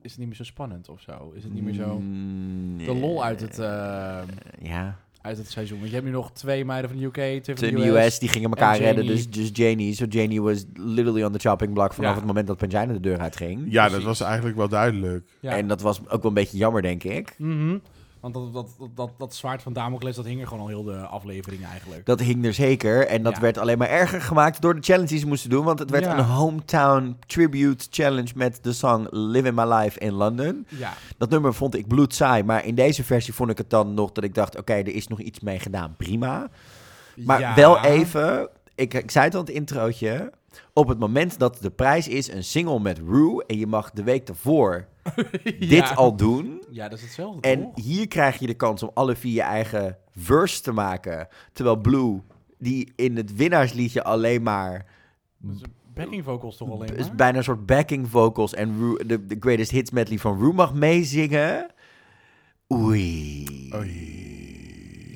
Speaker 2: Is het niet meer zo spannend of zo? Is het niet meer zo...
Speaker 1: Mm,
Speaker 2: De lol uit het,
Speaker 1: eh,
Speaker 2: eh,
Speaker 1: ja.
Speaker 2: uit het seizoen. Want je hebt nu nog twee meiden van de UK, twee van
Speaker 1: De
Speaker 2: de
Speaker 1: US,
Speaker 2: US.
Speaker 1: die gingen
Speaker 2: en
Speaker 1: elkaar redden.
Speaker 2: Janie.
Speaker 1: Dus, dus Janie. So Janie was literally on the chopping block vanaf
Speaker 2: Ja.
Speaker 1: het moment dat Pangina de deur uitging.
Speaker 3: Ja, dat
Speaker 2: Precies.
Speaker 3: was eigenlijk wel duidelijk.
Speaker 2: Ja.
Speaker 1: En dat was ook wel een beetje jammer, denk ik.
Speaker 2: Mhm. Want dat, dat, dat, dat, dat zwaard van Damocles, dat hing er gewoon al heel de aflevering eigenlijk.
Speaker 1: Dat hing er zeker. En dat
Speaker 2: Ja.
Speaker 1: werd alleen maar erger gemaakt door de challenge die ze moesten doen. Want het werd
Speaker 2: Ja.
Speaker 1: een hometown tribute challenge met de song Live in My Life in London.
Speaker 2: Ja,
Speaker 1: Dat nummer vond ik bloedsaai. Maar in deze versie vond ik het dan nog dat ik dacht... oké, er is nog iets mee gedaan. Prima. Maar
Speaker 2: Ja.
Speaker 1: wel even... Ik, ik zei het al in het introotje. Op het moment dat de prijs is een single met Rue... en je mag de week daarvoor
Speaker 2: Ja.
Speaker 1: dit al doen...
Speaker 2: Ja, dat is hetzelfde.
Speaker 1: En
Speaker 2: toch?
Speaker 1: hier krijg je de kans om alle vier je eigen verse te maken. Terwijl Blue, die in het winnaarsliedje alleen maar...
Speaker 2: Dat is een backing vocals toch alleen.
Speaker 1: is
Speaker 2: maar?
Speaker 1: bijna een soort backing vocals... en Rue- de, de greatest hits medley van Rue mag meezingen. Oei.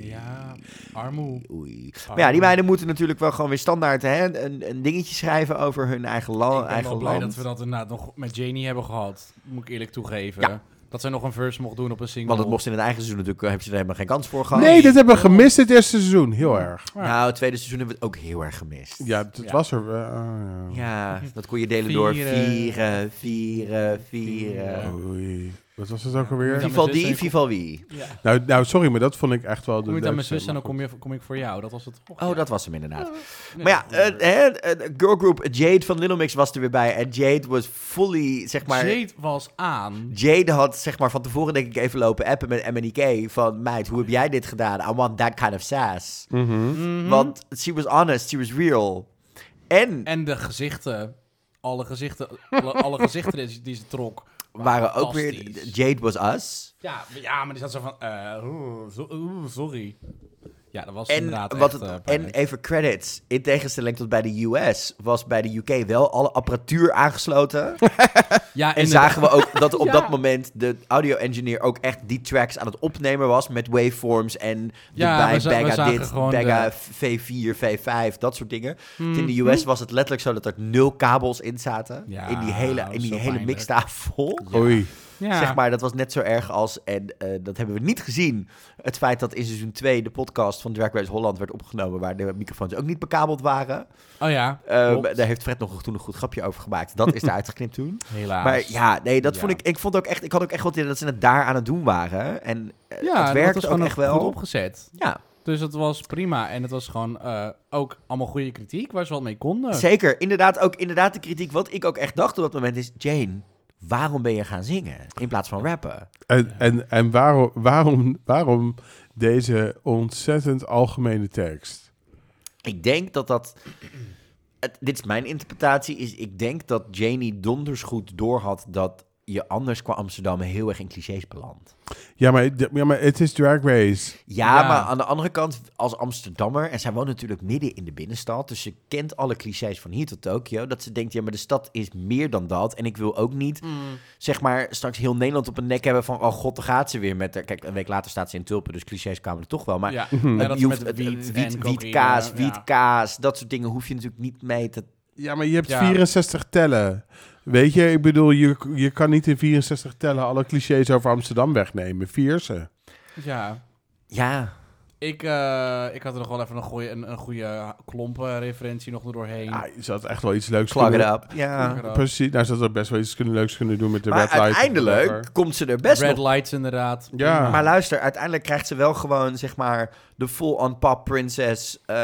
Speaker 2: Ja, armoe.
Speaker 1: Oei. Maar ja, die meiden moeten natuurlijk wel gewoon weer standaard hè, een, een dingetje schrijven over hun eigen, la-
Speaker 2: ik ben
Speaker 1: Oh, eigen
Speaker 2: wel blij
Speaker 1: land.
Speaker 2: dat we dat inderdaad nog met Janie hebben gehad. Moet ik eerlijk toegeven.
Speaker 1: Ja.
Speaker 2: Dat zij nog een verse mocht doen op een single.
Speaker 1: Want het mocht in het eigen seizoen natuurlijk, eh, heb je er helemaal geen kans voor gehad.
Speaker 3: Nee, dat hebben we gemist dit eerste seizoen. Heel erg.
Speaker 1: Nou, het tweede seizoen hebben we het ook heel erg gemist.
Speaker 3: Ja, dat
Speaker 2: Ja.
Speaker 3: was er. eh, ah, ja.
Speaker 1: Ja, dat kon je delen door
Speaker 2: Vieren.
Speaker 1: vieren, vieren, vieren.
Speaker 2: Vieren.
Speaker 3: Oei. Wat was het ook alweer?
Speaker 2: Ja.
Speaker 1: Vivaldi, Vivaldi.
Speaker 2: Ja.
Speaker 3: Nou, nou, sorry, maar dat vond ik echt wel de
Speaker 2: Kom je dan mijn
Speaker 3: leukste,
Speaker 2: zus en
Speaker 3: maar
Speaker 2: dan kom,
Speaker 3: goed.
Speaker 2: je, kom ik voor jou. Dat was het. toch?
Speaker 1: Oh, dat was hem inderdaad.
Speaker 2: Nee,
Speaker 1: Maar ja,
Speaker 2: dat was
Speaker 1: eh, hè, eh, girl group Jade van Little Mix was er weer bij. En Jade was fully, zeg maar...
Speaker 2: Jade was aan.
Speaker 1: Jade had zeg maar van tevoren denk ik even lopen appen met MNK van meid, hoe heb jij dit gedaan? I want that kind of sass.
Speaker 3: Mhm.
Speaker 2: Mhm.
Speaker 1: Want she was honest, she was real. En,
Speaker 2: En de gezichten. alle gezichten, alle, alle gezichten die, ze- die ze trok.
Speaker 1: Waren ook weer
Speaker 2: fantastisch.
Speaker 1: Jade Was Us.
Speaker 2: Ja, maar- ja, maar die zat zo van, eh, oeh, zo- oeh, sorry. Ja, dat was
Speaker 1: En,
Speaker 2: inderdaad
Speaker 1: wat
Speaker 2: echt,
Speaker 1: het-
Speaker 2: eh,
Speaker 1: en
Speaker 2: pijnlijk.
Speaker 1: even credits. In tegenstelling tot bij de US was bij de UK wel alle apparatuur aangesloten.
Speaker 2: ja,
Speaker 1: En
Speaker 2: inderdaad.
Speaker 1: zagen we ook dat op
Speaker 2: Ja.
Speaker 1: dat moment de audio-engineer ook echt die tracks aan het opnemen was met waveforms en
Speaker 2: Ja,
Speaker 1: bij
Speaker 2: we za- we
Speaker 1: Bagga
Speaker 2: zagen
Speaker 1: dit,
Speaker 2: gewoon de- Mhm.
Speaker 1: Bagga V4, V5, dat soort dingen. Want In de US was het letterlijk zo dat er nul kabels in zaten
Speaker 2: Ja,
Speaker 1: in die hele,
Speaker 2: dat
Speaker 1: in
Speaker 2: is
Speaker 1: die
Speaker 2: zo
Speaker 1: hele
Speaker 2: pijnlijk.
Speaker 1: mixtafel.
Speaker 3: Oei.
Speaker 4: Ja.
Speaker 1: Zeg maar, dat was net zo erg als, en eh, dat hebben we niet gezien, het feit dat in seizoen 2 de podcast van Drag Race Holland werd opgenomen, waar de microfoons ook niet bekabeld waren.
Speaker 2: Oh ja,
Speaker 1: Ehm,
Speaker 2: klopt.
Speaker 1: daar heeft Fred nog toen een goed grapje over gemaakt. Dat is eruit geknipt toen.
Speaker 2: helaas.
Speaker 1: Maar ja, nee, dat
Speaker 2: Ja.
Speaker 1: vond ik. Ik vond ook echt. Ik had ook echt wat idee dat ze het daar aan het doen waren. En eh,
Speaker 2: ja,
Speaker 1: het
Speaker 2: dat
Speaker 1: werkt
Speaker 2: was
Speaker 1: ook
Speaker 2: gewoon
Speaker 1: echt
Speaker 2: goed
Speaker 1: wel.
Speaker 2: opgezet.
Speaker 1: Ja,
Speaker 2: Dus het was prima. En het was gewoon eh, ook allemaal goede kritiek waar ze wat mee konden.
Speaker 1: zeker. Inderdaad, ook inderdaad de kritiek. Wat ik ook echt dacht op dat moment is: Jane, waarom ben je gaan zingen in plaats van rappen?
Speaker 3: En, en, en waarom, waarom, waarom deze ontzettend algemene tekst?
Speaker 1: Ik denk dat dat. het- dit is mijn interpretatie. Is ik denk dat Janie donders goed doorhad dat je anders qua Amsterdam heel erg in clichés belandt.
Speaker 3: Ja, maar, de- ja, maar het is Drag Race.
Speaker 1: Ja,
Speaker 2: Ja.
Speaker 1: maar aan de andere kant, als Amsterdammer, en zij woont natuurlijk midden in de binnenstad, dus ze kent alle clichés van hier tot Tokio, dat ze denkt, ja, maar de stad is meer dan dat. En ik wil ook niet, zeg maar, straks heel Nederland op een nek hebben van, oh god, daar gaat ze weer met haar. Kijk, een week later staat ze in Tulpen, dus clichés kwamen er toch wel. Maar
Speaker 2: ja,
Speaker 1: het-
Speaker 2: ja, dat
Speaker 1: je
Speaker 2: ze
Speaker 1: hoeft-
Speaker 2: met
Speaker 1: het-
Speaker 2: wiet, en
Speaker 1: wiet,
Speaker 2: cocaïne,
Speaker 1: wietkaas,
Speaker 2: ja.
Speaker 1: wietkaas, dat soort dingen hoef je natuurlijk niet mee te...
Speaker 3: Ja, maar je hebt
Speaker 2: Ja.
Speaker 3: 64 tellen. Weet je, ik bedoel, je, je kan niet in 64 tellen alle clichés over Amsterdam wegnemen. Vier ze.
Speaker 2: Ja.
Speaker 1: Ja,
Speaker 2: Ik, eh, ik had er nog wel even een goede, een, een goede klompenreferentie nog doorheen.
Speaker 3: Ja, ze had Ah, echt wel iets leuks
Speaker 1: plug it
Speaker 3: kunnen-
Speaker 1: up. Ah, Ja.
Speaker 3: Precies, nou, ze had er best wel iets kunnen, leuks kunnen doen met de
Speaker 1: Maar
Speaker 3: red light.
Speaker 1: uiteindelijk komt ze er best nog
Speaker 2: Red lights inderdaad.
Speaker 3: Ja.
Speaker 1: Maar luister, uiteindelijk krijgt ze wel gewoon, zeg maar, de full-on pop princess eh,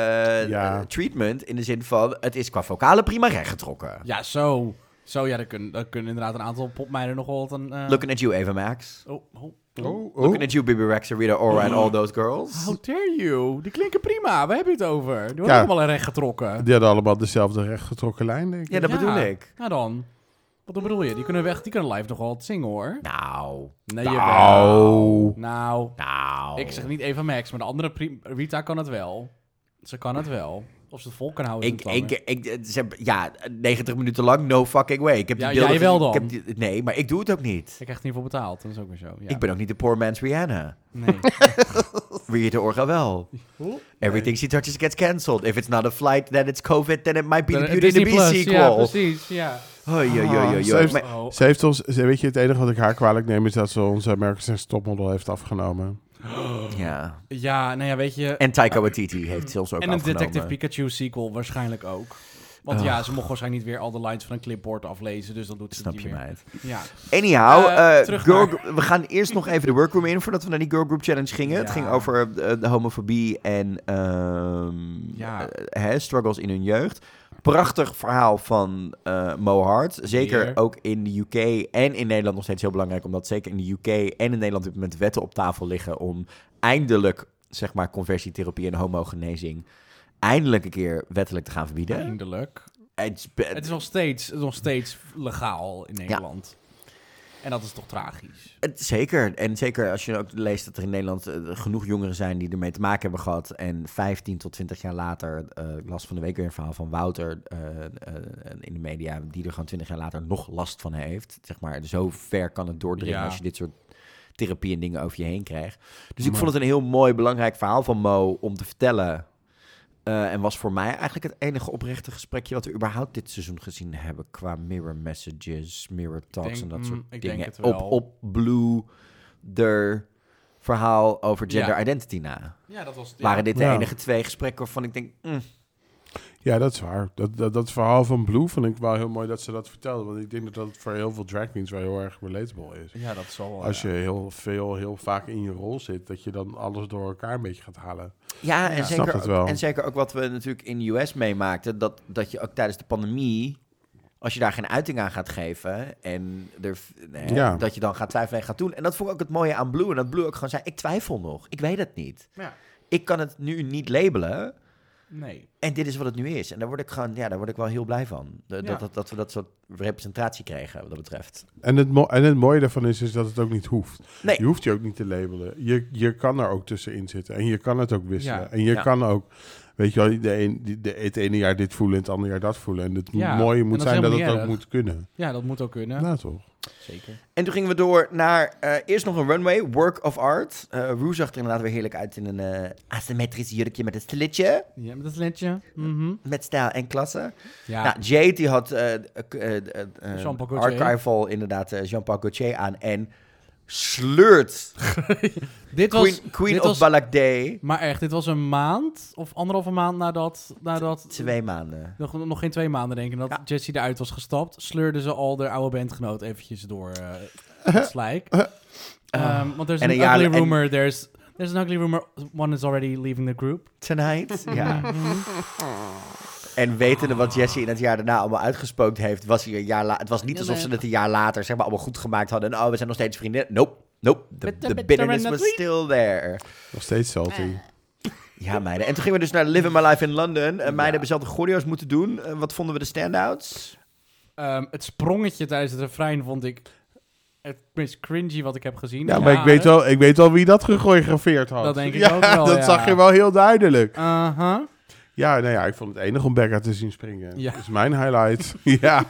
Speaker 3: Ja.
Speaker 1: eh, treatment. In de zin van, het is qua vocale prima rechtgetrokken.
Speaker 2: Ja, zo. Zo, ja, daar kunnen, daar kunnen inderdaad een aantal popmeiden nog wel wat een... eh,
Speaker 1: Looking at you, Eva Max.
Speaker 2: oh, oh, oh.
Speaker 3: Oh, oh.
Speaker 1: Looking at you, Bibi Rex, Rita Ora en all those girls.
Speaker 2: How dare you? Die klinken prima. Waar heb je het over? Die worden
Speaker 3: Ja.
Speaker 2: allemaal recht getrokken.
Speaker 3: Die hadden allemaal dezelfde rechtgetrokken lijn, denk ik.
Speaker 1: Ja, dat bedoel ik.
Speaker 2: Nou dan. Wat dan bedoel je? Die kunnen, weg, die kunnen live nog wel wat zingen hoor.
Speaker 1: Nou,
Speaker 2: Nee,
Speaker 1: Nou.
Speaker 2: jawel.
Speaker 3: Au.
Speaker 2: Nou,
Speaker 1: nou.
Speaker 2: ik zeg niet Eva Max, maar de andere pri- Rita kan het wel. Ze kan het wel. Of ze het vol kan houden.
Speaker 1: Ik,
Speaker 2: is het
Speaker 1: ik,
Speaker 2: dan.
Speaker 1: ik, eh, ze hebben- ja, 90 minuten lang, no fucking way. Ik heb die
Speaker 2: Ja,
Speaker 1: beelden
Speaker 2: jij wel
Speaker 1: gezien.
Speaker 2: dan.
Speaker 1: Ik heb die- nee, maar ik doe het ook niet.
Speaker 2: Ik krijg het niet voor betaald. Dat is ook weer zo. Ja.
Speaker 1: Ik ben ook niet de poor man's Rihanna.
Speaker 2: Nee.
Speaker 1: Rita Ora wel.
Speaker 2: Hoe?
Speaker 1: Everything she touches gets cancelled. If it's not a flight, then it's COVID, then it might be
Speaker 2: Dan-
Speaker 1: the
Speaker 2: eh,
Speaker 1: Beauty and the
Speaker 2: Disney
Speaker 1: Beast
Speaker 2: Plus,
Speaker 1: sequel.
Speaker 2: Ja, precies. Ja.
Speaker 1: Hoi, hoi, hoi, hoi,
Speaker 3: ze
Speaker 1: hoi.
Speaker 3: heeft-
Speaker 1: Maar-
Speaker 2: Oh.
Speaker 3: Ze heeft ons, ze- weet je, het enige wat ik haar kwalijk neem is dat ze ons America's Next Topmodel heeft afgenomen.
Speaker 1: ja.
Speaker 2: Ja, nou ja, weet je. En,
Speaker 1: En Taika Waititi heeft zelfs ook
Speaker 2: een
Speaker 1: afgenomen.
Speaker 2: Detective Pikachu sequel waarschijnlijk ook. Want ja, ze mocht waarschijnlijk niet weer al de lines van een clipboard aflezen. Dus dan doet ze het
Speaker 1: Snap
Speaker 2: niet
Speaker 1: je
Speaker 2: meer.
Speaker 1: mij?
Speaker 2: Ja.
Speaker 1: Anyhow,
Speaker 2: Eh,
Speaker 1: eh,
Speaker 2: terug
Speaker 1: girl
Speaker 2: naar-
Speaker 1: gr- we gaan eerst nog even de workroom in voordat we naar die girl group challenge gingen. Het
Speaker 2: Ja.
Speaker 1: ging over eh, de homofobie en ehm,
Speaker 2: Ja.
Speaker 1: eh, hè, struggles in hun jeugd. Prachtig verhaal van eh Mo Hart. Zeker
Speaker 2: Weer.
Speaker 1: ook in de UK en in Nederland nog steeds heel belangrijk. Omdat zeker in de UK en in Nederland op dit moment wetten op tafel liggen om eindelijk, zeg maar, conversietherapie en homogenezing eindelijk een keer wettelijk te gaan verbieden.
Speaker 2: Eindelijk.
Speaker 1: Het is be-
Speaker 2: Het is nog steeds, het is nog steeds legaal in Nederland. En dat is toch tragisch.
Speaker 1: Het- Zeker. En zeker als je ook leest dat er in Nederland eh, genoeg jongeren zijn die ermee te maken hebben gehad. En 15 tot 20 jaar later, eh, ik las van de week weer een verhaal van Wouter eh, eh, in de media, die er gewoon 20 jaar later nog last van heeft. Zeg maar, zo ver kan het doordringen
Speaker 2: Ja.
Speaker 1: als je dit soort therapie en dingen over je heen krijgt. Dus ik vond het een heel mooi, belangrijk verhaal van Mo om te vertellen. Eh, en was voor mij eigenlijk het enige oprechte gesprekje wat we überhaupt dit seizoen gezien hebben. Qua mirror messages, mirror talks
Speaker 2: denk-
Speaker 1: en dat
Speaker 2: mm,
Speaker 1: soort
Speaker 2: ik denk
Speaker 1: dingen.
Speaker 2: het wel.
Speaker 1: Op, op Blue, der verhaal over gender
Speaker 2: Ja.
Speaker 1: identity na.
Speaker 2: Ja, dat was.
Speaker 1: Waren dit de
Speaker 3: Ja.
Speaker 1: enige twee gesprekken waarvan ik denk... mm,
Speaker 3: Ja, dat is waar. Dat, dat, dat verhaal van Blue vond ik wel heel mooi dat ze dat vertelde. Want ik denk dat dat voor heel veel drag queens wel heel erg relatable is.
Speaker 2: Ja, dat zal wel.
Speaker 3: Als
Speaker 2: Oh, ja.
Speaker 3: je heel veel, heel vaak in je rol zit, dat je dan alles door elkaar een beetje gaat halen.
Speaker 1: Ja, en,
Speaker 3: Ja. Snap
Speaker 1: zeker
Speaker 3: het
Speaker 1: ook,
Speaker 3: wel.
Speaker 1: en zeker ook wat we natuurlijk in de US meemaakten. Dat, dat je ook tijdens de pandemie, als je daar geen uiting aan gaat geven... en er, nee,
Speaker 3: Ja.
Speaker 1: dat je dan gaat twijfelen en gaat doen. En dat vond ik ook het mooie aan Blue. En dat Blue ook gewoon zei, ik twijfel nog. Ik weet het niet.
Speaker 2: Ja.
Speaker 1: Ik kan het nu niet labelen...
Speaker 2: Nee.
Speaker 1: En dit is wat het nu is. En daar word ik gewoon, ja, daar word ik wel heel blij van. Dat,
Speaker 2: Ja.
Speaker 1: dat, dat, dat we dat soort representatie krijgen, wat dat betreft.
Speaker 3: En het, mo- en het mooie daarvan is, is dat het ook niet hoeft.
Speaker 1: Nee.
Speaker 3: Je hoeft je ook niet te labelen. Je, je kan er ook tussenin zitten. En je kan het ook wisselen.
Speaker 5: Ja,
Speaker 3: En je
Speaker 1: ja.
Speaker 3: kan ook, weet je wel, de een, die- de, het ene jaar dit voelen, het andere jaar dat voelen. En het
Speaker 2: Ja,
Speaker 3: mooie
Speaker 2: en
Speaker 3: moet
Speaker 2: dat is
Speaker 3: zijn dat het
Speaker 2: helemaal
Speaker 3: ook
Speaker 2: niet
Speaker 3: moet kunnen.
Speaker 2: Ja, dat moet ook kunnen.
Speaker 3: Nou toch?
Speaker 2: Zeker.
Speaker 1: En toen gingen we door naar eh, eerst nog een runway, Work of Art. Eh Rue zag er inderdaad weer heerlijk uit in een eh, asymmetrisch jurkje met een slitje.
Speaker 2: Ja, met dat lentje. Mhm.
Speaker 1: Met stijl en klasse.
Speaker 2: Ja.
Speaker 1: Nou, Jade die had eh, eh, eh, eh,
Speaker 2: Jean-Paul Gaultier.
Speaker 1: Archival inderdaad eh, Jean-Paul Gaultier aan en sleurt
Speaker 5: Dit was,
Speaker 1: Queen, Queen
Speaker 5: dit
Speaker 1: of
Speaker 5: was-
Speaker 1: Balak Day
Speaker 2: Maar echt, dit was een maand of anderhalve maand nadat... nadat
Speaker 1: twee maanden.
Speaker 2: nog, nog geen twee maanden denk ik, dat
Speaker 1: Ja.
Speaker 2: Jessie eruit was gestapt, sleurden ze al de oude bandgenoot eventjes door eh, het slijk. Ehm, want there's
Speaker 1: Eh. En
Speaker 2: an
Speaker 1: een jaar-
Speaker 2: ugly
Speaker 1: en-
Speaker 2: rumor, there's, there's an ugly rumor, one is already leaving the group.
Speaker 1: Tonight, ja. En wetende wat Jesse in het jaar daarna allemaal uitgespookt heeft, was hij een jaar la- Het was niet
Speaker 2: Ja,
Speaker 1: alsof ze
Speaker 2: nee.
Speaker 1: het een jaar later zeg maar allemaal goed gemaakt hadden. En oh, we zijn nog steeds vrienden. Nope, nope.
Speaker 2: Met de-
Speaker 1: The, the
Speaker 2: met
Speaker 1: bitterness
Speaker 2: de-
Speaker 1: was still there.
Speaker 3: Nog steeds salty.
Speaker 1: Ja, meiden. En toen gingen we dus naar Living My Life in London. En meiden hebben zelf de choreo's moeten doen. Eh, wat vonden we de standouts?
Speaker 2: Ehm, het sprongetje tijdens het refrein vond ik het meest cringy wat ik heb gezien.
Speaker 3: Ja, maar ik weet, wel, ik weet wel wie dat gechoreografeerd had.
Speaker 2: Dat denk ik
Speaker 3: ja,
Speaker 2: ook wel,
Speaker 3: dat
Speaker 2: ja.
Speaker 3: zag je wel heel duidelijk.
Speaker 2: Aha.
Speaker 3: Ja, nou ja, ik vond het enig om Becca te zien springen.
Speaker 2: Ja.
Speaker 3: Dat is mijn highlight. ja.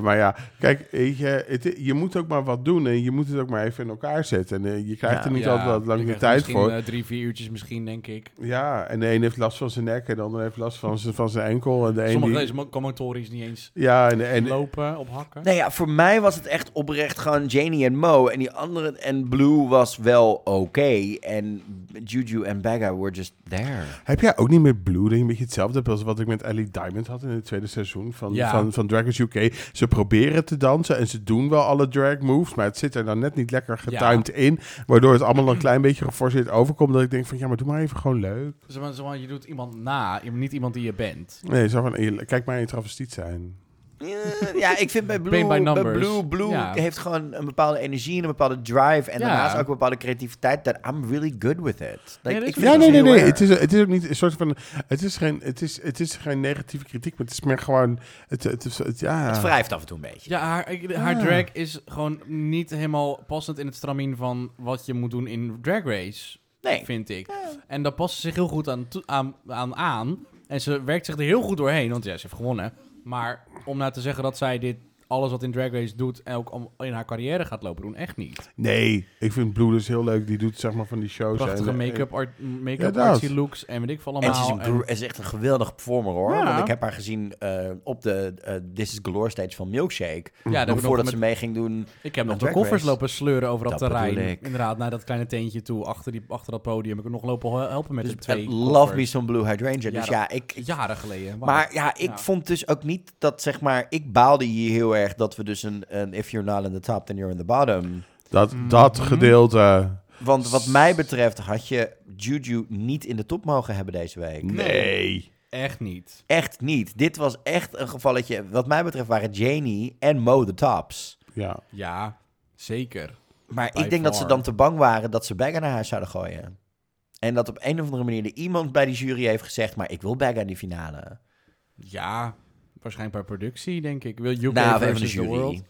Speaker 3: Maar ja, kijk, weet je, het- je moet ook maar wat doen en je moet het ook maar even in elkaar zetten. En eh, je krijgt
Speaker 1: Ja.
Speaker 3: er niet altijd wat lang de tijd voor.
Speaker 2: eh, drie, vier uurtjes misschien, denk ik.
Speaker 3: Ja, en de een heeft last van zijn nek en de ander heeft last van zijn, van zijn enkel. En de een die-
Speaker 2: deze commentatories niet eens
Speaker 3: ja, en, en,
Speaker 2: lopen op hakken.
Speaker 1: Nou ja, voor mij was het echt oprecht gewoon Janie en Mo. En die andere en Blue was wel oké. En Juju en Bagga were just there.
Speaker 3: Heb jij ook niet met Blue dat je een beetje hetzelfde hebt als wat ik met Ellie Diamond had in het tweede seizoen van,
Speaker 2: Ja.
Speaker 3: van, van Drag Race UK? Ze proberen te dansen en ze doen wel alle drag moves, maar het zit er dan net niet lekker getimed in, waardoor het allemaal een klein beetje geforceerd overkomt. Dat ik denk van, ja, maar doe maar even gewoon leuk.
Speaker 2: Zo van- zo van, je doet iemand na, je- niet iemand die je bent.
Speaker 3: Nee, zo van, eh, kijk maar in travestiet zijn.
Speaker 1: Eh, ja, ik vind bij Blue,
Speaker 2: Pain by
Speaker 1: bij
Speaker 2: numbers.
Speaker 1: Blue, Blue
Speaker 2: Ja.
Speaker 1: heeft gewoon een bepaalde energie en een bepaalde drive. En
Speaker 2: Ja.
Speaker 1: daarnaast ook een bepaalde creativiteit. That I'm really good with it.
Speaker 2: Ja, dat is
Speaker 1: ik vind het
Speaker 3: Ja,
Speaker 1: dus
Speaker 3: nee, nee,
Speaker 1: heel
Speaker 3: nee.
Speaker 1: erg.
Speaker 3: Het is, het is ook niet een soort van, het is geen, het is, het is geen negatieve kritiek, maar het is meer gewoon, het, het, het, het- ja.
Speaker 1: Het wrijft af en toe een beetje.
Speaker 2: Ja, haar, ik- haar drag is gewoon niet helemaal passend in het stramien van wat je moet doen in Drag Race,
Speaker 1: Nee.
Speaker 2: vind ik. En daar past ze zich heel goed aan, toe- aan, aan aan. En ze werkt zich er heel goed doorheen, want ja, ze heeft gewonnen. Maar om nou te zeggen dat zij dit, alles wat in Drag Race doet, en ook om- in haar carrière gaat lopen doen, echt niet.
Speaker 3: Nee, ik vind Blue dus heel leuk. Die doet zeg maar van die shows.
Speaker 2: Prachtige
Speaker 3: en- eh,
Speaker 2: make-up, art,
Speaker 3: Ja,
Speaker 2: make-up
Speaker 3: dat.
Speaker 2: artsy looks en weet ik veel
Speaker 1: En ze is,
Speaker 2: allemaal.
Speaker 1: een gro-
Speaker 2: En-
Speaker 1: ze is echt een geweldig performer hoor.
Speaker 2: Ja.
Speaker 1: Want ik heb haar gezien eh, op de eh, This is Glory stage van Milkshake.
Speaker 2: ja, daar heb
Speaker 1: nog
Speaker 2: ik nog
Speaker 1: voordat
Speaker 2: met-
Speaker 1: ze mee ging doen.
Speaker 2: Ik heb
Speaker 1: Met
Speaker 2: nog de
Speaker 1: Drag
Speaker 2: koffers
Speaker 1: Race.
Speaker 2: lopen sleuren over dat,
Speaker 1: Dat
Speaker 2: terrein.
Speaker 1: bedoel ik.
Speaker 2: Inderdaad, naar dat kleine teentje toe, achter, die, achter dat podium. Ik heb nog lopen hel- helpen met
Speaker 1: Dus
Speaker 2: de twee
Speaker 1: eh, love me
Speaker 2: koffers.
Speaker 1: some Blue Hydrangea.
Speaker 2: Ja,
Speaker 1: dus
Speaker 2: dat-
Speaker 1: ja, ik, ik-
Speaker 2: Jaren geleden. wauw.
Speaker 1: Maar ja, ik
Speaker 2: Ja.
Speaker 1: vond dus ook niet dat, zeg maar, ik baalde hier heel erg dat we dus een, een if you're not in the top, then you're in the bottom.
Speaker 3: Dat, dat gedeelte.
Speaker 1: Want wat mij betreft had je Juju niet in de top mogen hebben deze week.
Speaker 3: Nee.
Speaker 2: Echt niet.
Speaker 1: Echt niet. Dit was echt een gevalletje. Wat mij betreft waren Janie en Mo de tops.
Speaker 3: Ja.
Speaker 2: Ja, zeker.
Speaker 1: Maar
Speaker 2: By
Speaker 1: ik denk dat ze
Speaker 2: far.
Speaker 1: dan te bang waren dat ze Bagga naar huis zouden gooien. En dat op een of andere manier er iemand bij die jury heeft gezegd... maar ik wil Bagga in die finale.
Speaker 2: Ja, waarschijnlijk bij productie, denk ik. Wil UK
Speaker 1: nou, of even de
Speaker 2: versus the
Speaker 1: jury.
Speaker 2: world.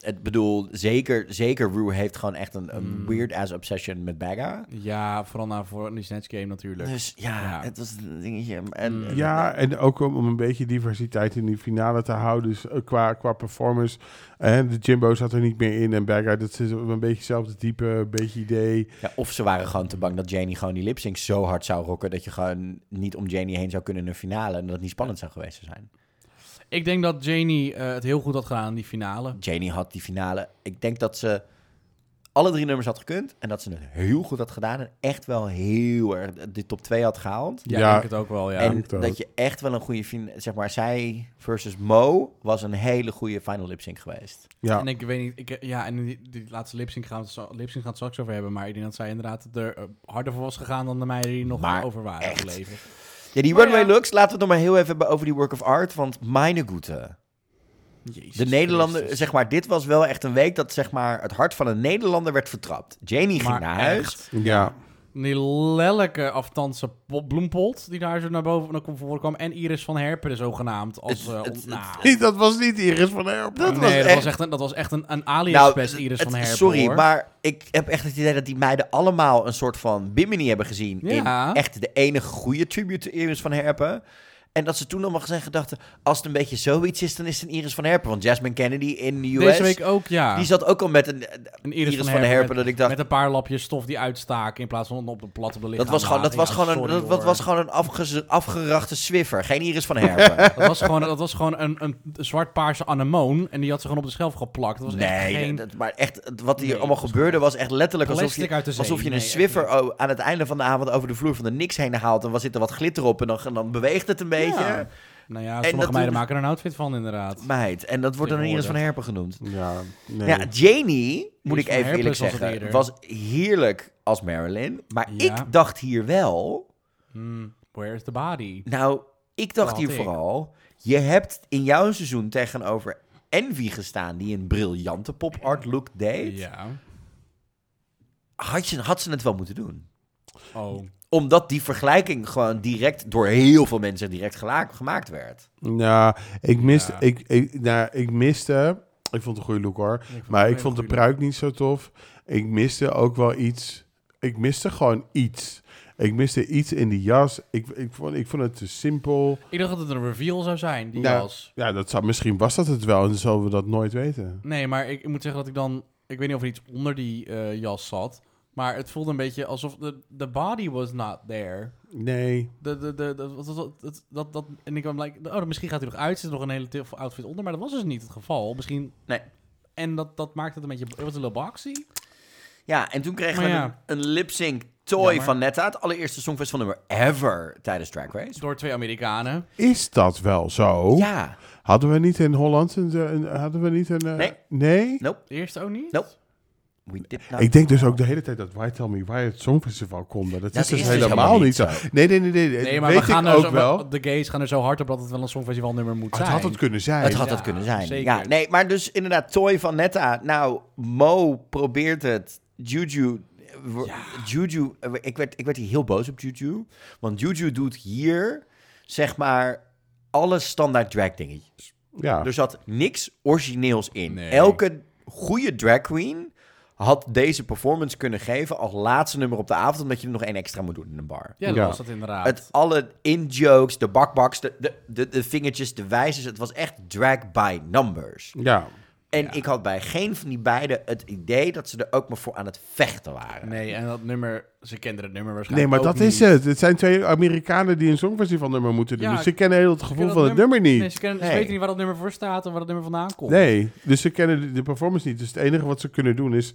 Speaker 1: Ik bedoel, zeker, zeker Rue heeft gewoon echt een, een weird-ass obsession met Bagga.
Speaker 2: Ja, vooral na voor die Snatch Game natuurlijk.
Speaker 1: Dus ja,
Speaker 2: Ja.
Speaker 1: het was een dingetje. En,
Speaker 2: Mm.
Speaker 3: ja, en ook om, om een beetje diversiteit in die finale te houden. Dus eh, qua, qua performance. En de Jimbo zat er niet meer in. En Bagger, dat is een beetje hetzelfde type, een beetje idee.
Speaker 1: Ja, of ze waren gewoon te bang dat Janie gewoon die lipsync zo hard zou rocken... dat je gewoon niet om Janie heen zou kunnen in een finale... en dat het niet spannend zou geweest zijn.
Speaker 2: Ik denk dat Janie eh, het heel goed had gedaan in die finale.
Speaker 1: Janie had die finale... Ik denk dat ze alle drie nummers had gekund... en dat ze het heel goed had gedaan... en echt wel heel erg de top 2 had gehaald.
Speaker 2: Ja,
Speaker 3: Ja.
Speaker 2: ik denk het ook wel, ja.
Speaker 1: en
Speaker 3: ik ook.
Speaker 1: dat je echt wel een goede... fin- Zeg maar, zij versus Mo was een hele goede final lipsync geweest.
Speaker 3: Ja.
Speaker 2: En ik weet niet, ik, ja, en die, die laatste lipsync gaan, we het zo- lipsync gaan we het straks over hebben. Maar ik denk dat zij inderdaad er eh, harder voor was gegaan dan de meiden die nog
Speaker 1: Maar
Speaker 2: over waren
Speaker 1: echt.
Speaker 2: gebleven.
Speaker 1: Ja, die
Speaker 2: Maar
Speaker 1: runway
Speaker 2: ja.
Speaker 1: looks, laten we het nog maar heel even hebben over die work of art... want meine goede... De Nederlander, zeg maar, dit was wel echt een week dat zeg maar, het hart van een Nederlander werd vertrapt. Janie ging
Speaker 2: maar
Speaker 1: naar
Speaker 2: echt.
Speaker 1: huis.
Speaker 3: Ja.
Speaker 2: Die lelijke aftandse bloempot die daar zo naar boven naar voren kwam. En Iris van Herpen zogenaamd. Als, eh,
Speaker 1: Het-
Speaker 2: om-
Speaker 1: het- het-
Speaker 2: nou,
Speaker 3: dat was niet Iris van Herpen.
Speaker 1: Dat was
Speaker 2: nee, dat
Speaker 1: echt-
Speaker 2: was echt een, dat was echt een, een alias-best
Speaker 1: Nou, het-
Speaker 2: Iris
Speaker 1: het-
Speaker 2: van Herpen.
Speaker 1: Sorry,
Speaker 2: hoor.
Speaker 1: maar ik heb echt het idee dat die meiden allemaal een soort van Bimini hebben gezien.
Speaker 2: Ja.
Speaker 1: In echt de enige goede tribute Iris van Herpen. En dat ze toen allemaal gezegd gedachten, als het een beetje zoiets is, dan is het een Iris van Herpen. Want Jasmine Kennedy in de US,
Speaker 2: Deze week ook, ja.
Speaker 1: die zat ook al met een eh,
Speaker 2: Een
Speaker 1: Iris, van, Herpen.
Speaker 2: met-
Speaker 1: dat ik dacht,
Speaker 2: Met een paar lapjes stof die uitstaken in plaats van op de plat op de lichaam.
Speaker 1: dat was gewoon, dat
Speaker 2: laten.
Speaker 1: was
Speaker 2: Ja,
Speaker 1: gewoon, een,
Speaker 2: sorry,
Speaker 1: dat,
Speaker 2: hoor.
Speaker 1: dat was gewoon een afge- afgerachte swiffer. Geen Iris van Herpen.
Speaker 2: Dat was gewoon, dat was gewoon een, een zwart-paarse anemoon. En die had ze gewoon op de schelf geplakt. Dat was echt
Speaker 1: nee,
Speaker 2: geen...
Speaker 1: dat- maar echt, het- wat hier
Speaker 2: Nee,
Speaker 1: allemaal
Speaker 2: dat was
Speaker 1: gebeurde was echt letterlijk alsof je,
Speaker 2: Plastic uit de zee.
Speaker 1: Alsof je
Speaker 2: Nee,
Speaker 1: een
Speaker 2: echt
Speaker 1: Swiffer o- aan het einde van de avond over de vloer van de niks heen haalt. En dan zit er wat glitter op en dan, en dan beweegt het een beetje.
Speaker 2: Ja. Nou ja,
Speaker 1: En
Speaker 2: sommige
Speaker 1: dat-
Speaker 2: meiden maken er een outfit van inderdaad.
Speaker 1: Meid, en dat wordt dan
Speaker 2: Ik
Speaker 1: Iris
Speaker 2: hoor
Speaker 1: van Herpen genoemd.
Speaker 3: Ja, nee.
Speaker 1: Ja, Janie, moet ik
Speaker 2: van
Speaker 1: even
Speaker 2: Herpen
Speaker 1: eerlijk
Speaker 2: was het
Speaker 1: zeggen,
Speaker 2: eerder.
Speaker 1: was heerlijk als Marilyn. Maar
Speaker 2: Ja.
Speaker 1: ik dacht hier wel,
Speaker 2: Hmm, where's the body?
Speaker 1: nou, ik dacht
Speaker 2: Wat
Speaker 1: hier
Speaker 2: ik.
Speaker 1: vooral, je hebt in jouw seizoen tegenover Envy gestaan, die een briljante pop-art look deed.
Speaker 2: Ja.
Speaker 1: Had, je, had ze het wel moeten doen?
Speaker 2: Oh.
Speaker 1: Omdat die vergelijking gewoon direct door heel veel mensen direct gela- gemaakt werd.
Speaker 3: Nou, ik miste,
Speaker 2: Ja.
Speaker 3: ik, ik, nou, ik miste, ik vond het een goede look hoor, maar ik vond de pruik niet zo tof. Ik miste ook wel iets, ik miste gewoon iets. Ik miste iets in die jas. Ik, ik, vond, ik vond het te simpel.
Speaker 2: Ik dacht dat het een reveal zou zijn, die
Speaker 3: Nou.
Speaker 2: was.
Speaker 3: Ja, dat zou, misschien was dat het wel en zullen we dat nooit weten.
Speaker 2: Nee, maar ik, ik moet zeggen dat ik dan... Ik weet niet of er iets onder die eh, jas zat. Maar het voelde een beetje alsof de, de body was not there.
Speaker 3: Nee.
Speaker 2: De, de, de, de- wat- wat- wat- dat, dat, en ik kwam like, oh, misschien gaat hij nog uit. Zit er nog een hele te- outfit onder. Maar dat was dus niet het geval. Misschien...
Speaker 1: Nee.
Speaker 2: En dat, dat maakt het een beetje... Het was een little boxy.
Speaker 1: Ja, en toen kregen
Speaker 2: Maar
Speaker 1: we
Speaker 2: ja.
Speaker 1: een, een lip-sync toy
Speaker 2: Jammer.
Speaker 1: van Netta. Het allereerste songfestival nummer ever tijdens Drag Race.
Speaker 2: Door twee Amerikanen.
Speaker 3: Is dat wel zo?
Speaker 1: Ja.
Speaker 3: Hadden we niet in Holland een... een- hadden we niet een... eh,
Speaker 1: Nee.
Speaker 3: nee?
Speaker 2: De eerste ook niet?
Speaker 1: Nope. We did not-
Speaker 3: Ik denk dus ook de hele tijd dat Why Tell Me Why het Songfestival komt. maar Dat,
Speaker 1: Dat
Speaker 3: is dus
Speaker 1: is dus
Speaker 3: helemaal,
Speaker 1: helemaal
Speaker 3: niet
Speaker 1: niet
Speaker 3: zo. Nee, nee, nee. nee,
Speaker 2: Nee, maar
Speaker 3: weet
Speaker 2: we gaan
Speaker 3: ik
Speaker 2: er
Speaker 3: ook
Speaker 2: zo,
Speaker 3: wel.
Speaker 2: De gays gaan er zo hard op dat het wel een songfestivalnummer moet
Speaker 3: Maar
Speaker 2: zijn.
Speaker 3: het had het kunnen zijn.
Speaker 1: het had
Speaker 2: Ja,
Speaker 1: dat kunnen zijn.
Speaker 2: zeker.
Speaker 1: Ja, nee, maar dus inderdaad, toy van Netta. Nou, Mo probeert het. Juju. eh, wo- Juju. eh, Ik werd, ik werd hier heel boos op Juju. Want Juju doet hier, zeg maar, alle standaard drag dingetjes.
Speaker 3: Ja.
Speaker 1: Er zat niks origineels in.
Speaker 2: Nee.
Speaker 1: Elke goede drag queen had deze performance kunnen geven als laatste nummer op de avond, omdat je er nog één extra moet doen in een bar.
Speaker 2: Ja, dat
Speaker 3: Ja.
Speaker 2: was dat inderdaad.
Speaker 1: Het alle in-jokes, de bakbaks, de, de, de, de vingertjes, de wijzers, het was echt drag by numbers.
Speaker 3: ja.
Speaker 1: En ik had bij geen van die beiden het idee dat ze er ook maar voor aan het vechten waren.
Speaker 2: Nee, en dat nummer... Ze kenden het nummer
Speaker 3: Nee,
Speaker 2: waarschijnlijk
Speaker 3: maar
Speaker 2: ook
Speaker 3: dat
Speaker 2: niet.
Speaker 1: eh,
Speaker 3: is het. Het zijn twee Amerikanen die een songfestival nummer moeten doen.
Speaker 2: Ja,
Speaker 3: dus ze kennen heel het
Speaker 2: Ze
Speaker 3: gevoel
Speaker 2: kennen
Speaker 3: van
Speaker 2: dat
Speaker 3: het nummer
Speaker 2: Nee,
Speaker 3: niet.
Speaker 2: ze, kennen, ze
Speaker 1: Nee.
Speaker 2: weten niet waar dat nummer voor staat en waar dat nummer vandaan komt.
Speaker 3: Nee, dus ze kennen de, de performance niet. Dus het enige wat ze kunnen doen is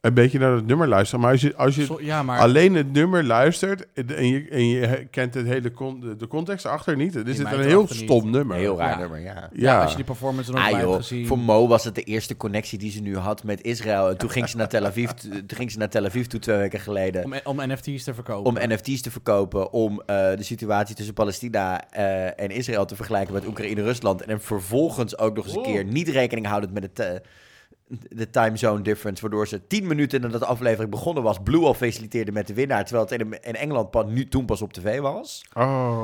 Speaker 3: een beetje naar het nummer luisteren. Maar als je, als je
Speaker 2: Zo- ja, maar...
Speaker 3: alleen het nummer luistert en je, en je kent het hele con- de- de context erachter niet, dan is
Speaker 2: Nee,
Speaker 3: het
Speaker 2: maar
Speaker 3: een
Speaker 2: het
Speaker 3: heel
Speaker 2: erachter niet.
Speaker 3: stom nummer.
Speaker 1: Heel raar
Speaker 2: Ja.
Speaker 1: nummer, ja.
Speaker 2: ja,
Speaker 3: Ja,
Speaker 2: als je die performance er nog bij
Speaker 1: Ah
Speaker 2: hebt
Speaker 1: joh,
Speaker 2: gezien.
Speaker 1: voor Mo was het de eerste connectie die ze nu had met Israël. En toen ging ze naar Tel Aviv, toen ging ze naar Tel Aviv toe twee weken geleden.
Speaker 2: Om, om NFT's te verkopen.
Speaker 1: om NFT's te verkopen, om eh, de situatie tussen Palestina eh, en Israël te vergelijken met Oekraïne en Rusland. En vervolgens ook nog eens een
Speaker 3: Oh.
Speaker 1: keer niet rekening houdend met het, eh, de time zone difference, waardoor ze tien minuten nadat de aflevering begonnen was, Blue al faciliteerde met de winnaar, terwijl het in, in Engeland pas, nu toen pas op tv was.
Speaker 3: Oh.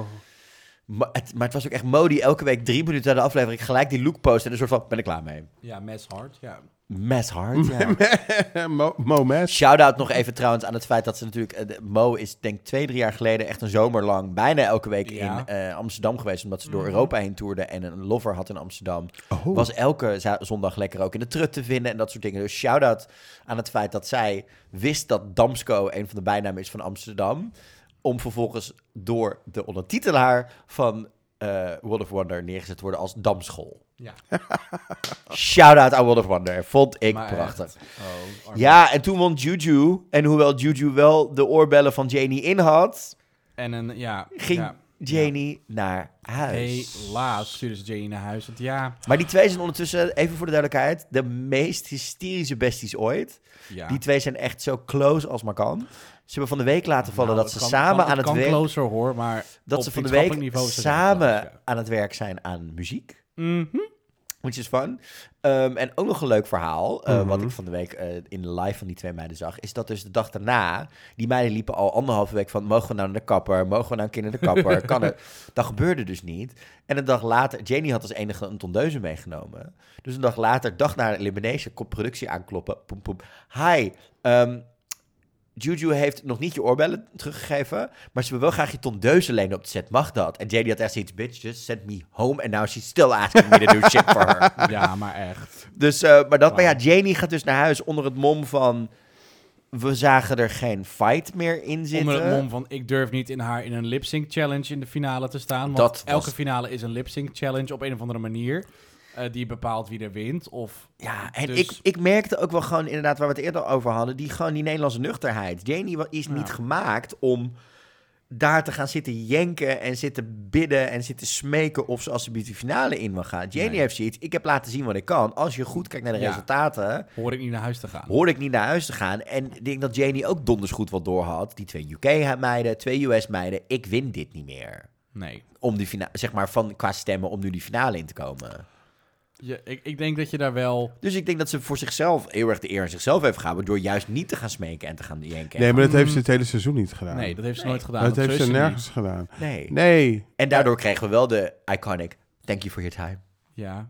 Speaker 1: Maar het, maar het was ook echt Modi elke week drie minuten na de aflevering gelijk die look post en een soort van, ben ik klaar mee.
Speaker 2: Ja, Mass Hard, ja.
Speaker 1: Mes hard, ja.
Speaker 3: Mo, Mo Mash.
Speaker 1: Shout-out nog even trouwens aan het feit dat ze natuurlijk... eh, de- Mo is denk ik twee, drie jaar geleden echt een zomer lang... bijna elke week
Speaker 2: Ja. Mhm.
Speaker 1: in eh, Amsterdam geweest... omdat ze door Europa heen toerde en een lover had in Amsterdam.
Speaker 3: Oh.
Speaker 1: Was elke za- zondag lekker ook in de trut te vinden en dat soort dingen. Dus shout-out aan het feit dat zij wist dat Damsco... een van de bijnamen is van Amsterdam... om vervolgens door de ondertitelaar van eh World of Wonder neergezet te worden als Damschool.
Speaker 2: Ja,
Speaker 1: Shout-out aan World of Wonder. Vond ik
Speaker 2: Oh. maar echt.
Speaker 1: prachtig.
Speaker 2: Oh, arm.
Speaker 1: Ja, en toen won Juju. En hoewel Juju wel de oorbellen van Janie in had,
Speaker 2: En een, ja.
Speaker 1: ging
Speaker 2: ja.
Speaker 1: Janie naar huis.
Speaker 2: Helaas stuurde ze Jane naar huis. Want ja,
Speaker 1: Maar die twee zijn ondertussen, even voor de duidelijkheid, de meest hysterische besties ooit.
Speaker 2: ja.
Speaker 1: Die twee zijn echt zo close als maar kan. Ze hebben van de week laten vallen
Speaker 2: Nou,
Speaker 1: dat ze
Speaker 2: kan-
Speaker 1: samen
Speaker 2: kan-
Speaker 1: aan het
Speaker 2: kan
Speaker 1: werk,
Speaker 2: closer hoor, maar
Speaker 1: dat
Speaker 2: op
Speaker 1: ze van de
Speaker 2: vriendschappelijk
Speaker 1: week
Speaker 2: niveau zijn ze
Speaker 1: samen
Speaker 2: close, ja.
Speaker 1: aan het werk zijn aan muziek.
Speaker 2: Mhm.
Speaker 1: Which is fun. Ehm, en ook nog een leuk verhaal, eh, wat
Speaker 3: Mhm.
Speaker 1: ik van de week eh, in de live van die twee meiden zag, is dat dus de dag daarna, die meiden liepen al anderhalve week van, mogen we nou naar de kapper, mogen we nou een keer naar de kapper, kan het? Dat gebeurde dus niet. En een dag later, Janie had als enige een tondeuze meegenomen. Dus een dag later, dag na Elimination, komt productie aankloppen, poem poem. Hi, ehm, Juju heeft nog niet je oorbellen teruggegeven, maar ze wil wel graag je tondeuze lenen op de set. Mag dat? En JD had echt zoiets, bitch, just send me home and now she's still asking me to do shit for her.
Speaker 2: Ja, maar echt.
Speaker 1: Dus, eh, maar dat, maar ja,
Speaker 2: Wauw.
Speaker 1: Janie gaat dus naar huis onder het mom van, we zagen er geen fight meer in zitten.
Speaker 2: Onder het mom van ik durf niet in haar in een lip sync challenge in de finale te staan. Want
Speaker 1: Dat was-
Speaker 2: elke finale is een lip sync challenge op een of andere manier. eh, die bepaalt wie er wint. Of
Speaker 1: Ja, en
Speaker 2: Dus-
Speaker 1: ik, ik merkte ook wel gewoon inderdaad waar we het eerder over hadden, die gewoon die Nederlandse nuchterheid. Janie wa- is
Speaker 2: Ja.
Speaker 1: niet gemaakt om daar te gaan zitten jenken en zitten bidden en zitten smeken of ze alsjeblieft de finale in wil gaan. Janie
Speaker 2: Nee.
Speaker 1: heeft zoiets, ik heb laten zien wat ik kan. Als je goed kijkt naar de
Speaker 2: Ja.
Speaker 1: resultaten,
Speaker 2: hoor ik niet naar huis te gaan.
Speaker 1: hoorde ik niet naar huis te gaan. En ik denk dat Janie ook donders goed wat door had. Die twee UK-meiden, twee US-meiden, ik win dit niet meer.
Speaker 2: Nee.
Speaker 1: Om die finale, zeg maar van qua stemmen, om nu die finale in te komen.
Speaker 2: Je, ik, ik denk dat je daar wel...
Speaker 1: Dus ik denk dat ze voor zichzelf heel erg de eer aan zichzelf heeft gehouden. door juist niet te gaan smeken en te gaan jenken.
Speaker 3: Nee, maar dat heeft ze het hele seizoen niet gedaan.
Speaker 2: Mm. Nee, dat heeft ze
Speaker 1: Nee.
Speaker 2: nooit gedaan.
Speaker 3: dat
Speaker 2: want
Speaker 3: heeft
Speaker 2: zo
Speaker 3: ze
Speaker 2: is niet.
Speaker 3: nergens gedaan.
Speaker 1: Nee.
Speaker 3: Nee.
Speaker 1: En daardoor kregen we wel de iconic. Thank you for your time.
Speaker 2: Ja.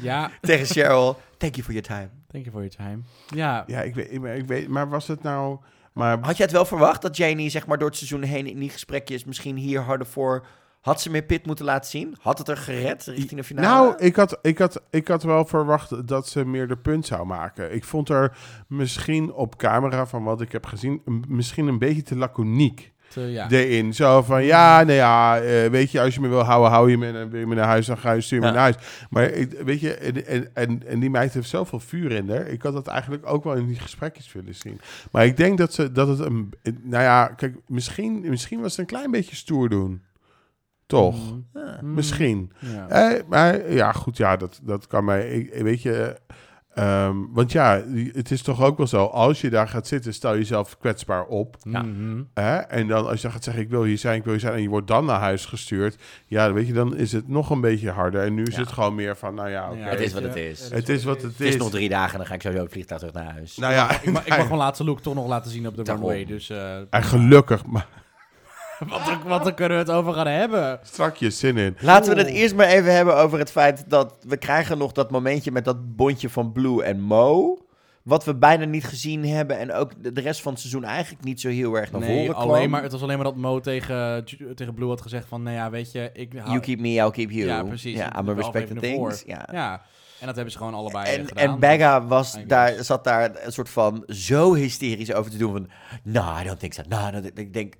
Speaker 2: ja,
Speaker 1: Tegen Cheryl. Thank you for your time.
Speaker 2: thank you for your time. Ja,
Speaker 3: Ja, ik weet, ik, maar ik weet, maar was het nou... Maar
Speaker 1: Had je het wel verwacht dat Janie, zeg maar, door het seizoen heen in die gesprekjes. misschien hier harder voor. had ze meer pit moeten laten zien? Had het er gered richting de finale?
Speaker 3: Nou, ik had, ik, had, ik had wel verwacht dat ze meer de punt zou maken. Ik vond er misschien op camera, van wat ik heb gezien, een- misschien een beetje te laconiek
Speaker 2: te- ja. Mm.
Speaker 3: erin. Zo van, ja, nou ja, eh, weet je, als je me wil houden, hou je me. En wil je me naar huis, dan ga je stuur je me
Speaker 1: Ja.
Speaker 3: naar huis. Maar ik, weet je, en, en, en, en die meid heeft zoveel vuur in haar. Ik had dat eigenlijk ook wel in die gesprekjes willen zien. Maar ik denk dat, ze, dat het een... Nou ja, kijk, misschien, misschien was het een klein beetje stoer doen. Toch?
Speaker 2: Mm.
Speaker 1: Ah.
Speaker 2: Mm.
Speaker 3: Misschien.
Speaker 2: Ja.
Speaker 3: Eh, maar ja, goed, ja, dat, dat kan mij. Ik, ik- weet je, ehm, want ja, het is toch ook wel zo. Als je daar gaat zitten, stel jezelf kwetsbaar op.
Speaker 1: Ja.
Speaker 2: Mhm.
Speaker 3: Hè? En dan als je gaat zeggen, ik wil hier zijn, ik wil hier zijn, en je wordt dan naar huis gestuurd. Ja, weet je, dan is het nog een beetje harder. En nu is
Speaker 1: Ja.
Speaker 3: het gewoon meer van, nou ja, oké.
Speaker 2: Ja,
Speaker 1: het is
Speaker 2: weet
Speaker 1: wat
Speaker 2: je.
Speaker 1: het is.
Speaker 3: het is wat het
Speaker 1: Het is
Speaker 3: is.
Speaker 1: nog drie dagen en dan ga ik sowieso het vliegtuig terug naar huis.
Speaker 3: Nou
Speaker 2: Ik,
Speaker 3: ja,
Speaker 2: mag, ik mag mijn laatste look toch nog laten zien op de
Speaker 1: Daarom.
Speaker 2: runway. Dus eh,
Speaker 3: en gelukkig, maar
Speaker 2: wat, dan- wat dan kunnen we het over gaan hebben?
Speaker 3: strak je zin in.
Speaker 1: Laten we het eerst maar even hebben over het feit dat we krijgen nog dat momentje met dat bondje van Blue en Mo. Wat we bijna niet gezien hebben en ook de de rest van het seizoen eigenlijk niet zo heel erg naar
Speaker 2: Nee,
Speaker 1: voren kwam.
Speaker 2: alleen maar, het was alleen maar dat Mo tegen, Ju- tegen Blue had gezegd van... Nou ja, weet je, ik... hou-
Speaker 1: You keep me, I'll keep you.
Speaker 2: Ja, precies.
Speaker 1: Ja,
Speaker 2: Dat
Speaker 1: I'm
Speaker 2: doet wel
Speaker 1: respecting
Speaker 2: even naar
Speaker 1: things. Ja.
Speaker 2: Ja, en dat hebben ze gewoon allebei eh,
Speaker 1: En,
Speaker 2: gedaan.
Speaker 1: en Bagga was
Speaker 2: I
Speaker 1: daar,
Speaker 2: guess.
Speaker 1: zat daar een soort van zo hysterisch over te doen van... Nou, I don't think so. Nou, dat- ik denk...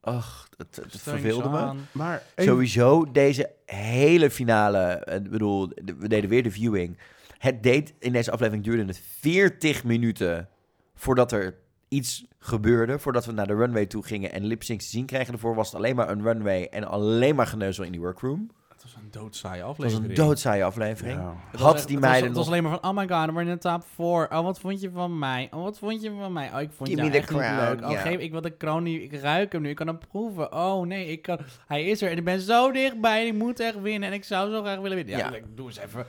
Speaker 1: Ach, het, het
Speaker 2: Dus steun
Speaker 1: verveelde
Speaker 2: ze
Speaker 1: me.
Speaker 2: aan.
Speaker 3: Maar even-
Speaker 1: Sowieso deze hele finale. eh, Ik bedoel, de- we deden weer de viewing. Het deed in deze aflevering duurde het 40 minuten voordat er iets gebeurde. Voordat we naar de runway toe gingen en lipsyncs te zien kregen. Daarvoor was het alleen maar een runway en alleen maar geneuzel in die workroom.
Speaker 2: Het was een doodzaaie
Speaker 1: Het was
Speaker 2: aflevering.
Speaker 1: een doodzaaie aflevering.
Speaker 3: Ja.
Speaker 2: Het was
Speaker 1: Had
Speaker 2: echt-
Speaker 1: die
Speaker 2: het was-
Speaker 1: meiden
Speaker 2: Het was
Speaker 1: nog...
Speaker 2: alleen maar van, oh my god, we're in the top 4. Oh, wat vond je van mij? Oh, wat vond je van mij? Oh, ik vond
Speaker 1: Give
Speaker 2: jou
Speaker 1: me the
Speaker 2: echt niet
Speaker 1: crown,
Speaker 2: leuk. Oh,
Speaker 1: ja.
Speaker 2: geef, ik wil de kroon nu. Ik ruik hem nu. Ik kan hem proeven. Oh, nee, ik kan... Hij is er. En ik ben zo dichtbij. En ik moet echt winnen. En ik zou zo graag willen winnen. Ja,
Speaker 1: Ja.
Speaker 2: ik doe eens even.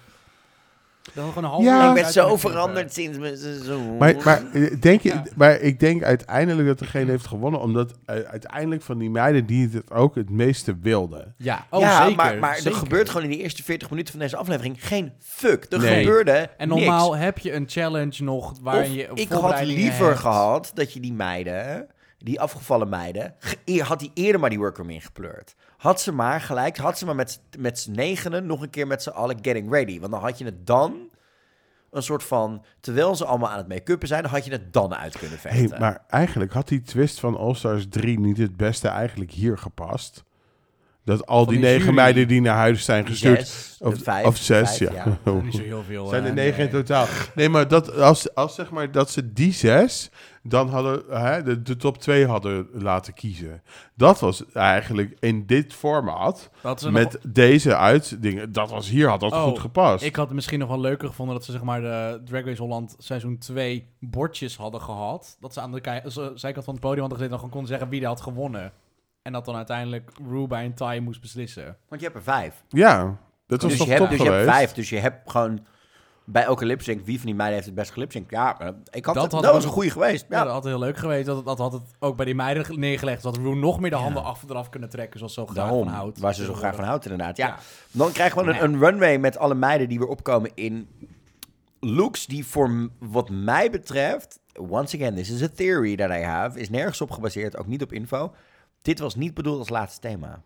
Speaker 2: Dan gewoon een half
Speaker 3: Ja.
Speaker 1: Ik ben zo veranderd sinds mijn seizoen.
Speaker 3: Maar, maar, eh, denk je,
Speaker 2: Ja.
Speaker 3: maar ik denk uiteindelijk dat degene heeft gewonnen, omdat eh, uiteindelijk van die meiden die het ook het meeste wilden.
Speaker 2: Ja, oh,
Speaker 1: ja,
Speaker 2: zeker.
Speaker 1: maar, maar
Speaker 2: zeker.
Speaker 1: er gebeurt gewoon in die eerste 40 minuten van deze aflevering geen fuck. Er
Speaker 3: Nee.
Speaker 1: gebeurde
Speaker 2: En
Speaker 1: niks.
Speaker 2: normaal heb je een challenge nog waarin
Speaker 1: Of
Speaker 2: je
Speaker 1: ik had
Speaker 2: voorbereidingen
Speaker 1: liever
Speaker 2: hebt.
Speaker 1: gehad dat je die meiden, die afgevallen meiden, ge- eer- had die eerder maar die workroom ingepleurd. Had ze maar gelijk, had ze maar met, z'n- met z'n negenen nog een keer met z'n allen getting ready. Want dan had je het dan een soort van, terwijl ze allemaal aan het make-uppen zijn, had je het dan uit kunnen
Speaker 3: Hey,
Speaker 1: vechten.
Speaker 3: maar eigenlijk had die twist van All Stars 3 niet het beste eigenlijk hier gepast. Dat al
Speaker 2: Van
Speaker 3: die,
Speaker 2: die
Speaker 3: negen
Speaker 2: jury.
Speaker 3: meiden die naar huis zijn gestuurd.
Speaker 1: Zes,
Speaker 3: dus of,
Speaker 1: vijf,
Speaker 3: of zes,
Speaker 1: vijf,
Speaker 3: ja.
Speaker 2: Niet zo heel veel.
Speaker 3: zijn er
Speaker 2: eh,
Speaker 3: negen in
Speaker 2: nee.
Speaker 3: totaal. Nee, maar dat, als, als zeg maar dat ze die zes dan hadden, hè, de, de top twee hadden laten kiezen. Dat was eigenlijk in dit formaat.
Speaker 2: Dat is een-
Speaker 3: Met deze uitdingen, dat was hier, had dat
Speaker 2: Oh,
Speaker 3: goed gepast.
Speaker 2: Ik had het misschien nog wel leuker gevonden dat ze zeg maar de Drag Race Holland seizoen 2 bordjes hadden gehad. Dat ze aan de kei- ze- zijkant van het podium hadden gezeten en dan gewoon kon zeggen wie er had gewonnen. En dat dan uiteindelijk Rue bij een tie moest beslissen.
Speaker 1: Want je hebt er vijf.
Speaker 3: Ja, Dat was
Speaker 1: dus
Speaker 3: toch
Speaker 1: je, hebt,
Speaker 3: top
Speaker 1: dus je
Speaker 3: geweest?
Speaker 1: hebt vijf. Dus je hebt gewoon bij elke lipsync, wie van die meiden heeft het beste lipsync? Ja, maar ik had
Speaker 2: Dat
Speaker 1: dat,
Speaker 2: had
Speaker 1: dat
Speaker 2: ook-
Speaker 1: was een goede geweest.
Speaker 2: Ja,
Speaker 1: Ja.
Speaker 2: dat had heel leuk geweest. Dat, dat had het ook bij die meiden ge- neergelegd. Dat Rue nog meer de handen af eraf kunnen trekken, zoals ze zo graag
Speaker 1: Daarom,
Speaker 2: van houdt.
Speaker 1: waar ze zo graag van houdt inderdaad. Ja.
Speaker 2: Ja.
Speaker 1: Dan krijgen we een, een runway met alle meiden die weer opkomen in looks die voor m- wat mij betreft... Once again, this is a theory that I have. Is nergens op gebaseerd, ook niet op info. Dit was niet bedoeld als laatste thema.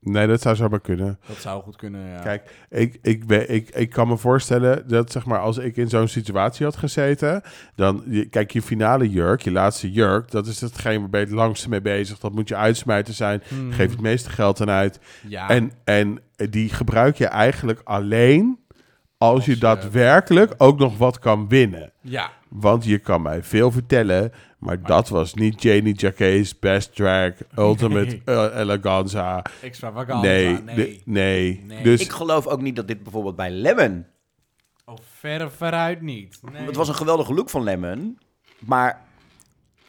Speaker 3: Nee, dat zou zomaar kunnen.
Speaker 2: Dat zou goed kunnen, ja.
Speaker 3: Kijk, ik, ik, we- ik, ik kan me voorstellen dat zeg maar, als ik in zo'n situatie had gezeten, dan, je- kijk, je finale jurk, je laatste jurk, dat is hetgeen waar ben je het langste mee bezig. Dat moet je uitsmijten zijn,
Speaker 2: Hmm.
Speaker 3: geef het meeste geld aan uit.
Speaker 2: Ja.
Speaker 3: En, en die gebruik je eigenlijk alleen als,
Speaker 2: Als
Speaker 3: je
Speaker 2: je-
Speaker 3: daadwerkelijk ook nog wat kan winnen.
Speaker 2: ja.
Speaker 3: Want je kan mij veel vertellen, maar dat was niet Janie Jacquet's best drag, ultimate eh, eleganza.
Speaker 2: Extravagant.
Speaker 3: Nee,
Speaker 2: nee.
Speaker 3: de- nee.
Speaker 2: Nee.
Speaker 3: Dus
Speaker 1: Ik geloof ook niet dat dit bijvoorbeeld bij Lemon
Speaker 2: Oh, verre veruit niet. Nee.
Speaker 1: Het was een geweldige look van Lemon, maar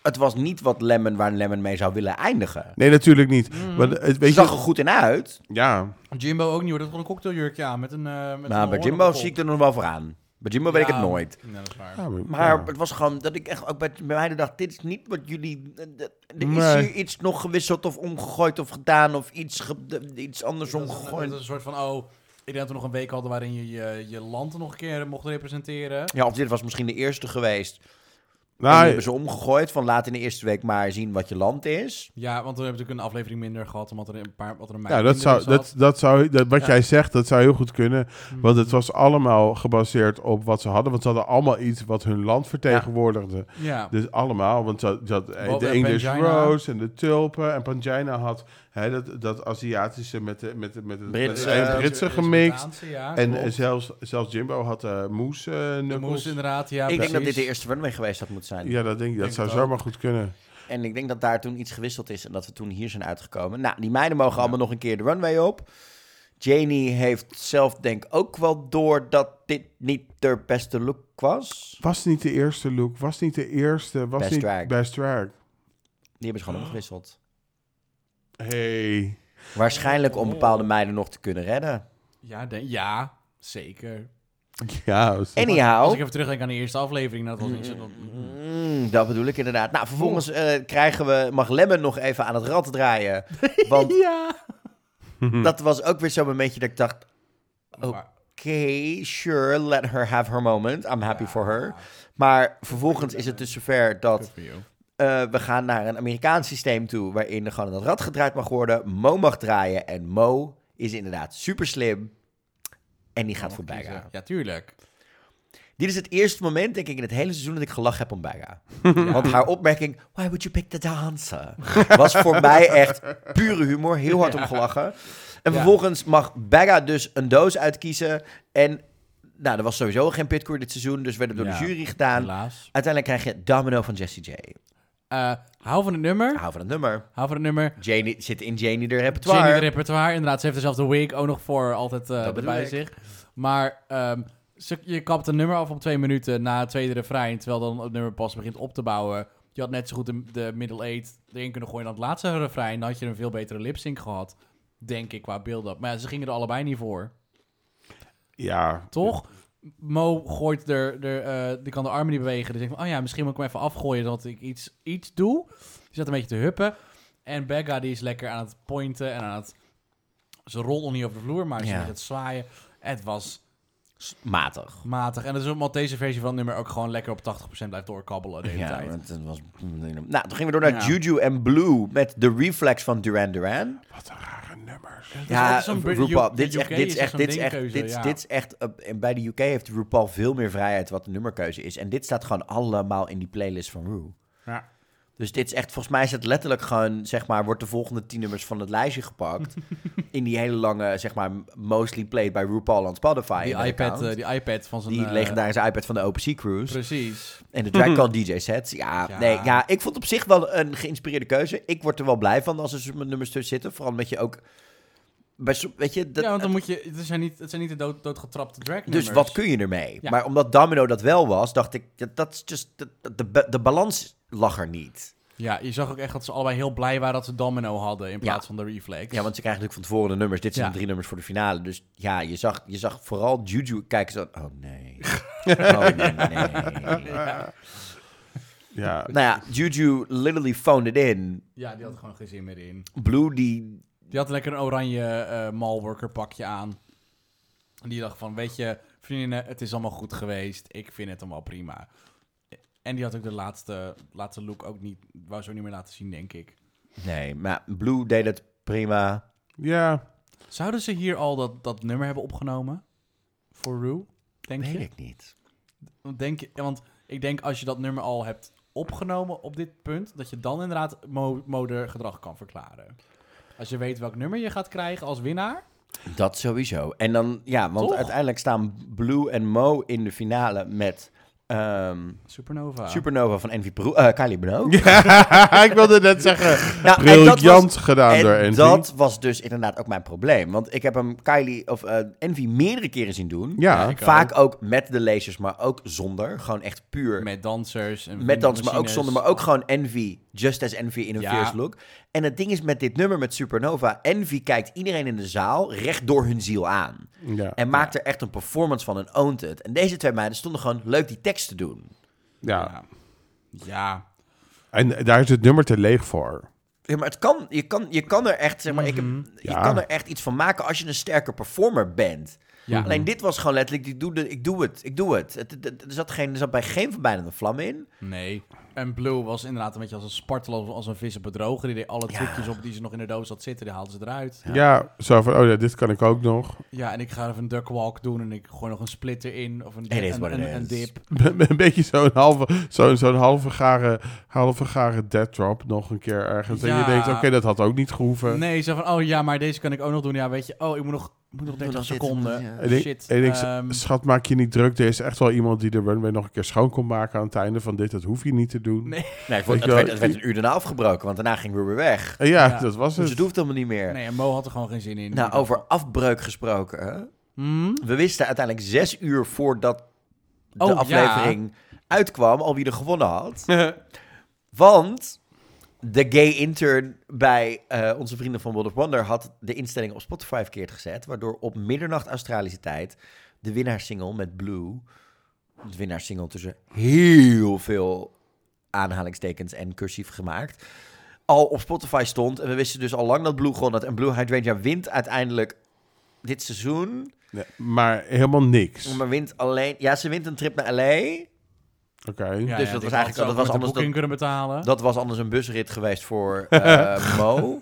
Speaker 1: het was niet wat Lemon waar Lemon mee zou willen eindigen.
Speaker 3: Nee, natuurlijk niet. Maar het,
Speaker 1: Het
Speaker 3: weet
Speaker 1: zag
Speaker 3: je,
Speaker 1: er goed in uit,
Speaker 3: ja,
Speaker 2: Jimbo ook niet hoor. Dat was een cocktailjurkje aan met een... eh, met
Speaker 1: maar
Speaker 2: een
Speaker 1: Nou, bij
Speaker 2: hoorn
Speaker 1: Jimbo
Speaker 2: op de
Speaker 1: zie ik
Speaker 2: kop.
Speaker 1: er nog wel voor aan. Bij Jimbo weet ik
Speaker 2: Ja.
Speaker 1: het nooit.
Speaker 2: Ja, dat is waar.
Speaker 3: ja,
Speaker 1: Maar
Speaker 3: ja.
Speaker 1: het was gewoon dat ik echt ook bij, bij mij dacht, dit is niet wat jullie... eh, d- Er is
Speaker 3: Nee.
Speaker 1: hier iets nog gewisseld of omgegooid of gedaan of iets, ge- d- iets andersom
Speaker 2: Dat is- dat
Speaker 1: gegooid.
Speaker 2: is een soort van, oh, ik denk dat we nog een week hadden waarin je je, je land nog een keer mocht representeren.
Speaker 1: Ja, of dit was misschien de eerste geweest. en die
Speaker 3: Nou,
Speaker 1: hebben ze omgegooid van laat in de eerste week maar zien wat je land is.
Speaker 2: Ja, want we hebben natuurlijk een aflevering minder gehad, omdat er een paar, wat er een meid
Speaker 3: ja, dat
Speaker 2: minder
Speaker 3: zou,
Speaker 2: zat.
Speaker 3: dat, dat zou, dat, wat
Speaker 2: Ja.
Speaker 3: jij zegt, dat zou heel goed kunnen. Want het was allemaal gebaseerd op wat ze hadden. Want ze hadden allemaal iets wat hun land vertegenwoordigde.
Speaker 2: Ja,
Speaker 3: Dus allemaal, want ze had- ze had, eh,
Speaker 2: Wat-
Speaker 3: de
Speaker 2: en
Speaker 3: English
Speaker 2: Pangina.
Speaker 3: Rose en de tulpen. En Pangina had hè, dat, dat Aziatische met, de, met, de- met, de- met
Speaker 1: Britse,
Speaker 3: de-
Speaker 1: eh,
Speaker 3: Britse
Speaker 2: Dus-
Speaker 3: gemixt.
Speaker 2: Spaanse, Ja,
Speaker 3: En
Speaker 2: klopt.
Speaker 3: eh, zelfs, zelfs Jimbo had eh moes eh,
Speaker 2: de
Speaker 3: knuckles.
Speaker 2: moes inderdaad, ja.
Speaker 1: ik denk dat
Speaker 2: precies.
Speaker 1: dit de eerste runway geweest had moeten zijn.
Speaker 3: Ja, dat denk ik. Dat
Speaker 2: Denk
Speaker 3: zou
Speaker 2: het ook.
Speaker 3: zomaar goed kunnen.
Speaker 1: En ik denk dat daar toen iets gewisseld is en dat we toen hier zijn uitgekomen. Nou, die meiden mogen allemaal nog een keer de runway op. Janie heeft zelf denk ik ook wel door dat dit niet de beste look was.
Speaker 3: Was niet de eerste look, was niet de eerste, was
Speaker 1: Best
Speaker 3: niet
Speaker 1: drag.
Speaker 3: best drag.
Speaker 1: Die hebben ze gewoon omgewisseld.
Speaker 3: Hey.
Speaker 1: Waarschijnlijk om bepaalde meiden nog te kunnen redden.
Speaker 2: Ja, denk- ja, zeker.
Speaker 3: Ja, dat is-
Speaker 2: Als ik
Speaker 1: Anyhow,
Speaker 2: even terugdenk aan de eerste aflevering, dat was niet zo... dat-
Speaker 1: mm, dat bedoel ik inderdaad. Nou, vervolgens eh, krijgen we, mag Lemmen nog even aan het rad draaien. Want
Speaker 2: Ja.
Speaker 1: dat was ook weer zo'n momentje dat ik dacht, Oh.
Speaker 2: Maar-
Speaker 1: oké, sure, let her have her moment. I'm happy for her. Maar vervolgens is het dus zover dat
Speaker 2: Good for you.
Speaker 1: Eh, we gaan naar een Amerikaans systeem toe waarin er gewoon aan het rad gedraaid mag worden. Mo mag draaien en Mo is inderdaad super slim. En die
Speaker 2: Oh,
Speaker 1: gaat voor Bijga.
Speaker 2: Ja, tuurlijk.
Speaker 1: Dit is het eerste moment, denk ik, in het hele seizoen dat ik gelachen heb om Bijga. Want haar opmerking, why would you pick the dancer? Was voor mij echt pure humor, heel hard om gelachen. En
Speaker 2: Ja.
Speaker 1: vervolgens mag Bagga dus een doos uitkiezen. En nou, er was sowieso geen pitcore dit seizoen, dus werd het door
Speaker 2: Ja.
Speaker 1: de jury gedaan.
Speaker 2: Helaas.
Speaker 1: Uiteindelijk krijg je Domino van Jesse J.
Speaker 2: Eh, hou van het nummer.
Speaker 1: Hou van het nummer.
Speaker 2: Hou van het nummer.
Speaker 1: Janie zit in Janie de
Speaker 2: Jenny
Speaker 1: repertoire.
Speaker 2: de repertoire. Inderdaad, ze heeft dezelfde wig ook nog voor altijd eh
Speaker 1: Dat bedoel
Speaker 2: bij
Speaker 1: ik.
Speaker 2: zich. Maar ehm, ze- je kapt een nummer af op twee minuten na het tweede refrein, terwijl dan het nummer pas begint op te bouwen. Je had net zo goed de, de middle eight erin kunnen gooien dan het laatste refrein. Dan had je een veel betere lip sync gehad, denk ik, qua build-up. Maar ja, ze gingen er allebei niet voor,
Speaker 3: ja.
Speaker 2: toch? Mo gooit er, er eh, die kan de armen niet bewegen. Dus ik denk van, oh ja, misschien moet ik hem even afgooien zodat ik iets, iets doe. Die zat een beetje te huppen. En Becca die is lekker aan het pointen en aan het... Ze rolt nog niet over de vloer, maar ze
Speaker 1: Ja.
Speaker 2: gaat het zwaaien. Het was
Speaker 1: Matig.
Speaker 2: matig. En dat is omdat deze versie van het nummer ook gewoon lekker op 80% blijft doorkabbelen de hele
Speaker 1: Ja,
Speaker 2: tijd.
Speaker 1: want het was... Nou, toen gingen we door naar
Speaker 2: Ja.
Speaker 1: Juju en Blue met de reflex van Duran Duran.
Speaker 3: Wat een rare nummers.
Speaker 1: Ja,
Speaker 2: is zo'n Brit-
Speaker 1: RuPaul.
Speaker 2: U-
Speaker 1: Dit is echt,
Speaker 2: UK
Speaker 1: dit is
Speaker 2: is
Speaker 1: echt,
Speaker 2: zo'n
Speaker 1: dit is echt,
Speaker 2: dingkeuze,
Speaker 1: dit is-
Speaker 2: ja.
Speaker 1: dit is echt... eh, en bij de UK heeft RuPaul veel meer vrijheid wat de nummerkeuze is. En dit staat gewoon allemaal in die playlist van Ru.
Speaker 2: Ja.
Speaker 1: Dus dit is echt, volgens mij is het letterlijk gewoon, zeg maar, wordt de volgende tien nummers van het lijstje gepakt. in die hele lange, zeg maar, mostly played by RuPaul on Spotify.
Speaker 2: Die iPad,
Speaker 1: account.
Speaker 2: eh, die iPad van zijn...
Speaker 1: die
Speaker 2: eh,
Speaker 1: legendarische iPad van de OpenSea Cruise.
Speaker 2: Precies.
Speaker 1: En de Drag Call DJ sets. Ja,
Speaker 2: Ja.
Speaker 1: Nee, ja, ik vond op zich wel een geïnspireerde keuze. Ik word er wel blij van als er zo'n nummers tussen zitten. Vooral omdat je ook... bij zo- weet je, dat,
Speaker 2: ja, want dan moet je... Het zijn niet, het zijn niet de dood, doodgetrapte drag
Speaker 1: dus wat kun je ermee?
Speaker 2: Ja.
Speaker 1: Maar omdat Domino dat wel was, dacht ik... dat- Dat is just... dat- dat- De, ba- de balans lag er niet.
Speaker 2: Ja, je zag ook echt dat ze allebei heel blij waren dat ze Domino hadden in plaats van de Reflex.
Speaker 1: Ja, want ze krijgen natuurlijk van tevoren de nummers. Dit zijn
Speaker 2: Ja.
Speaker 1: de drie nummers voor de finale. Dus ja, je zag, je zag vooral Juju kijken zo... Oh nee. Oh nee, nee.
Speaker 3: Ja,
Speaker 1: Nou ja, Juju literally phoned it in.
Speaker 2: Ja, die had er gewoon geen zin meer in.
Speaker 1: Blue, die...
Speaker 2: Die had lekker een oranje eh malworker pakje aan. En die dacht van, weet je, vriendinnen, het is allemaal goed geweest. Ik vind het allemaal prima. En die had ook de laatste, laatste look ook niet, wou ze ook niet meer laten zien, denk ik.
Speaker 1: Nee, maar Blue deed het prima.
Speaker 3: ja.
Speaker 2: Zouden ze hier al dat, dat nummer hebben opgenomen? Voor Rue? Denk
Speaker 1: Weet
Speaker 2: je?
Speaker 1: ik niet.
Speaker 2: Want Denk je? Want ik denk als je dat nummer al hebt opgenomen op dit punt, dat je dan inderdaad mo modergedrag kan verklaren. Als je weet welk nummer je gaat krijgen als winnaar.
Speaker 1: Dat sowieso. En dan, ja, want
Speaker 2: Toch?
Speaker 1: uiteindelijk staan Blue en Mo in de finale met ehm,
Speaker 2: Supernova.
Speaker 1: Supernova van Envy Peru, eh Kylie Minogue.
Speaker 3: ja, ik wilde net zeggen,
Speaker 1: Nou, en dat was-
Speaker 3: briljant gedaan door
Speaker 1: En
Speaker 3: Andy.
Speaker 1: dat was dus inderdaad ook mijn probleem. Want ik heb hem Kylie of eh, Envy meerdere keren zien doen.
Speaker 3: Ja,
Speaker 2: ik
Speaker 1: Vaak ook met de lasers, maar ook zonder. Gewoon echt puur met,
Speaker 2: Met dansers. En
Speaker 1: dans, maar ook
Speaker 2: machines.
Speaker 1: zonder. Maar ook gewoon Envy, just as Envy in een
Speaker 2: Ja.
Speaker 1: fierce look. En het ding is met dit nummer, met Supernova... Envy kijkt iedereen in de zaal recht door hun ziel aan.
Speaker 3: ja,
Speaker 1: En maakt er echt een performance van en oont het. En deze twee meiden stonden gewoon leuk die tekst te doen.
Speaker 3: ja.
Speaker 2: Ja.
Speaker 3: En daar is het nummer te leeg voor.
Speaker 1: Ja, maar het kan, je, kan, je kan er echt, zeg maar, ik heb, je
Speaker 3: Ja.
Speaker 1: kan er echt iets van maken als je een sterker performer bent.
Speaker 2: Ja.
Speaker 1: Alleen dit was gewoon letterlijk, ik doe, de, ik doe het, ik doe het. Het- het- het- er, zat geen, er zat bij geen van beiden een vlam in.
Speaker 2: Nee. En Blue was inderdaad een beetje als een spartel, als- als een vis op bedroger. Die deed alle
Speaker 1: Ja.
Speaker 2: trucjes op die ze nog in de doos had zitten, die haalden ze eruit.
Speaker 3: Ja. zo van, oh ja, dit kan ik ook nog.
Speaker 2: Ja, en ik ga even een duckwalk doen en ik gooi nog een splitter in. Of een,
Speaker 1: It is
Speaker 2: een,
Speaker 1: what it
Speaker 2: een, een
Speaker 1: is.
Speaker 2: dip.
Speaker 3: een beetje zo'n halve, zo'n zo'n halve garen, halve garen dead drop nog een keer ergens. En
Speaker 2: Ja.
Speaker 3: je denkt, oké, dat had ook niet gehoeven.
Speaker 2: Nee, zo van, oh ja, maar deze kan ik ook nog doen. Ja, weet je, oh, ik moet nog, ik moet nog 30
Speaker 1: nog dit,
Speaker 2: seconden.
Speaker 1: ja.
Speaker 3: En ik,
Speaker 2: Shit.
Speaker 3: en ik z-
Speaker 2: ehm,
Speaker 3: schat, maak je niet druk. Er is echt wel iemand die de runway nog een keer schoon kon maken aan het einde van dit. Dat hoef je niet te doen.
Speaker 2: Nee.
Speaker 1: Nee, het, wordt-
Speaker 3: Weet je
Speaker 1: het
Speaker 3: wel,
Speaker 1: werd, het werd een uur daarna afgebroken, want daarna ging Ruby weg.
Speaker 3: En ja,
Speaker 2: Ja.
Speaker 3: dat was
Speaker 1: Dus
Speaker 3: het.
Speaker 1: het hoeft helemaal niet meer.
Speaker 2: nee, en Mo had er gewoon geen zin in.
Speaker 1: Nou, over Dus afbreuk gesproken. hè?
Speaker 2: Hmm?
Speaker 1: We wisten uiteindelijk zes uur voordat de
Speaker 2: Oh, ja.
Speaker 1: aflevering uitkwam al wie er gewonnen had. Want de gay intern bij eh, onze vrienden van World of Wonder had de instellingen op Spotify verkeerd gezet. Waardoor op middernacht Australische tijd de winnaarssingle met Blue, de winnaarssingle tussen heel veel aanhalingstekens en cursief gemaakt, al op Spotify stond. En we wisten dus al lang dat Blue gewonnen had. En Blue Hydrangea wint uiteindelijk dit seizoen.
Speaker 3: Nee, maar helemaal niks. Oké.
Speaker 1: Maar wint alleen... Ja, ze wint een trip naar LA.
Speaker 2: Ja,
Speaker 1: Dus
Speaker 2: ja,
Speaker 1: dat
Speaker 2: die
Speaker 1: was eigenlijk-
Speaker 2: had ze
Speaker 1: dat was
Speaker 2: ook met
Speaker 1: anders
Speaker 2: de
Speaker 1: dan-
Speaker 2: boeking kunnen betalen.
Speaker 1: Dat was anders een busrit geweest voor eh, Mo.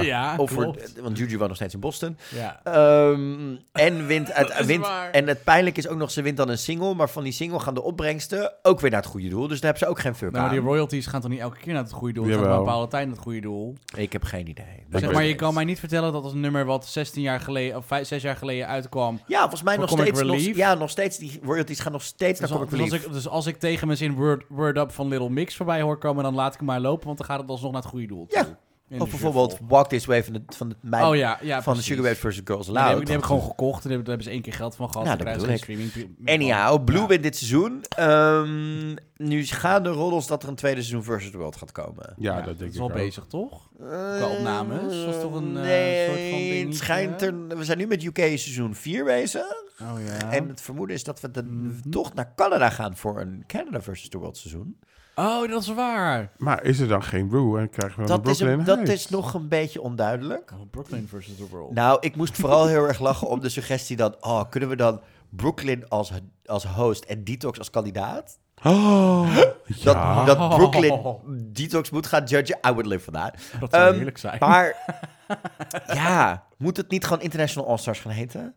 Speaker 2: ja,
Speaker 1: Of voor,
Speaker 2: Ah, klopt.
Speaker 1: want Juju woont nog steeds in Boston.
Speaker 2: Ja.
Speaker 1: Ehm, en wint
Speaker 2: Dat is
Speaker 1: uit, wint,
Speaker 2: waar.
Speaker 1: en het pijnlijk is ook nog, ze wint dan een single. Maar van die single gaan de opbrengsten ook weer naar het goede doel. Dus daar hebben ze ook geen fuck
Speaker 2: Nou, maar die
Speaker 1: aan.
Speaker 2: royalties gaan toch niet elke keer naar het goede doel? Het gaat maar
Speaker 3: Jawel.
Speaker 2: een bepaalde tijd naar het goede doel.
Speaker 1: Ik heb geen idee.
Speaker 2: Zeg maar, je kan mij niet vertellen dat als een nummer wat 16 jaar geleden, of 5, 6 jaar geleden uitkwam.
Speaker 1: Ja, volgens mij
Speaker 2: Voor
Speaker 1: nog
Speaker 2: Comic
Speaker 1: steeds, nog,
Speaker 2: Relief?
Speaker 1: ja, nog steeds. Die royalties gaan nog steeds
Speaker 2: Dus,
Speaker 1: naar
Speaker 2: al-
Speaker 1: Comic
Speaker 2: dus als
Speaker 1: Relief.
Speaker 2: ik, dus als ik tegen mijn zin word, word Up van Little Mix voorbij hoor komen, dan laat ik hem maar lopen, want dan gaat het alsnog naar het goede doel. toe.
Speaker 1: Ja.
Speaker 2: In de
Speaker 1: Of
Speaker 2: shuffle.
Speaker 1: bijvoorbeeld Walk This Way van de, van de, mijn-
Speaker 2: Oh ja, ja.
Speaker 1: van de
Speaker 2: precies.
Speaker 1: Sugar Babes vs. Girls
Speaker 2: Die heb, ik-
Speaker 1: Aloud.
Speaker 2: die heb ik gewoon gekocht en daar hebben- daar hebben ze één keer geld van gehad.
Speaker 1: Nou,
Speaker 2: Dan
Speaker 1: dat
Speaker 2: krijgen ze geen streaming.
Speaker 1: Anyhow, Blue
Speaker 2: Ja.
Speaker 1: wint dit seizoen. Ehm, nu gaan de roddels dat er een tweede seizoen Versus World gaat komen.
Speaker 3: Ja,
Speaker 2: Ja,
Speaker 3: dat denk
Speaker 2: is
Speaker 3: ik
Speaker 2: wel
Speaker 3: ook.
Speaker 2: bezig, toch?
Speaker 1: Qua
Speaker 2: Qua opnames? Was toch een, eh,
Speaker 1: Eh, nee,
Speaker 2: soort van dingetje?
Speaker 1: het schijnt er... We zijn nu met UK seizoen 4 bezig.
Speaker 2: Oh ja. Mm-hmm.
Speaker 1: En het vermoeden is dat we dan toch naar Canada gaan voor een Canada versus the World seizoen.
Speaker 2: Oh, dat is waar.
Speaker 3: Maar is er dan geen Rue en krijgen we dan
Speaker 1: Dat is,
Speaker 3: Brooklyn
Speaker 1: een- dat
Speaker 3: Heights?
Speaker 1: is nog een beetje onduidelijk.
Speaker 2: Oh, Brooklyn versus the World.
Speaker 1: Nou, ik moest vooral heel erg lachen om de suggestie dat... Oh, kunnen we dan Brooklyn als, als host en Detox als kandidaat?
Speaker 3: Oh,
Speaker 1: Dat,
Speaker 3: ja.
Speaker 1: dat Brooklyn Detox moet gaan judgen? I would live for that.
Speaker 2: dat zou
Speaker 1: ehm,
Speaker 2: heerlijk zijn.
Speaker 1: Maar ja, moet het niet gewoon International All-Stars gaan heten?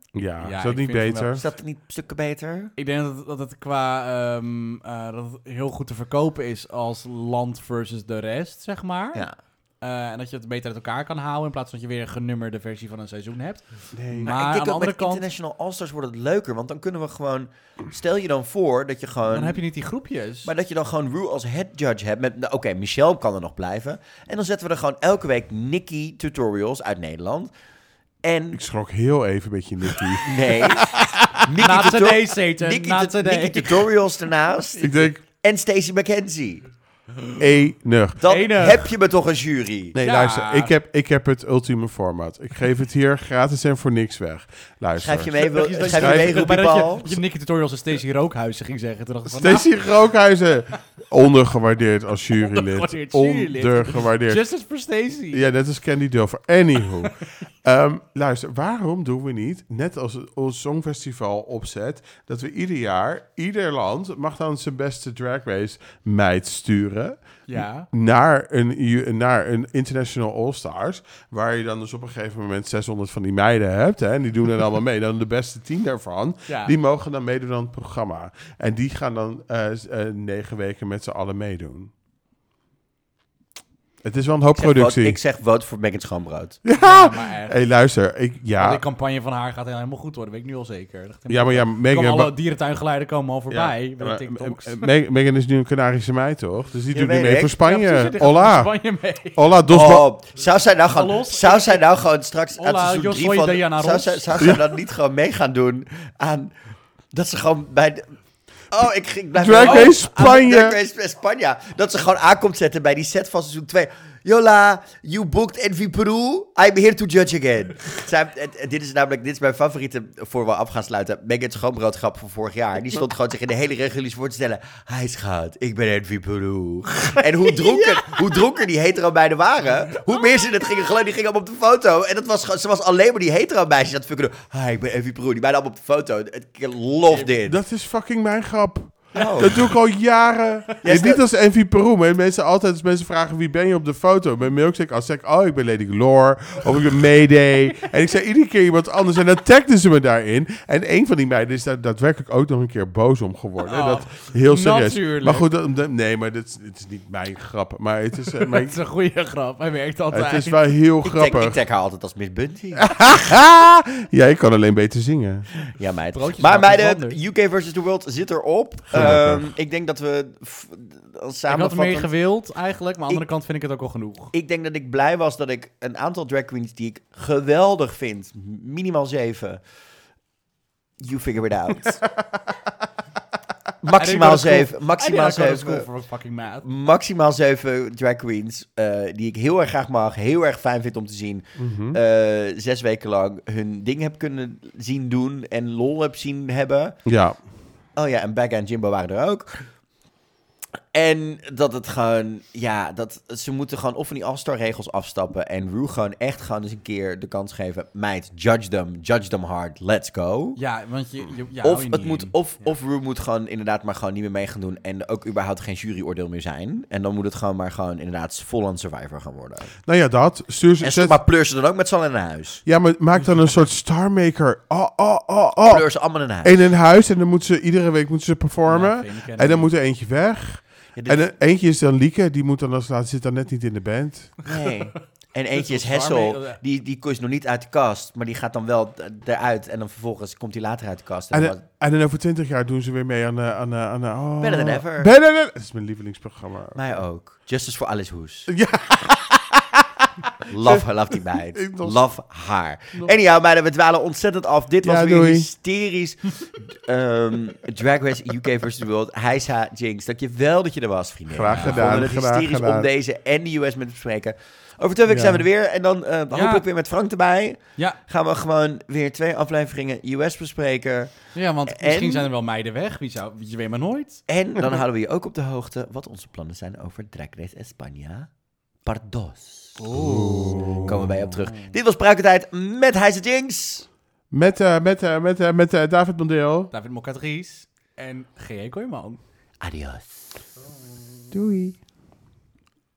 Speaker 2: Ja,
Speaker 3: ja, is
Speaker 2: ik
Speaker 3: dat niet
Speaker 2: vind het
Speaker 1: Is
Speaker 3: beter?
Speaker 1: dat niet stukken beter?
Speaker 2: Ik denk dat het, dat het qua ehm, eh, dat het heel goed te verkopen is als land versus de rest, zeg maar.
Speaker 1: Ja.
Speaker 2: Eh, en dat je het beter uit elkaar kan houden in plaats van dat je weer een genummerde versie van een seizoen hebt.
Speaker 3: Nee.
Speaker 2: Maar,
Speaker 1: Maar ik
Speaker 2: aan
Speaker 1: denk
Speaker 2: de
Speaker 1: ook
Speaker 2: andere
Speaker 1: met
Speaker 2: kant,
Speaker 1: International All-Stars wordt het leuker. Want dan kunnen we gewoon... Stel je dan voor dat je gewoon...
Speaker 2: dan heb je niet die groepjes.
Speaker 1: Maar dat je dan gewoon Rue als head judge hebt. met- nou, Oké, Michelle kan er nog blijven. En dan zetten we er gewoon elke week Nikki tutorials uit Nederland. En...
Speaker 3: Ik schrok heel even een beetje, Nicky.
Speaker 1: Nee.
Speaker 2: Na
Speaker 1: tuto-
Speaker 2: today's eten,
Speaker 1: Nikki,
Speaker 2: na
Speaker 1: tut-
Speaker 2: today.
Speaker 1: Nikki tutorials ernaast.
Speaker 3: ik denk,
Speaker 1: en Stacey McKenzie.
Speaker 3: enig.
Speaker 1: Dan
Speaker 2: Enig.
Speaker 1: heb je me toch een jury.
Speaker 3: Nee,
Speaker 4: Ja.
Speaker 3: luister, ik heb, ik heb het ultieme format. Ik geef het hier gratis en voor niks weg. Luister.
Speaker 1: Schrijf je mee, wil,
Speaker 4: Dat je- dat
Speaker 1: schrijf
Speaker 4: je-
Speaker 1: je mee
Speaker 4: bij
Speaker 1: roepen,
Speaker 4: dat je-
Speaker 1: Paul?
Speaker 4: dat Je Nicky Tutorials en Stacey Rookhuizen ging zeggen. Toen dacht ik van, nou,
Speaker 3: Stacey Rookhuizen, ondergewaardeerd als jurylid.
Speaker 4: Ondergewaardeerd jurylid.
Speaker 3: Ondergewaardeerd.
Speaker 4: Justice for Stacey.
Speaker 3: Ja, net als Candy Dulfer. Anywho. Ehm, luister, waarom doen we niet, net als het- ons Songfestival opzet, dat we ieder jaar, ieder land mag dan zijn beste drag race meid sturen
Speaker 4: Ja.
Speaker 3: naar een, ju- naar een International All-Stars, waar je dan dus op een gegeven moment 600 van die meiden hebt, hè, en die doen er allemaal mee. Dan de beste tien daarvan,
Speaker 4: Ja.
Speaker 3: die mogen dan meedoen aan het programma. En die gaan dan eh, s- eh, negen weken met z'n allen meedoen. Het is wel een hoop
Speaker 1: Ik zeg vote-
Speaker 3: productie.
Speaker 1: Ik zeg vote voor Megan Schoonbrood.
Speaker 4: Ja,
Speaker 1: Ah!
Speaker 4: maar echt.
Speaker 3: Hé, hey, luister. Ik,
Speaker 4: Want
Speaker 3: ja,
Speaker 4: Die campagne van haar gaat helemaal goed worden, weet ik nu al zeker. Dat-
Speaker 3: ja, maar ja, Megan...
Speaker 4: Komen alle
Speaker 3: maar-
Speaker 4: dierentuingeleiden komen al voorbij
Speaker 3: ja,
Speaker 4: bij
Speaker 3: maar-
Speaker 4: de TikToks.
Speaker 3: eh, Meg- Megan is nu een Canarische meid, toch? Dus die
Speaker 1: Ja,
Speaker 3: doet nu
Speaker 1: weet
Speaker 3: mee
Speaker 1: ik.
Speaker 3: voor
Speaker 4: Ja,
Speaker 3: Spanje.
Speaker 4: precies, die gaat naar
Speaker 3: Hola.
Speaker 4: Spanje mee.
Speaker 3: Hola, dos... ba-
Speaker 1: Oh, zou zij nou gewoon,
Speaker 4: Los.
Speaker 1: zou zij nou gewoon straks aan
Speaker 4: Hola,
Speaker 1: seizoen
Speaker 4: yo
Speaker 1: 3
Speaker 4: soy
Speaker 1: van...
Speaker 4: Diana
Speaker 1: Zou
Speaker 4: Ross.
Speaker 1: zij, zou zij dan niet gewoon mee gaan doen aan... Dat ze gewoon bij... de- oh, ik, ik blijf...
Speaker 3: Drag
Speaker 1: oh,
Speaker 3: Race
Speaker 1: aan-
Speaker 3: Spanje.
Speaker 1: Drag Race Spanje. Dat ze gewoon aankomt zetten bij die set van seizoen 2. Yola, you booked Envy Peru. I'm here to judge again. Zij, het- het- dit is namelijk dit is mijn favoriete voor we af gaan sluiten. Megan Schoonbrood grap van vorig jaar. Die stond gewoon zich in de hele reguliere voor te stellen. Hij schat, ik ben Envy Peru. En hoe dronken, hoe dronken die hetero meiden waren. Hoe meer ze het gingen geloven. Die gingen allemaal op de foto. En dat was, gewoon- ze was alleen maar die hetero meisjes aan het fucken. doen. Hi, ik ben Envy Peru. Die meiden allemaal op de foto. Ik love dit.
Speaker 3: Dat is fucking mijn grap.
Speaker 1: Oh.
Speaker 3: Dat doe ik al jaren.
Speaker 1: Jij
Speaker 3: niet
Speaker 1: staat-
Speaker 3: als Envy Peru, maar mensen altijd als mensen vragen wie ben je op de foto. Bij Milkshake, als zeg ik, oh, ik ben Lady Glore, of ik ben Mayday. en ik zei iedere keer iemand anders en dan tagden ze me daarin. En een van die meiden is daar daadwerkelijk ook nog een keer boos om geworden.
Speaker 4: Oh,
Speaker 3: dat heel serieus.
Speaker 4: natuurlijk.
Speaker 3: Maar goed, dat- dat- nee, maar dit, is- dit is niet mijn grap. Maar het is, eh, mijn-
Speaker 4: Dat is een goede grap, hij werkt altijd.
Speaker 3: het is wel heel
Speaker 1: Ik tag, ik
Speaker 3: grappig.
Speaker 1: tag haar altijd als Miss Bunty.
Speaker 3: Ja, ik kan alleen beter zingen.
Speaker 1: Ja, meid.
Speaker 4: Broodjes
Speaker 1: maar
Speaker 4: maken is
Speaker 1: meiden, UK versus the World zit erop.
Speaker 3: Gelukkig.
Speaker 1: Ehm, ik denk dat we f- als
Speaker 4: ik had meer
Speaker 1: samenvattend... Ik,
Speaker 4: gewild eigenlijk, maar aan de andere kant vind ik het ook al genoeg.
Speaker 1: denk dat ik blij was dat ik een aantal drag queens die ik geweldig vind, minimaal zeven, you figure it out. maximaal zeven, maximaal
Speaker 4: school
Speaker 1: zeven,
Speaker 4: voor fucking maat.
Speaker 1: maximaal zeven drag queens eh, die ik heel erg graag mag, heel erg fijn vind om te zien.
Speaker 4: Hm?
Speaker 3: Mhm.
Speaker 1: eh, zes weken lang hun ding heb kunnen zien doen en lol heb zien hebben.
Speaker 3: Ja.
Speaker 1: Oh ja, en Becca en Jimbo waren er ook. En dat het gewoon, ja, dat ze moeten gewoon of van die all-star regels afstappen en Rue gewoon echt gewoon eens een keer de kans geven. Meid, judge them, judge them hard, let's go.
Speaker 4: Ja, want je, je, ja, hou
Speaker 1: of
Speaker 4: je
Speaker 1: het
Speaker 4: niet
Speaker 1: moet,
Speaker 4: in.
Speaker 1: of, of Rue moet gewoon inderdaad maar gewoon niet meer mee gaan doen en ook überhaupt geen juryoordeel meer zijn. En dan moet het gewoon maar gewoon inderdaad vol aan Survivor gaan worden.
Speaker 3: Nou ja, dat. Stuur ze...
Speaker 1: En
Speaker 3: zet-
Speaker 1: ze, maar pleur ze dan ook met z'n allen naar huis.
Speaker 3: Ja, maar maak dan een soort Starmaker. Oh, oh, oh, oh.
Speaker 1: Pleur ze allemaal naar huis.
Speaker 3: In een huis en dan moet ze iedere week moet ze performen.
Speaker 4: Ja, vind ik
Speaker 3: en dan moet er eentje weg.
Speaker 1: Ja, dit-
Speaker 3: En een- eentje is dan Lieke, die moet dan als laatste zit dan net niet in de band.
Speaker 1: Nee. En
Speaker 4: is
Speaker 1: eentje is
Speaker 4: wel zwaar mee,
Speaker 1: Hessel,
Speaker 4: eh.
Speaker 1: die, die is nog niet uit de kast, maar die gaat dan wel d- eruit en dan vervolgens komt hij later uit de kast. En
Speaker 3: En,
Speaker 1: dan
Speaker 3: dan- en dan over twintig jaar doen ze weer mee aan... eh, aan, eh, aan eh, oh.
Speaker 1: Better than ever.
Speaker 3: Better than Dat is mijn lievelingsprogramma.
Speaker 1: was- mij ook. Justice voor Alice Hoes.
Speaker 3: Ja.
Speaker 1: Love her, love die meid.
Speaker 3: Ik nog-
Speaker 1: Love haar. Anyhow, meiden, we dwalen ontzettend af. Dit was
Speaker 3: Ja,
Speaker 1: weer
Speaker 3: doei.
Speaker 1: hysterisch. Ehm, Drag Race UK vs. World. Heisa Jinx, dankjewel dat je er was, vriendin.
Speaker 3: Graag
Speaker 1: We
Speaker 3: gedaan,
Speaker 1: vonden het
Speaker 3: graag
Speaker 1: hysterisch om
Speaker 3: gedaan.
Speaker 1: deze en de US met te bespreken. Over twee weken
Speaker 3: Ja.
Speaker 1: zijn we er weer. En dan eh hopelijk weer met Frank erbij.
Speaker 4: Ja,
Speaker 1: gaan we gewoon weer twee afleveringen US bespreken.
Speaker 4: ja, want
Speaker 1: En-
Speaker 4: misschien zijn er wel meiden weg. Wie zou, je weet maar nooit.
Speaker 1: En dan houden we je ook op de hoogte wat onze plannen zijn over Drag Race España. Pardos. Komen we bij je op terug. Dit was Pruikentijd met Heise Jinx.
Speaker 3: Met, eh, met, eh, met, eh, met eh, David Mondeel.
Speaker 4: E David Mokadries en G.E. Kooijman.
Speaker 1: Adios.
Speaker 3: Doei.